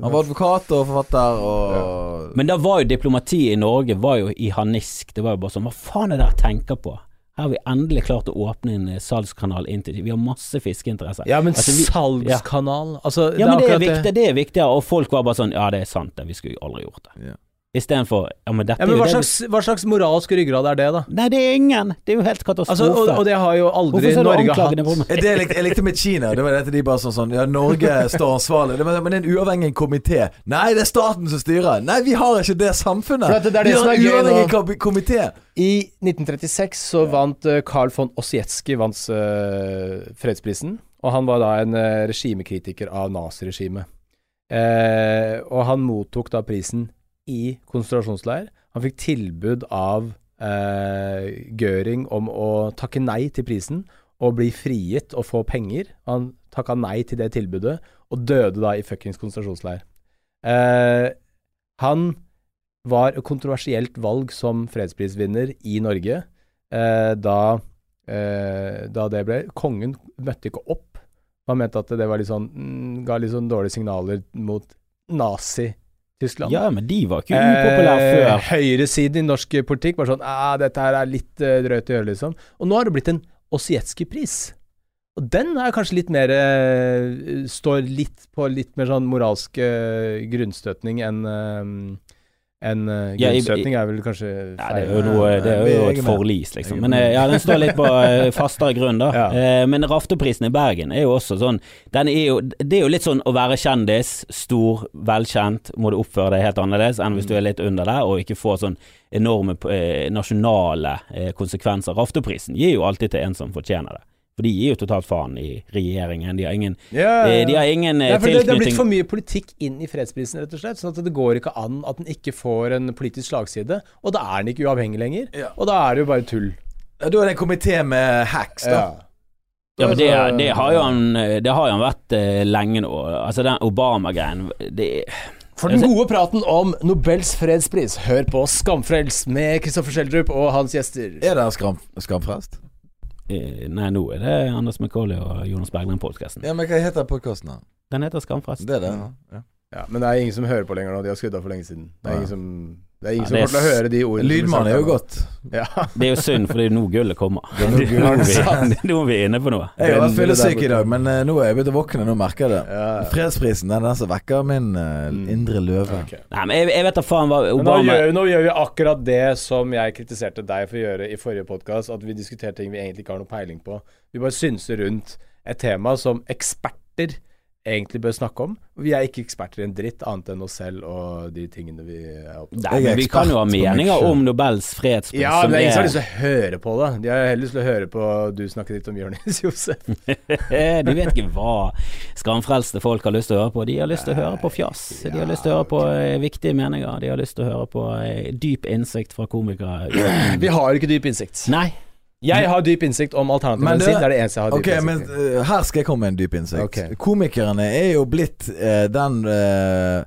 S3: Han var advokat og forfatter og
S2: Men da var jo diplomati i Norge var jo i harnisk. Det var jo bare sånn Hva faen er det jeg tenker på? Her har vi endelig klart å åpne en eh, salgskanal inn til Vi har masse fiskeinteresser.
S1: Ja, men
S2: Altså, vi-
S1: salgskanal Altså,
S2: Ja, men det er,
S1: akkurat
S2: viktig, det er viktigere, og folk var bare sånn Ja, det er sant, det, vi skulle aldri gjort det.
S3: Ja.
S2: Istedenfor Ja, men dette
S1: Ja, men
S2: er
S1: hva
S2: jo
S1: slags, hva slags moralsk ryggrad er det, da?
S2: det vi Nei, det er ingen! Det er jo helt katastrofe.
S1: Altså, og, og det har jo aldri
S2: Hvorfor ser du
S1: Norge
S2: anklagene på
S1: hatt.
S2: meg?
S3: Det jeg likte, jeg likte med Kina, det var det at de bare sånn sånn Ja, Norge står ansvarlig. Det var, men det er en uavhengig komité. Nei, det er staten som styrer. Nei, vi har ikke det samfunnet.
S1: For at det er det
S3: vi
S1: som
S3: har
S1: er
S3: en
S1: gøy
S3: uavhengig
S1: nå.
S3: kom- komité.
S1: I 1936 så vant eh, Carl von Ossietzky vant eh, fredsprisen, og han var da en eh, regimekritiker av naziregimet. Eh, og han mottok da prisen i konsentrasjonsleir. Han fikk tilbud av eh, Göring om å takke nei til prisen og bli frigitt og få penger. Han takka nei til det tilbudet, og døde da i fuckings konsentrasjonsleir. Eh, han var et kontroversielt valg som fredsprisvinner i Norge eh, da, eh, da det ble. Kongen møtte ikke opp. Han mente at det var litt sånn, mm, ga litt sånn dårlige signaler mot Nazi-Tyskland.
S2: Ja, men de var ikke
S1: Eh,
S2: upopulære før.
S1: høyresiden i norsk politikk var sånn «Ah, Dette her er litt eh, drøyt å gjøre, liksom. Og nå har det blitt en Ossietzky-pris. Og den er kanskje litt mer eh, Står litt på litt mer sånn moralsk eh, grunnstøtning enn eh, enn eh,
S2: Ja, i-
S1: grunnstøtning er vel kanskje feil. eh,
S2: Ja, det er jo, noe, det er
S3: Nei,
S2: jo
S3: jeg
S2: et
S3: er med.
S2: forlis,
S3: Jeg
S2: liksom.
S3: er
S2: Men
S3: med.
S2: eh, ja, den står litt på eh, fastere grunn, da.
S1: Ja.
S2: Eh, Men Rafteprisen i Bergen er jo også sånn den er jo, Det er jo litt sånn å være kjendis, stor, velkjent, må du oppføre deg helt annerledes enn hvis du er litt under der, og ikke får sånn enorme eh, nasjonale eh, konsekvenser. Rafteprisen gir jo alltid til en som fortjener det. For de gir jo totalt faen i regjeringen. De har ingen,
S1: Ja, ja,
S2: eh,
S1: ja.
S2: de har ingen eh,
S1: Nei, for det, det har blitt
S2: tilknytning
S1: for mye politikk inn i fredsprisen, rett og slett. Sånn at det går ikke an at den ikke får en politisk slagside. Og da er den ikke uavhengig lenger.
S3: Ja.
S1: Og da er det jo bare tull.
S3: Ja, da er det en komité med hacks, da.
S2: Ja, men det,
S1: Altså,
S2: det har jo han Det har jo han vært eh, lenge nå. Altså den Obama-greien det,
S1: For den gode praten om Nobels fredspris, hør på Skamfrelst med Kristoffer Schjelderup og hans gjester.
S3: Er det en skam, skamfrest?
S2: eh, Nei, nå er det Anders McCauley og Jonas Bergland-podkasten.
S3: Ja, men hva heter podkasten, da?
S2: Den heter Skamfest.
S3: Det er det? Ja.
S1: Ja, men det er ingen som hører på lenger nå, de har skrudd av for lenge siden. Det er
S3: Ja.
S1: ingen som, det er ingen
S2: Ja,
S1: som
S2: det er
S1: kommer til å høre de ordene. som blir sagt
S3: Lydmann er
S1: her
S3: jo
S1: nå.
S3: godt.
S1: Ja.
S2: Det er jo synd, for det er nå gullet kommer.
S3: er nå gullet
S2: Nå er
S3: kommer.
S2: vi- nå er vi inne på noe.
S3: Jeg har vært
S1: Den-
S3: fyllesyk
S1: det der
S3: i dag, men eh, nå er jeg begynt å våkne. Nå merker jeg det.
S1: Ja, ja.
S3: Fredsprisen den er den som vekker min eh,
S1: Mm.
S3: indre løve.
S1: Ok.
S2: Nei, men jeg, jeg vet da faen hva
S1: Men nå
S2: Obama
S1: gjør, nå gjør vi akkurat det som jeg kritiserte deg for å gjøre i forrige podkast, at vi diskuterer ting vi egentlig ikke har noe peiling på. Vi bare synser rundt et tema som eksperter egentlig bør snakke om. Vi er ikke eksperter i en dritt, annet enn oss selv og de tingene vi er opptatt av.
S2: Nei,
S3: Jeg er
S2: men vi
S3: ekspert
S2: kan jo ha
S3: på meg
S2: meninger
S3: selv.
S2: om Nobels fredspris.
S1: Ja,
S2: som
S1: men det er ingen som har lyst
S2: er-
S1: til å høre på det. De har heller lyst til å høre på du snakke litt om Jonis Josef.
S2: Mhm. Eh, Du vet ikke hva skamfrelste folk har lyst til å høre på. De har lyst til å høre på fjas. De har lyst til å høre på eh, viktige meninger. De har lyst til å høre på eh, dyp innsikt fra komikere.
S1: Vi har ikke dyp innsikt.
S2: Nei.
S1: Jeg har dyp innsikt om alternativ
S3: Men
S1: medisin.
S3: det-
S1: Det er det eneste jeg har dyp
S3: Ok, men
S1: innsikt i.
S3: eh, her skal jeg komme med en dyp innsikt.
S1: Ok.
S3: Komikerne er jo blitt eh, den eh,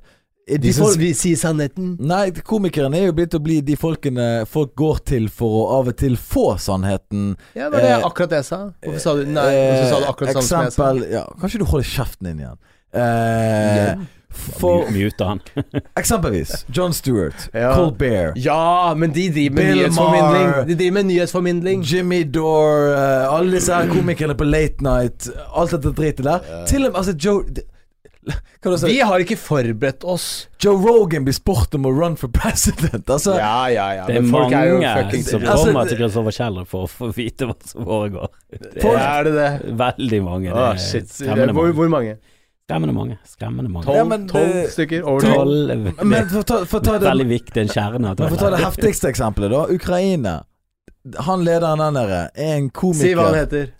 S3: de folk-
S1: sier sannheten.
S3: Nei, komikerne er jo blitt å bli de folkene folk går til for å av og til få sannheten.
S1: Ja, det var det
S3: Eh,
S1: akkurat det jeg sa. Hvorfor sa du nei?
S2: eh,
S1: Hvorfor sa du akkurat samme som jeg sa?
S3: Eksempel ja, Kan ikke du holde kjeften din igjen? Eh, for
S2: Muter han.
S3: eksempelvis John Stewart,
S1: Ja.
S3: Colbert,
S1: Ja, men de driver med
S3: Bill
S1: nyhetsformidling.
S3: Maher.
S1: De driver med nyhetsformidling.
S3: Jimmy Dore, eh, alle disse her komikerne på Late Night, alt dette dritet der. Til og med altså, Joe Kan du si
S1: Vi har ikke forberedt oss.
S3: Joe Rogan blir spurt om å run for president? Altså,
S1: Ja, ja, ja.
S2: Det er
S1: men folk
S2: mange
S1: er jo fucking
S2: som
S3: Altså,
S2: kommer
S3: det-
S2: til Kristoffer Kjeller for å få vite hva som foregår. Det
S1: Folk-
S2: er
S1: Er det det?
S2: veldig mange. Det
S1: Å,
S2: er
S1: shit.
S2: Skremmende
S1: Hvor,
S2: mange.
S1: hvor mange?
S2: Skremmende mange. Skremmende mange.
S1: Tolv
S3: Ja, men
S1: tolv
S3: det-
S1: stykker? Over tolv?
S2: Tolv
S3: Men for å ta, for å ta det
S2: Veldig viktig, en kjerne. av
S3: Men for å ta det
S2: tolv.
S3: heftigste eksempelet, da. Ukraina. Han lederen den derre er en komiker.
S1: Si hva han heter.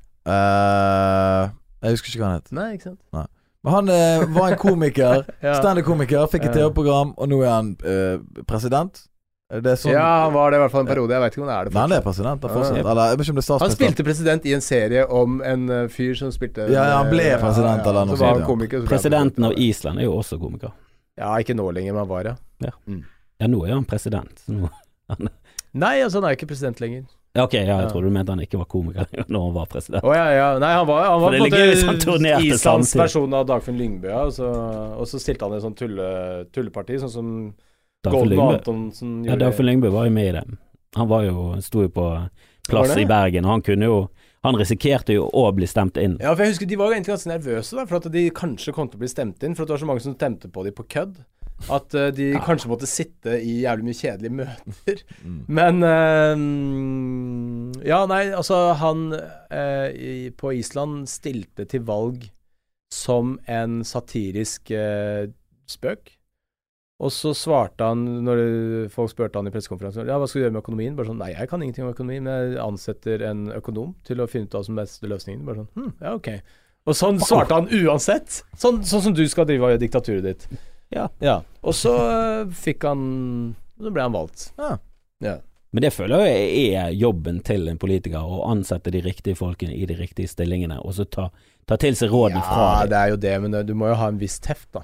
S3: Eh, jeg husker ikke hva han het.
S1: Nei, ikke sant.
S3: Men han eh, var en komiker.
S1: Ja.
S3: Standup-komiker. Fikk et
S1: Ja.
S3: TV-program, og nå er han eh, president. Er Det sånn
S1: ja, han var det i hvert fall en periode. Jeg vet ikke om det er det
S3: Men han er
S1: fortsatt.
S3: president, han
S1: Ja.
S3: fortsatt. Eller jeg vet ikke om det er
S1: Han
S3: statsminister.
S1: spilte president i en serie om en eh, fyr som spilte eh,
S3: Ja, ja, han ble president eller noe
S1: Så var
S3: sånt, ja.
S1: han komiker. så ble han
S2: Presidenten av
S1: president.
S2: Island er jo også komiker.
S1: Ja, ikke nå lenger, men han var ja.
S2: Ja, nå er han president. så Nå.
S1: Nei, altså han er ikke president lenger.
S2: Ja, Ok, ja, jeg
S1: Ja.
S2: trodde du mente han ikke var komiker lenger når han var president.
S1: Å ja, ja. Nei, han var, han
S2: For
S1: var
S2: det
S1: på
S2: ligger jo hvis han
S1: en måte
S2: turnerte
S1: Islands
S2: samtidig.
S1: versjon av Dagfinn Lyngbø, ja, og så, og så stilte han i sånn tulle, tulleparti, sånn som
S2: Dagfinn
S1: Golden og
S2: Lyngbø
S1: Antonsen
S2: ja,
S1: gjorde.
S2: Dagfinn Lyngbø var jo med i det. Han var jo, sto jo på plass
S1: Var det?
S2: i Bergen, og han kunne jo Han risikerte jo å bli stemt inn.
S1: Ja, for jeg husker De var jo egentlig ganske nervøse da, for at de kanskje kom til å bli stemt inn. For at det var så mange som stemte på dem på kødd. At eh, de kanskje måtte sitte i jævlig mye kjedelige møter.
S3: Mm.
S1: Men eh, Ja, nei, altså Han eh, i, på Island stilte til valg som en satirisk eh, spøk. Og så svarte han, når folk spurte han i pressekonferansen ja, hva skal du gjøre med økonomien, bare sånn nei, jeg kan ingenting om økonomi, men jeg ansetter en økonom til å finne ut av som beste løsningen. Bare sånn hm, ja, ok. Og sånn svarte han uansett. Sånn, sånn som du skal drive av diktaturet ditt.
S2: Ja.
S1: Og så eh, fikk han Så ble han valgt.
S2: Men det føler jeg er jobben til en politiker, å ansette de riktige folkene i de riktige stillingene, og så ta, ta til seg rådene fra
S1: Ja,
S2: dem.
S1: det er jo det, men eh, du må jo ha en viss teft, da.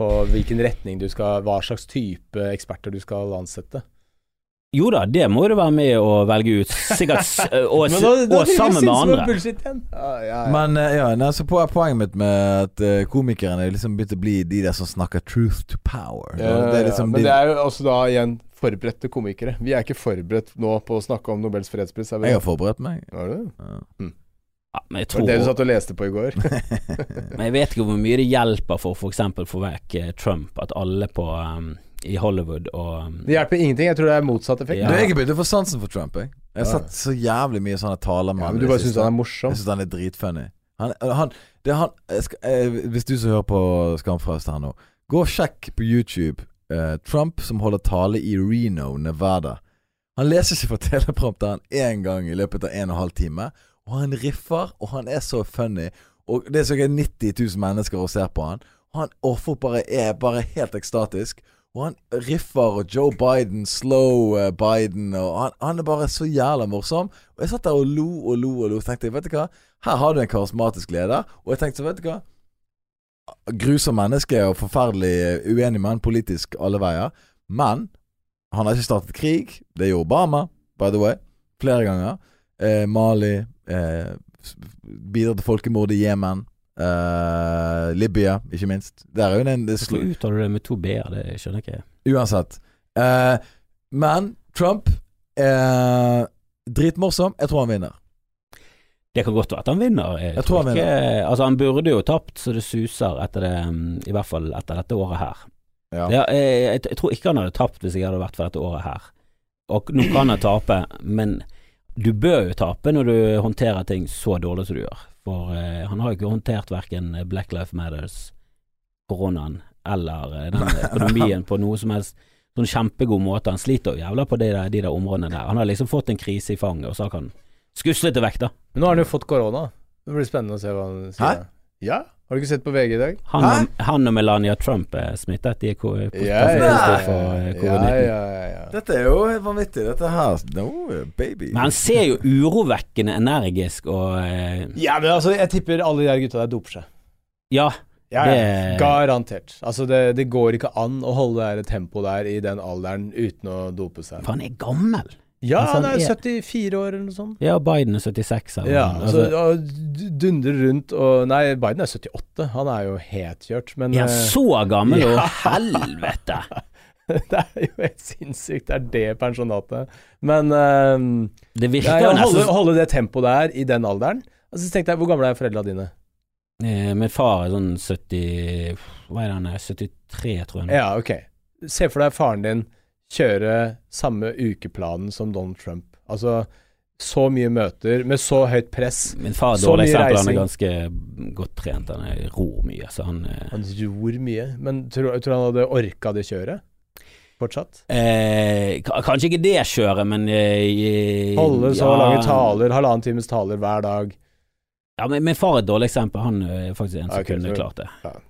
S1: På hvilken retning du skal Hva slags type eksperter du skal ansette.
S2: Jo da, det må du være med å velge ut, sikkert, s- og, s-
S1: Men da- da
S2: og
S1: blir det
S2: sammen med
S1: sinnssykt
S2: andre.
S1: Bullshit igjen. Ja, ja, ja.
S3: Men eh, ja, nei, så po- poenget mitt med at eh, komikerne er liksom begynt å bli de der som snakker truth to power.
S1: Ja,
S3: det er liksom
S1: ja, Eh, men
S3: de-
S1: det er jo også da igjen forberedte komikere. Vi er ikke forberedt nå på å snakke om Nobels fredspris. Er vi
S3: Jeg
S1: det?
S3: har forberedt meg.
S1: Var det
S3: Ja.
S2: Ja, men jeg
S1: Var det sånn. det du
S2: tror
S1: satt og leste på i går?
S2: Men jeg vet ikke hvor mye det hjelper for f.eks. få vekk eh, Trump, at alle på um, i Hollywood og um,
S1: Det hjelper ingenting. Jeg tror det er motsatt effekt.
S2: Ja.
S3: Du, jeg er begynt å få sansen for Trump. Jeg Jeg har
S1: Ja.
S3: sett så jævlig mye sånne taler med
S1: Ja,
S3: han
S1: men
S3: i
S1: du
S3: det
S1: bare
S3: siste.
S1: syns han er morsom.
S3: Jeg syns han er dritfunny. Han, eh, han, det er han jeg skal, eh, Hvis du som hører på Skamfrelst her nå, gå og sjekk på YouTube eh, Trump som holder tale i Reno, Nevada. Han leser ikke fra teleprompteren én gang i løpet av en og en halv time, og han riffer, og han er så funny. Og det er sikkert 90 000 mennesker og ser på han. Og han og folk bare er bare helt ekstatisk. Og han riffer, og Joe Biden, slow eh, Biden, og han, han er bare så jævla morsom. Og jeg satt der og lo og lo og lo. Tenkte jeg, vet du hva, her har du en karismatisk leder. Og jeg tenkte så, vet du hva Grusom menneske og forferdelig eh, uenig med han politisk alle veier. Men han har ikke startet krig. Det gjorde Obama, by the way. Flere ganger. Eh, Mali. Eh, s- bidrar til folkemord i Jemen. Eh, Libya, ikke minst. Der er jo den det slu-
S2: Hvorfor uttaler du det med to b-er, det skjønner ikke jeg.
S3: Uansett. Eh, men Trump eh, Dritmorsom. Jeg tror han vinner.
S2: Det kan godt være at han vinner.
S3: Jeg tror han
S2: Ikke, altså, han burde jo tapt, så det suser etter det um, I hvert fall etter dette året her.
S3: Ja.
S2: Det, jeg, jeg, jeg tror ikke han hadde tapt hvis jeg hadde vært for dette året her. Og nå kan han tape, men du bør jo tape når du håndterer ting så dårlig som du gjør. For eh, han har jo ikke håndtert verken Black Life Matters, koronaen eller eh, den økonomien på noe som helst sånn kjempegod måte. Han sliter jo jævla på de der, de der områdene der. Han har liksom fått en krise i fanget, og så har han skuslet det vekk, da.
S1: Men nå har han jo fått korona. Det blir spennende å se hva han sier.
S3: Hæ?
S1: da. Ja? Har du ikke sett på VG i dag?
S2: Han,
S3: Hæ?
S2: og- han og Melania Trump er smittet. De er ko- positive for eh,
S1: ja,
S2: covid-19.
S1: ja, ja, ja.
S3: Dette er jo helt vanvittig. Dette her No, baby.
S2: Men han ser jo urovekkende energisk og eh,
S1: ja, men altså, jeg tipper alle de der gutta der doper seg.
S2: Ja,
S1: Ja, ja.
S2: Det-
S1: Garantert. Altså, det, det går ikke an å holde det der tempoet der i den alderen uten å dope seg.
S2: for han er gammel.
S1: Ja,
S2: Altså,
S1: han
S2: han
S1: er
S2: er-
S1: 74 år eller noe sånt.
S2: Ja, Biden er 76 eller
S1: Ja,
S2: noe.
S1: altså,
S2: altså,
S1: ja, d- dundrer rundt og Nei, Biden er 78. Han er jo helt kjørt, men
S2: Er han
S1: eh,
S2: så gammel, og
S1: Ja.
S2: helvete!
S1: Det er jo helt sinnssykt. Det er det pensjonatet. Men eh,
S2: Det virker
S1: nei,
S2: jo
S1: å holde,
S2: nesten
S1: holde det tempoet der i den alderen Altså, så tenkte jeg, Hvor gamle er foreldra dine?
S2: Eh, Min far er sånn 70 Hva er det han er? 73, tror jeg. nå.
S1: Ja, ok. Se for deg faren din kjøre samme ukeplanen som Donald Trump. Altså så mye møter med så høyt press.
S2: Min far er et
S1: Så
S2: dårlig
S1: mye
S2: eksempel. Han er
S1: reising.
S2: ganske godt trent. Han er- ror mye, så han eh,
S1: Han gjorde mye, men tror, tror han hadde orka det kjøret fortsatt?
S2: eh, ka- Kanskje ikke det kjøret, men eh,
S1: Holde så
S2: ja.
S1: lange taler, halvannen times taler hver dag.
S2: Ja, men Min far er et dårlig eksempel. Han eh, er faktisk en som
S1: Ah, Ok,
S2: kunne
S1: så-
S2: klart det.
S1: Hm.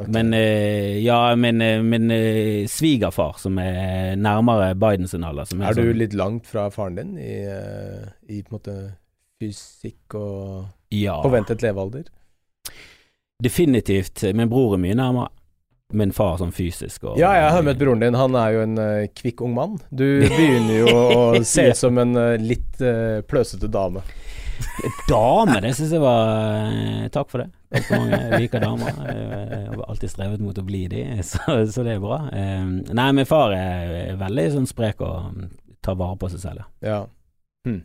S1: Ok.
S2: Men eh, ja, min, eh, min eh, svigerfar, som er nærmere Biden sin alder som er
S1: er du
S2: sånn-
S1: litt langt fra faren din i, eh, i på en måte fysikk og
S2: ja,
S1: forventet levealder?
S2: Definitivt. Min bror er mye nærmere. Min far sånn fysisk og
S1: Ja, jeg har møtt broren din. Han er jo en eh, kvikk ung mann. Du begynner jo å se
S2: Ja.
S1: ut som en eh, litt eh, pløsete dame.
S2: Dame, det syns jeg var eh, Takk for det. Takk for mange. Jeg liker damer. Eh, Jeg har alltid strevet mot å bli de, så, så det er bra. Eh, Nei, min far er veldig sånn sprek og mm, tar vare på seg selv. ja.
S1: Ja. Hm.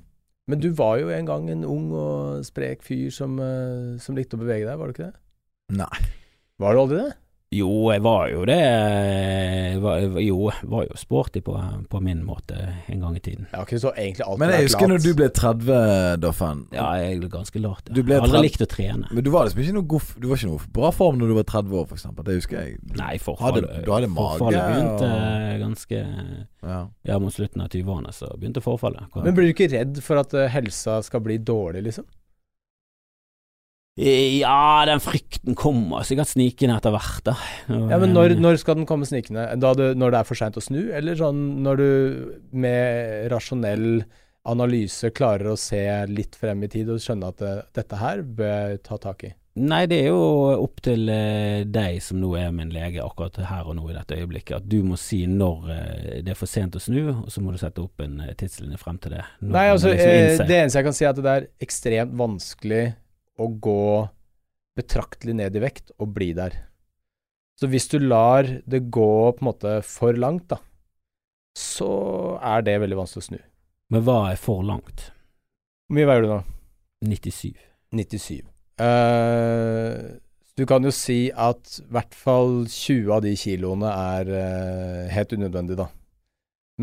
S1: Men du var jo en gang en ung og sprek fyr som, eh, som likte å bevege deg, var du ikke det?
S3: Nei.
S1: Var du aldri det?
S2: Jo, jeg var jo det. Jeg var, jeg var- jo, jeg var jo sporty på, på min måte en gang i tiden.
S1: Ja, ok, så egentlig alt
S3: Men jeg
S1: var
S3: husker
S1: lat.
S3: når du ble 30, Doffen.
S2: Ja, jeg ble ganske lat. Ja.
S3: Du ble
S2: Jeg har aldri
S3: trent-
S2: likt å trene.
S3: Men du var liksom ikke noe god f- Du var ikke noe bra form når du var 30 år, for eksempel. Det husker jeg.
S2: Nei,
S3: Hadde,
S2: forfallet,
S3: du hadde mage.
S2: forfallet begynte
S3: og-
S2: eh, ganske
S3: ja.
S2: Ja, mot slutten av 20-årene så begynte forfallet. Kom.
S1: Men blir du ikke redd for at eh, helsa skal bli dårlig, liksom?
S2: Ja, den frykten kommer sikkert snikende etter hvert, da. Eh,
S1: Ja, men når, når skal den komme snikende? Da du, når det er for seint å snu, eller sånn når du med rasjonell analyse klarer å se litt frem i tid og skjønne at eh, dette her bør jeg ta tak i?
S2: Nei, det er jo opp til eh, deg som nå er min lege akkurat her og nå i dette øyeblikket, at du må si når eh, det er for sent å snu, og så må du sette opp en eh, tidslinje frem til det. Når
S1: Nei,
S2: man
S1: altså,
S2: liksom
S1: eh,
S2: innser-
S1: det eneste jeg kan si er at det er ekstremt vanskelig å gå betraktelig ned i vekt og bli der. Så hvis du lar det gå på en måte for langt, da, så er det veldig vanskelig å snu.
S2: Men hva er for langt?
S1: Hvor mye veier du nå?
S2: 97.
S1: 97. Eh, du kan jo si at i hvert fall 20 av de kiloene er eh, helt unødvendig, da.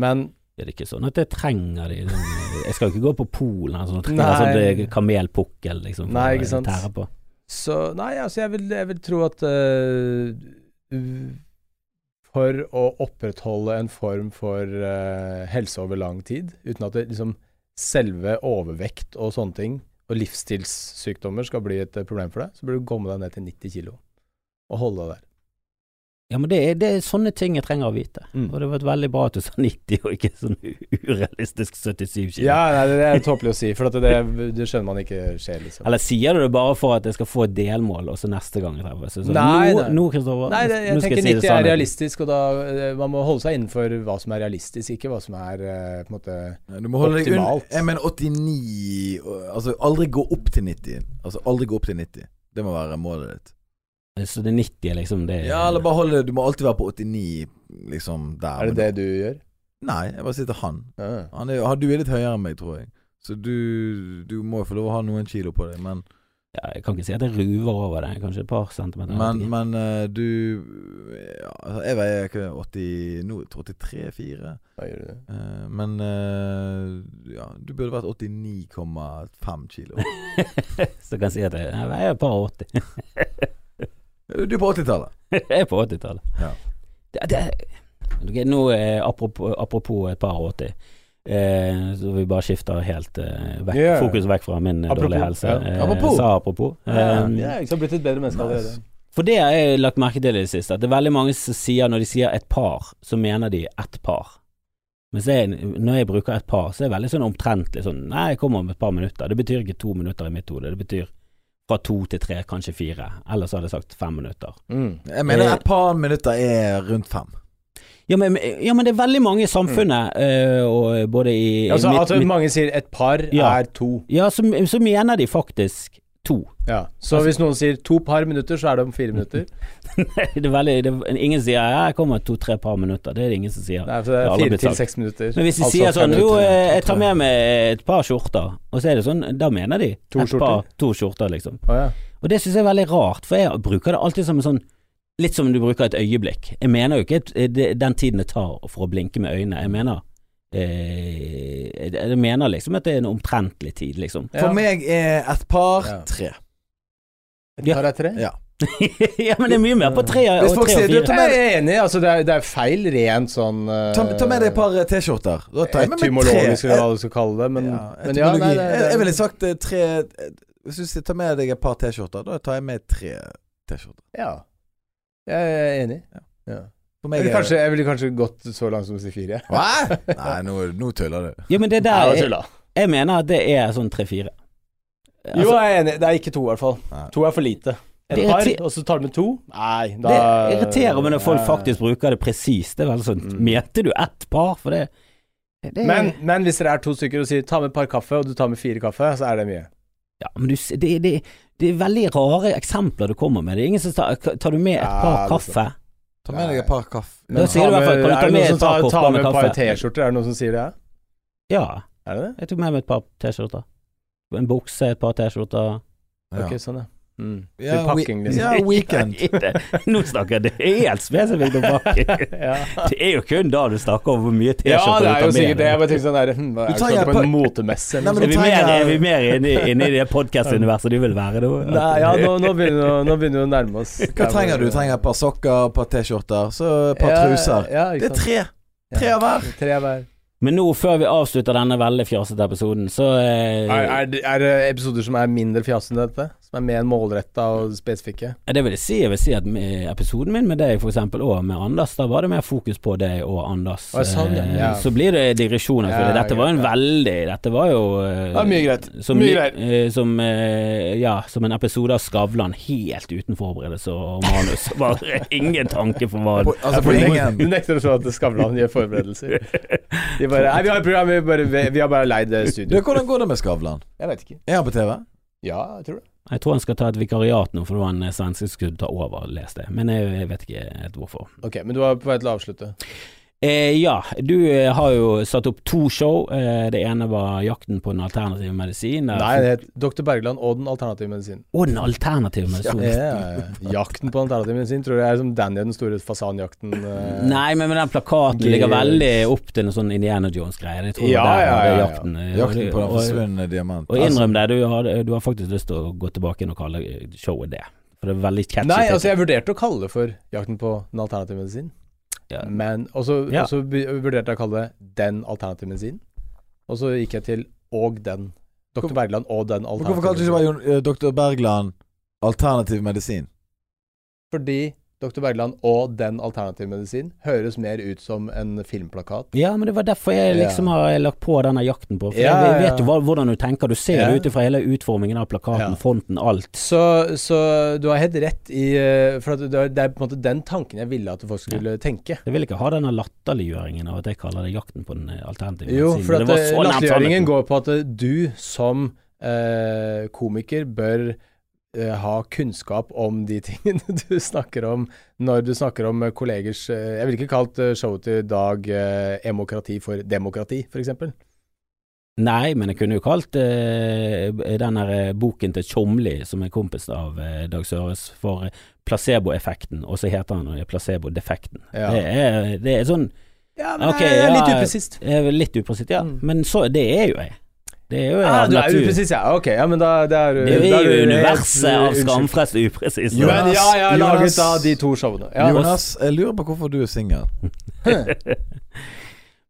S1: Men
S2: Er det ikke sånn at jeg trenger de sånn, Jeg skal jo ikke gå på Polen eller sånn,
S1: Nei.
S2: sånn det er kamelpukkel, liksom, for
S1: Nei, ikke
S2: å
S1: sant.
S2: tære på.
S1: Så Nei, altså, jeg vil, jeg vil tro at eh, u- For å opprettholde en form for eh, helse over lang tid, uten at det, liksom, selve overvekt og sånne ting, og livsstilssykdommer skal bli et eh, problem for deg, så burde du komme deg ned til 90 kilo og holde deg der.
S2: Ja, men det er, det er sånne ting jeg trenger å vite.
S1: Mm.
S2: Og det har vært veldig bra at du sa 90 og ikke sånn urealistisk 77 kilo.
S1: Ja, nei, det er tåpelig å si, for at det, det skjønner man ikke skjer, liksom.
S2: Eller sier du det bare for at jeg skal få et delmål, og så neste gang jeg treffer? Så, så,
S1: Nei,
S2: nå,
S1: nei.
S2: nå, Kristoffer,
S1: Nei, det,
S2: nå
S1: jeg
S2: skal
S1: tenker
S2: si det
S1: 90 er
S2: sannheten.
S1: realistisk, og da eh, man må holde seg innenfor hva som er realistisk, ikke hva som er eh, på en måte
S3: Du må holde deg unna
S1: Optimalt.
S3: Jeg mener 89 og- Altså aldri gå opp til 90. Altså aldri gå opp til 90. Det må være målet ditt.
S2: Så det 90 er liksom
S1: Eh.
S2: det
S3: Ja, eller bare holde Du må alltid være på 89, liksom der.
S1: Er det det du gjør?
S3: Nei, jeg bare sier til han.
S1: Ja.
S3: han er, han- du er litt høyere enn meg, tror jeg. Så du, du må jo få lov å ha noen kilo på deg, men
S2: ja, Jeg kan ikke si at jeg ruver over det, kanskje et par centimeter.
S3: Men, men eh, du ja, altså, Jeg veier ikke 80 nå, 83-4.
S1: Da gjør du det.
S3: men eh, ja, du burde vært 89,5 kilo.
S2: så kan jeg si at jeg, jeg er et par 80.
S3: Du er på 80-tallet.
S2: jeg er på 80-tallet.
S3: Ja.
S2: Det, det, ok, nå eh, apropos, apropos et par 80. Eh, så vi bare skifter helt eh, vekk,
S1: Ja.
S2: fokus vekk fra min eh, dårlige
S1: Apropos,
S2: helse.
S1: ja.
S2: Eh,
S3: Apropos.
S2: Sa apropos.
S1: Ja,
S2: Eh,
S1: jeg har blitt et bedre menneske allerede.
S2: For det har jeg lagt merke til i det siste, at det er veldig mange som sier når de sier et par, så mener de ett par. Mens jeg, når jeg bruker et par, så er det veldig sånn omtrentlig sånn Nei, jeg kommer om et par minutter. Det betyr ikke to minutter i mitt hode. Det betyr fra to til tre, kanskje fire. Ellers hadde jeg sagt fem minutter.
S1: Mm.
S3: Jeg mener
S2: Eh.
S3: et par minutter er rundt fem.
S2: Ja, men, ja, men det er veldig mange i samfunnet, eh, og både i, i
S1: Altså,
S2: mitt-
S1: at
S2: mitt-
S1: mange sier et par
S2: Ja.
S1: er to.
S2: Ja, så, så mener de faktisk To.
S1: Ja. Så
S2: Altså-
S1: hvis noen sier to par minutter, så er det om fire minutter.
S2: det er veldig, det, er- ingen sier ja, 'jeg kommer to-tre par minutter', det er det ingen som sier.
S1: Nei, for det
S2: Ja,
S1: er
S2: alle
S1: fire
S2: betaler.
S1: til seks minutter.
S2: Men hvis de
S1: Altså
S2: sier
S1: fem
S2: sånn Jo,
S1: minutter.
S2: eh, jeg tar med meg et par skjorter, og så er det sånn, da mener de
S1: To
S2: et
S1: skjorter?
S2: par to skjorter, liksom.
S1: Å ja.
S2: Og det syns jeg er veldig rart, for jeg bruker det alltid som en sånn Litt som du bruker et øyeblikk. Jeg mener jo ikke et, eh, det- den tiden det tar for å blinke med øynene. Jeg mener eh, jeg, jeg mener liksom at det er en omtrentlig tid, liksom.
S1: Ja.
S3: For meg er et par
S1: Ja.
S3: tre.
S2: Ja.
S1: Par er tre?
S3: Ja.
S2: ja, men det er mye mer på tre og,
S3: Hvis
S2: og
S3: folk
S2: tre og
S3: sier, du,
S2: fire.
S3: ta-
S1: Jeg er enig, altså det er, det er feil rent sånn eh,
S3: Ta, ta med deg et par eh, T-skjorter. Da tar jeg med meg tre.
S1: Etymologisk, eller
S3: Eh,
S1: hva du skal kalle det, men ja, men ja
S3: ja,
S1: nei, det,
S3: etymologi. Jeg- Jeg
S1: det,
S3: ville sagt eh, tre eh, Hvis du sier ta med deg et par T-skjorter, da tar jeg med tre T-skjorter.
S1: ja. Jeg er enig.
S3: For
S1: Jeg
S3: meg
S1: ville
S3: er
S1: kanskje, jeg ville kanskje gått så langt som å si fire.
S3: Hva? Nei, nå, nå tuller du.
S2: Ja, men det der
S1: Nei, altså, jeg
S2: jeg,
S1: tulla.
S2: jeg mener at det er sånn tre-fire.
S1: Jo, jeg er enig. Det er ikke to, i hvert fall.
S3: Nei.
S1: To er for lite. Et
S2: Det
S1: par,
S2: irriter-
S1: og så tar du med to? Nei, da
S2: Det irriterer meg når folk
S1: Nei.
S2: faktisk bruker det presist. Det er veldig sånn
S1: Mm.
S2: Mente du ett par? For det, det
S1: men, men hvis dere er to stykker og sier 'ta med et par kaffe', og du tar med fire kaffe, så er det mye.
S2: ja, men du, s- det, det, det er veldig rare eksempler du kommer med. Det er ingen som tar Tar du med et
S1: Ja,
S2: par
S1: det er
S2: kaffe?
S3: Ta med deg et par kaffe.
S2: Da sier
S1: ta
S2: du i hvert fall, kan
S1: med-
S2: du ta
S1: er det
S2: med
S1: noen som
S2: et par
S1: tar-
S2: kopper med
S1: tar med et par
S2: kaffe?
S1: T-skjorter? Er det noen som sier det?
S2: Ja,
S1: Er det det?
S2: jeg tok med meg et par T-skjorter. En bukse, et par T-skjorter.
S3: Ja.
S1: Ok, sånn, ja. Mm.
S3: Ja,
S1: Litt pakking,
S3: we-
S1: liksom.
S3: Ja, weekend.
S2: Nå snakker jeg det er helt spesifikt om pakking.
S1: ja.
S2: Det er jo kun da du snakker om hvor mye
S1: Ja,
S2: T-skjorter du
S1: det er jo
S2: tar med.
S1: sikkert det. Jeg bare tenkte sånn der, hm, hva er
S3: Du
S1: det
S3: tar
S1: sånn
S3: gjerne
S1: på
S3: på-
S1: en motemesse
S3: Nei,
S1: eller
S2: Er
S1: noe
S3: men
S1: sånt?
S2: vi mer, er vi mer inne, inne i det podkast-universet du vil være nå?
S1: Nei, ja, nå, nå, begynner, vi å- nå begynner vi å nærme oss.
S3: Hva trenger du? Du trenger et par sokker, et par T-skjorter, så et par
S1: Ja,
S3: truser.
S1: Ja,
S3: Det
S1: ikke
S3: er
S1: sant.
S3: tre. Tre
S1: Ja.
S3: av hver.
S1: Tre av hver.
S2: Men nå, før vi avslutter denne veldig fjasete episoden, så eh,
S1: Er, er, det- er det episoder som er mindre fjas enn dette? Som er mer målretta og spesifikke?
S2: Det vil jeg si. Jeg vil si at eh, episoden min med deg, for eksempel, og med Anders, da var det mer fokus på deg og Anders.
S1: Å, sånn, ja.
S2: Eh,
S1: Ja.
S2: Så blir det digresjoner. for
S1: Ja,
S2: dette var jo en
S1: greit, ja.
S2: veldig Dette var jo eh,
S1: Ja, mye greit.
S2: Som,
S1: Mye greit.
S2: eh, som, eh, ja, som en episode av Skavlan helt uten forberedelse og manus. Det Var ingen tanke for hva
S3: På, altså, på
S1: Du nekter-
S3: ingen.
S1: Du nekter å tro at Skavlan gjør forberedelser. De bare Nei, vi har et program, vi, bare, vi, vi har bare leid eh,
S3: Du,
S1: studio.
S3: hvordan går det med Skavlan?
S1: Jeg vet ikke.
S3: Er han på TV?
S1: Ja, jeg tror det.
S2: Jeg tror han skal ta et vikariat nå, for det var en eh, svenske som skulle ta over, leste jeg. Men jeg, jeg vet ikke helt hvorfor.
S1: Ok, Men du var på vei til å avslutte.
S2: Eh, ja, du eh, har jo satt opp to show. Eh, det ene var 'Jakten på den alternative medisin'. der-
S1: Nei, det het Dr. Bergland og den alternative medisinen.
S2: Å, den alternative medisinen.
S1: Ja, eh, jakten på den alternative medisin tror jeg er som Danny og den store fasanjakten. eh,
S2: Nei, men, men den plakaten
S1: Gøy.
S2: ligger veldig opp til en sånn Indiana Jones-greie. Jeg tror det
S1: Ja,
S2: var der
S1: ja,
S2: det
S1: ja, ja.
S2: jakten eh,
S3: Jakten på den
S2: og-
S3: forsvunne diamant.
S2: Og
S3: Altså,
S2: innrøm det, du har, du har faktisk lyst til å gå tilbake inn og kalle eh, showet det. For det er veldig catchy.
S1: Nei,
S2: tittel.
S1: altså jeg vurderte å kalle det for Jakten på den alternative medisin,
S2: Ja.
S1: men Og så
S2: Ja.
S1: og så by- vurderte jeg å kalle det Den alternative medisin, og så gikk jeg til Og den. Dr.
S3: Hvorfor-
S1: Bergland og Den
S3: men Altså, Hvorfor
S1: alternative
S3: kalte du ikke
S1: medisin.
S3: bare Jon- eh, Dr. Bergland alternativ medisin?
S1: Fordi Dr. Bergland og Den alternative medisin høres mer ut som en filmplakat.
S2: Ja, men det var derfor jeg liksom har lagt på denne jakten på. For
S1: Ja,
S2: jeg
S1: ja,
S2: vet jo
S1: ja.
S2: hva- hvordan du tenker. Du ser
S1: Ja.
S2: det ut ifra hele utformingen av plakaten,
S1: Ja.
S2: fonten, alt.
S1: Så, så du har helt rett i eh, For at det er- det er på en måte den tanken jeg ville at folk skulle tenke.
S2: Jeg vil ikke ha denne latterliggjøringen av at jeg kaller det jakten på den eh, alternative
S1: Jo,
S2: medisinen.
S1: for at
S2: Det var
S1: eh,
S2: så nærmt sannheten.
S1: latterliggjøringen går på at eh, du som eh, komiker bør eh, ha kunnskap om de tingene du snakker om når du snakker om eh, kollegers eh, Jeg ville ikke kalt eh, showet til Dag eh, Emokrati for demokrati, f.eks.
S2: Nei, men jeg kunne jo kalt eh, den her eh, boken til Tjomli, som er kompis av eh, Dag Søres, for eh, placeboeffekten, og så heter han eh, placebodefekten.
S1: Ja.
S2: Det, er- det er sånn
S1: Ja, eh,
S2: men Ok, det er litt ja. upresist. Jeg er vel litt upresist, ja.
S1: Mm.
S2: Men så, det er jo jeg. Det er jo jeg
S1: Ah,
S2: av
S1: du er
S2: natur.
S1: upresis, ja. Ok, ja, men da, da er du
S2: Det er
S1: da er
S2: jo
S1: du-
S2: universet av
S1: Unnskyld.
S2: skamfrelst upresis.
S1: Jo, men ja, ja,
S3: Jonas.
S1: laget av de to showene. Ja, altså-
S3: Jonas, jeg lurer på hvorfor du er singel.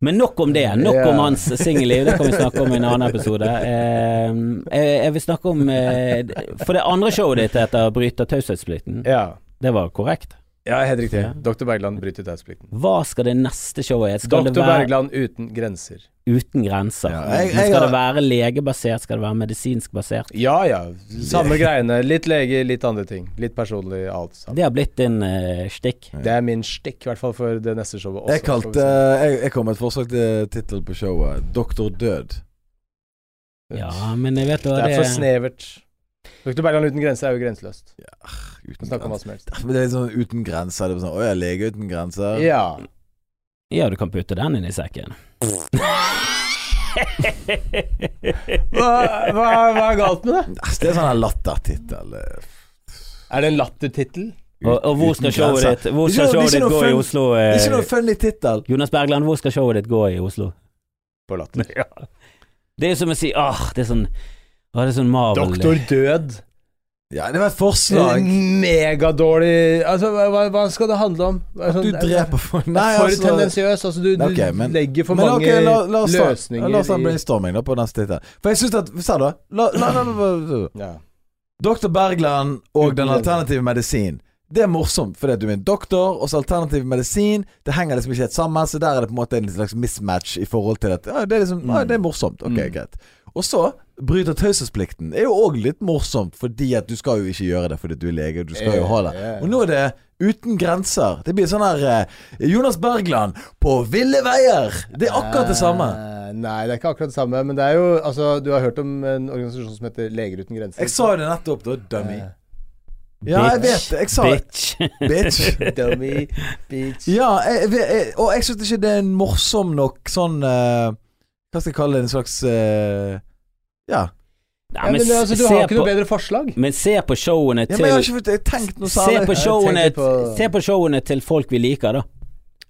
S2: Men nok om det. Nok
S1: Ja.
S2: om hans singelliv, det kan vi snakke om i en annen episode. Eh, jeg, jeg vil snakke om eh, For det andre showet ditt heter 'Bryter taushetsplikten'.
S1: Ja.
S2: Det var korrekt.
S1: ja, helt riktig.
S2: Ja.
S1: Dr. Bergland bryter taushetsplikten.
S2: Hva skal det neste showet hete? Skal
S1: Dr.
S2: det være
S1: Bergland uten grenser.
S2: uten grenser?
S3: Ja, jeg-
S2: Men
S3: jeg
S2: skal
S3: har-
S2: det være legebasert? Skal det være medisinsk basert?
S1: Ja ja, samme greiene. Litt lege, litt andre ting. Litt personlig, alt sammen.
S2: Det har blitt din eh, stikk.
S1: Det er min stikk, i hvert fall for det neste showet også.
S3: Jeg kalte
S1: får vi se.
S3: jeg, jeg kom med et forslag til tittel på showet. Doktor Død.
S2: Ja, men jeg vet hva
S3: eh,
S1: Det er for snevert. Dr. Berland uten grenser er jo grenseløst.
S3: Uten
S1: Snakk om hva
S3: grenser.
S1: som helst.
S3: Men Det er sånn uten grenser. Det er sånn, Å ja, lege uten grenser.
S1: Ja.
S2: Ja, du kan putte den inn i sekken.
S1: Hva, hva, hva er galt med det?
S3: Nei, Det er sånn her lattertittel. eh,
S1: Er det en lattertittel?
S2: Og, og hvor skal
S3: Uten
S2: showet
S3: grenser.
S2: ditt Hvor
S3: Det er
S2: skal showet
S3: ikke noe- det er
S2: ditt
S3: ikke
S2: gå
S3: noe
S2: i
S3: fun-
S2: Oslo?
S3: Det
S2: eh,
S3: er ikke noe funny tittel.
S2: Jonas Bergland, hvor skal showet ditt gå i Oslo?
S1: På latter.
S2: Det er jo som å si Åh, det er sånn Åh, det er sånn Marvel
S1: Doktor Død.
S3: Ja, det var et forslag.
S1: Megadårlig Altså, hva, hva- hva skal det handle om? Hva er
S3: Du
S1: sånn-
S3: dreper folk. Nei,
S1: for
S3: altså-
S1: tendensiøs. Altså, du, du
S3: Nei, ok, men-
S1: legger for
S3: Men
S1: mange
S3: ok, la, la oss ta,
S1: løsninger
S3: La oss ta
S1: i-
S3: brainstorming da på neste tittel. For jeg syns at Se, da. La, la, la, la, la.
S1: ja.
S3: Doktor Bergland og den
S1: Uten
S3: alternative medisin. Det er morsomt, fordi at du er en doktor, og så alternativ medisin. Det henger liksom ikke helt sammen, så der er det på en måte en slags mismatch i forhold til at ja, det, er liksom, ja, det
S1: Mm.
S3: er morsomt. Ok, greit. Og så bryter taushetsplikten. er jo òg litt morsomt, fordi at du skal jo ikke gjøre det fordi du er lege, og du skal jo ha det.
S1: Ja, ja.
S3: Og nå er det Uten grenser. Det blir sånn her eh, Jonas Bergland på ville veier! Det er akkurat det samme.
S1: Eh, Nei, det er ikke akkurat det samme. Men det er jo Altså, du har hørt om en organisasjon som heter Leger uten grenser?
S3: Jeg sa jo det nettopp, da, dummy.
S1: Eh,
S3: Ja, jeg vet det. Jeg sa det.
S2: Bitch.
S3: Bitch.
S1: Eh, Dummy, bitch
S3: Ja, jeg, jeg, jeg, og jeg syns ikke det er en morsom nok sånn eh, Hva skal jeg kalle det? En slags eh, Ja.
S2: Nei,
S1: Ja, men,
S2: se-
S1: altså, du
S2: se
S1: har ikke
S2: på-
S1: noe bedre forslag?
S2: Men se på showene
S3: ja
S2: til
S3: men jeg har ikke fått jeg har tenkt noe
S2: se,
S3: særlig.
S2: på showene,
S1: Jeg tenkte på-
S2: se på showene til folk vi liker, da.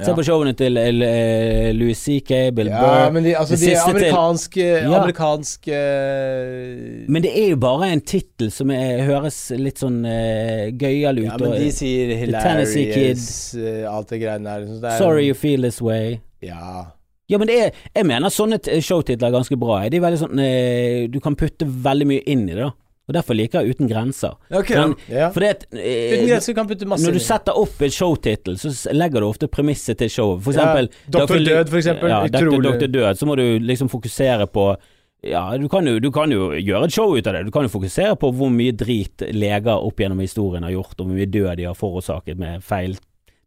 S2: Se
S3: Ja.
S2: på showene til eh, Louis C.K., Bill
S1: Ja,
S2: Burr
S1: men de, altså,
S2: Det
S1: de
S2: siste til-
S1: amerikanske
S2: Ja.
S1: Amerikanske eh,
S2: Men det er jo bare en tittel som er, høres litt sånn uh, gøyal ut.
S1: Ja, men
S2: og,
S1: de sier
S2: Tennessee
S1: hilarious, eh, alt det greiene der. Så det er,
S2: Sorry you feel this way.
S1: Ja.
S2: Ja, men det er, jeg mener sånne t- showtitler er ganske bra. De er veldig sånn, eh, du kan putte veldig mye inn i det. da Og Derfor liker jeg Uten grenser.
S3: Ja, ok,
S2: Men,
S1: ja.
S2: for det, at,
S1: Uten
S2: eh,
S1: grenser kan putte masse
S2: når du
S1: inn i.
S2: setter opp en showtittel, så s- legger du ofte premisset til showet. For
S1: Ja,
S2: eksempel
S1: Dr. Død, for eksempel.
S2: Ja,
S1: Utrolig.
S2: Dr. Død, så må du liksom fokusere på ja, du kan, jo, du kan jo gjøre et show ut av det. Du kan jo fokusere på hvor mye drit leger opp gjennom historien har gjort, og hvor mye død de har forårsaket med feil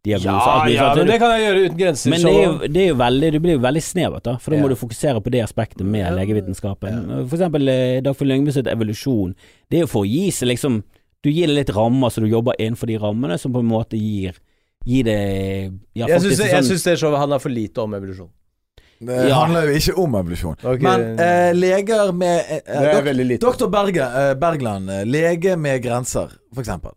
S2: diagnoser.
S1: Ja,
S2: alt mulig
S1: ja,
S2: sånt.
S1: men
S2: Du-
S1: det kan jeg gjøre uten grenser.
S2: Men
S1: så-
S2: det er, jo, det er jo veldig Du blir jo veldig snevert, da. For da
S1: Ja.
S2: må du fokusere på det aspektet med legevitenskapen. For eksempel eh, Dagfinn Lyngbø sitt evolusjon. Det er jo for å gi seg liksom Du gir det litt rammer, så du jobber innenfor de rammene som på en måte gir Gir det Ja,
S1: jeg
S2: faktisk
S1: syns det,
S2: sånn
S1: jeg synes det showet handler for lite om evolusjon.
S3: Det
S2: Ja.
S3: handler jo ikke om evolusjon.
S1: Ok.
S3: Men eh, leger med eh,
S1: Det er
S3: dok-
S1: veldig lite.
S3: Doktor Berge, eh, Bergland, eh, lege med grenser, for eksempel.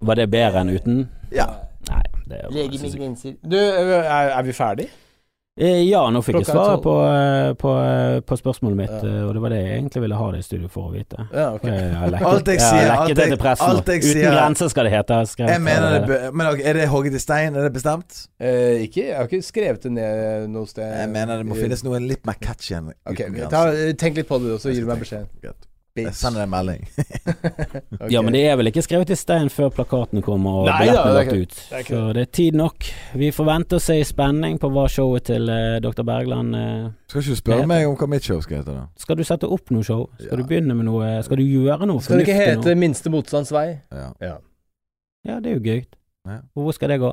S2: Var det bedre enn uten?
S3: Ja.
S2: Nei, det er jo synes jeg-
S1: grenser Du, er, er vi ferdig?
S2: Eh, Ja, nå fikk jeg
S1: Klokka er
S2: svaret
S1: tolv.
S2: på, eh, på, eh, på spørsmålet mitt,
S1: Ja.
S2: eh, og det var det jeg egentlig ville ha det i studio for å vite.
S1: Ja, ok.
S2: Eh, Jeg har lekket,
S3: Alt jeg
S2: har
S3: sier,
S2: lekket
S3: alt
S2: det
S3: jeg-
S2: til pressen.
S3: alt jeg
S2: Uten
S3: sier-
S2: grenser skal det hete. har skrevet
S3: Jeg mener det
S2: allerede.
S3: bø- Men ok, Er det hogget i stein? Er det bestemt?
S1: Eh, ikke, jeg har ikke skrevet det ned noe sted.
S3: Jeg mener det må finnes noe litt mer catchy enn
S1: Ok,
S3: uten
S1: ta,
S3: grenser.
S1: Tenk litt på det, og så gir du meg beskjed.
S3: Greit. Jeg
S1: Bitch.
S3: sender deg en melding.
S1: Ok.
S2: Ja, men det er vel ikke skrevet i stein før plakatene kommer og
S1: Nei
S2: billettene
S1: da,
S2: er
S1: det er
S2: lagt
S1: ikke-
S2: ut.
S1: det er ikke
S2: Så det er tid nok. Vi får vente og se i spenning på hva showet til eh, Dr. Bergland eh,
S3: Skal ikke du
S2: Det
S3: spørre
S2: heter-
S3: meg om hva mitt show skal hete, da?
S2: Skal du sette opp noe show? Skal
S3: Ja.
S2: du begynne med noe? Skal du gjøre noe
S1: Skal det ikke
S2: fornuftig
S1: hete
S2: nå?
S1: 'Minste motstands vei'?
S3: Ja.
S2: Ja, det er jo gøy.
S3: Ja.
S2: Og hvor skal det gå?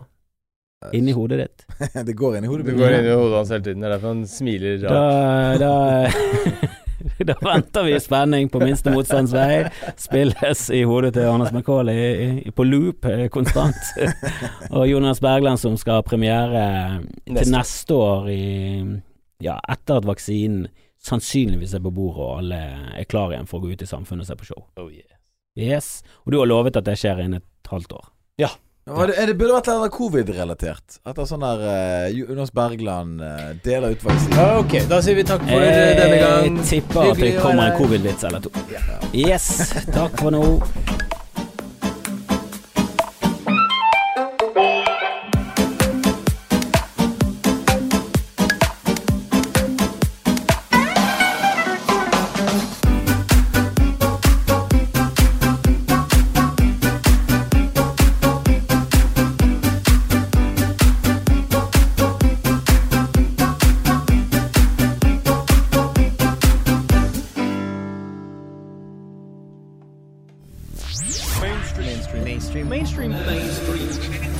S2: Inni hodet ditt.
S3: det går inn i hodet
S1: Det
S3: mitt.
S1: går inn i hodet hans hele tiden. Det er derfor han smiler
S2: Da, da Da venter vi i spenning på minste motstands vei. Spilles i hodet til Anders McCauley i- i- på loop eh, konstant. Og Jonas Bergland som skal ha premiere eh, til
S1: Neste.
S2: neste år i Ja, etter at vaksinen sannsynligvis er på bordet og alle er klar igjen for å gå ut i samfunnet og se på show. Yes. Og du har lovet at det skjer innen et halvt år.
S3: Ja, det, det burde vært noe covid-relatert. Etter sånn der eh, Jonas Bergland eh, deler ut vaksine.
S1: Ok, da sier vi takk for eh,
S2: Jeg
S1: denne gang.
S2: tipper at det
S1: Hyggelig å
S2: kommer
S1: være
S2: en
S1: her.
S2: covid-vits eller to. Yes. Takk for nå.
S7: mainstream mainstream mainstream mainstream mainstream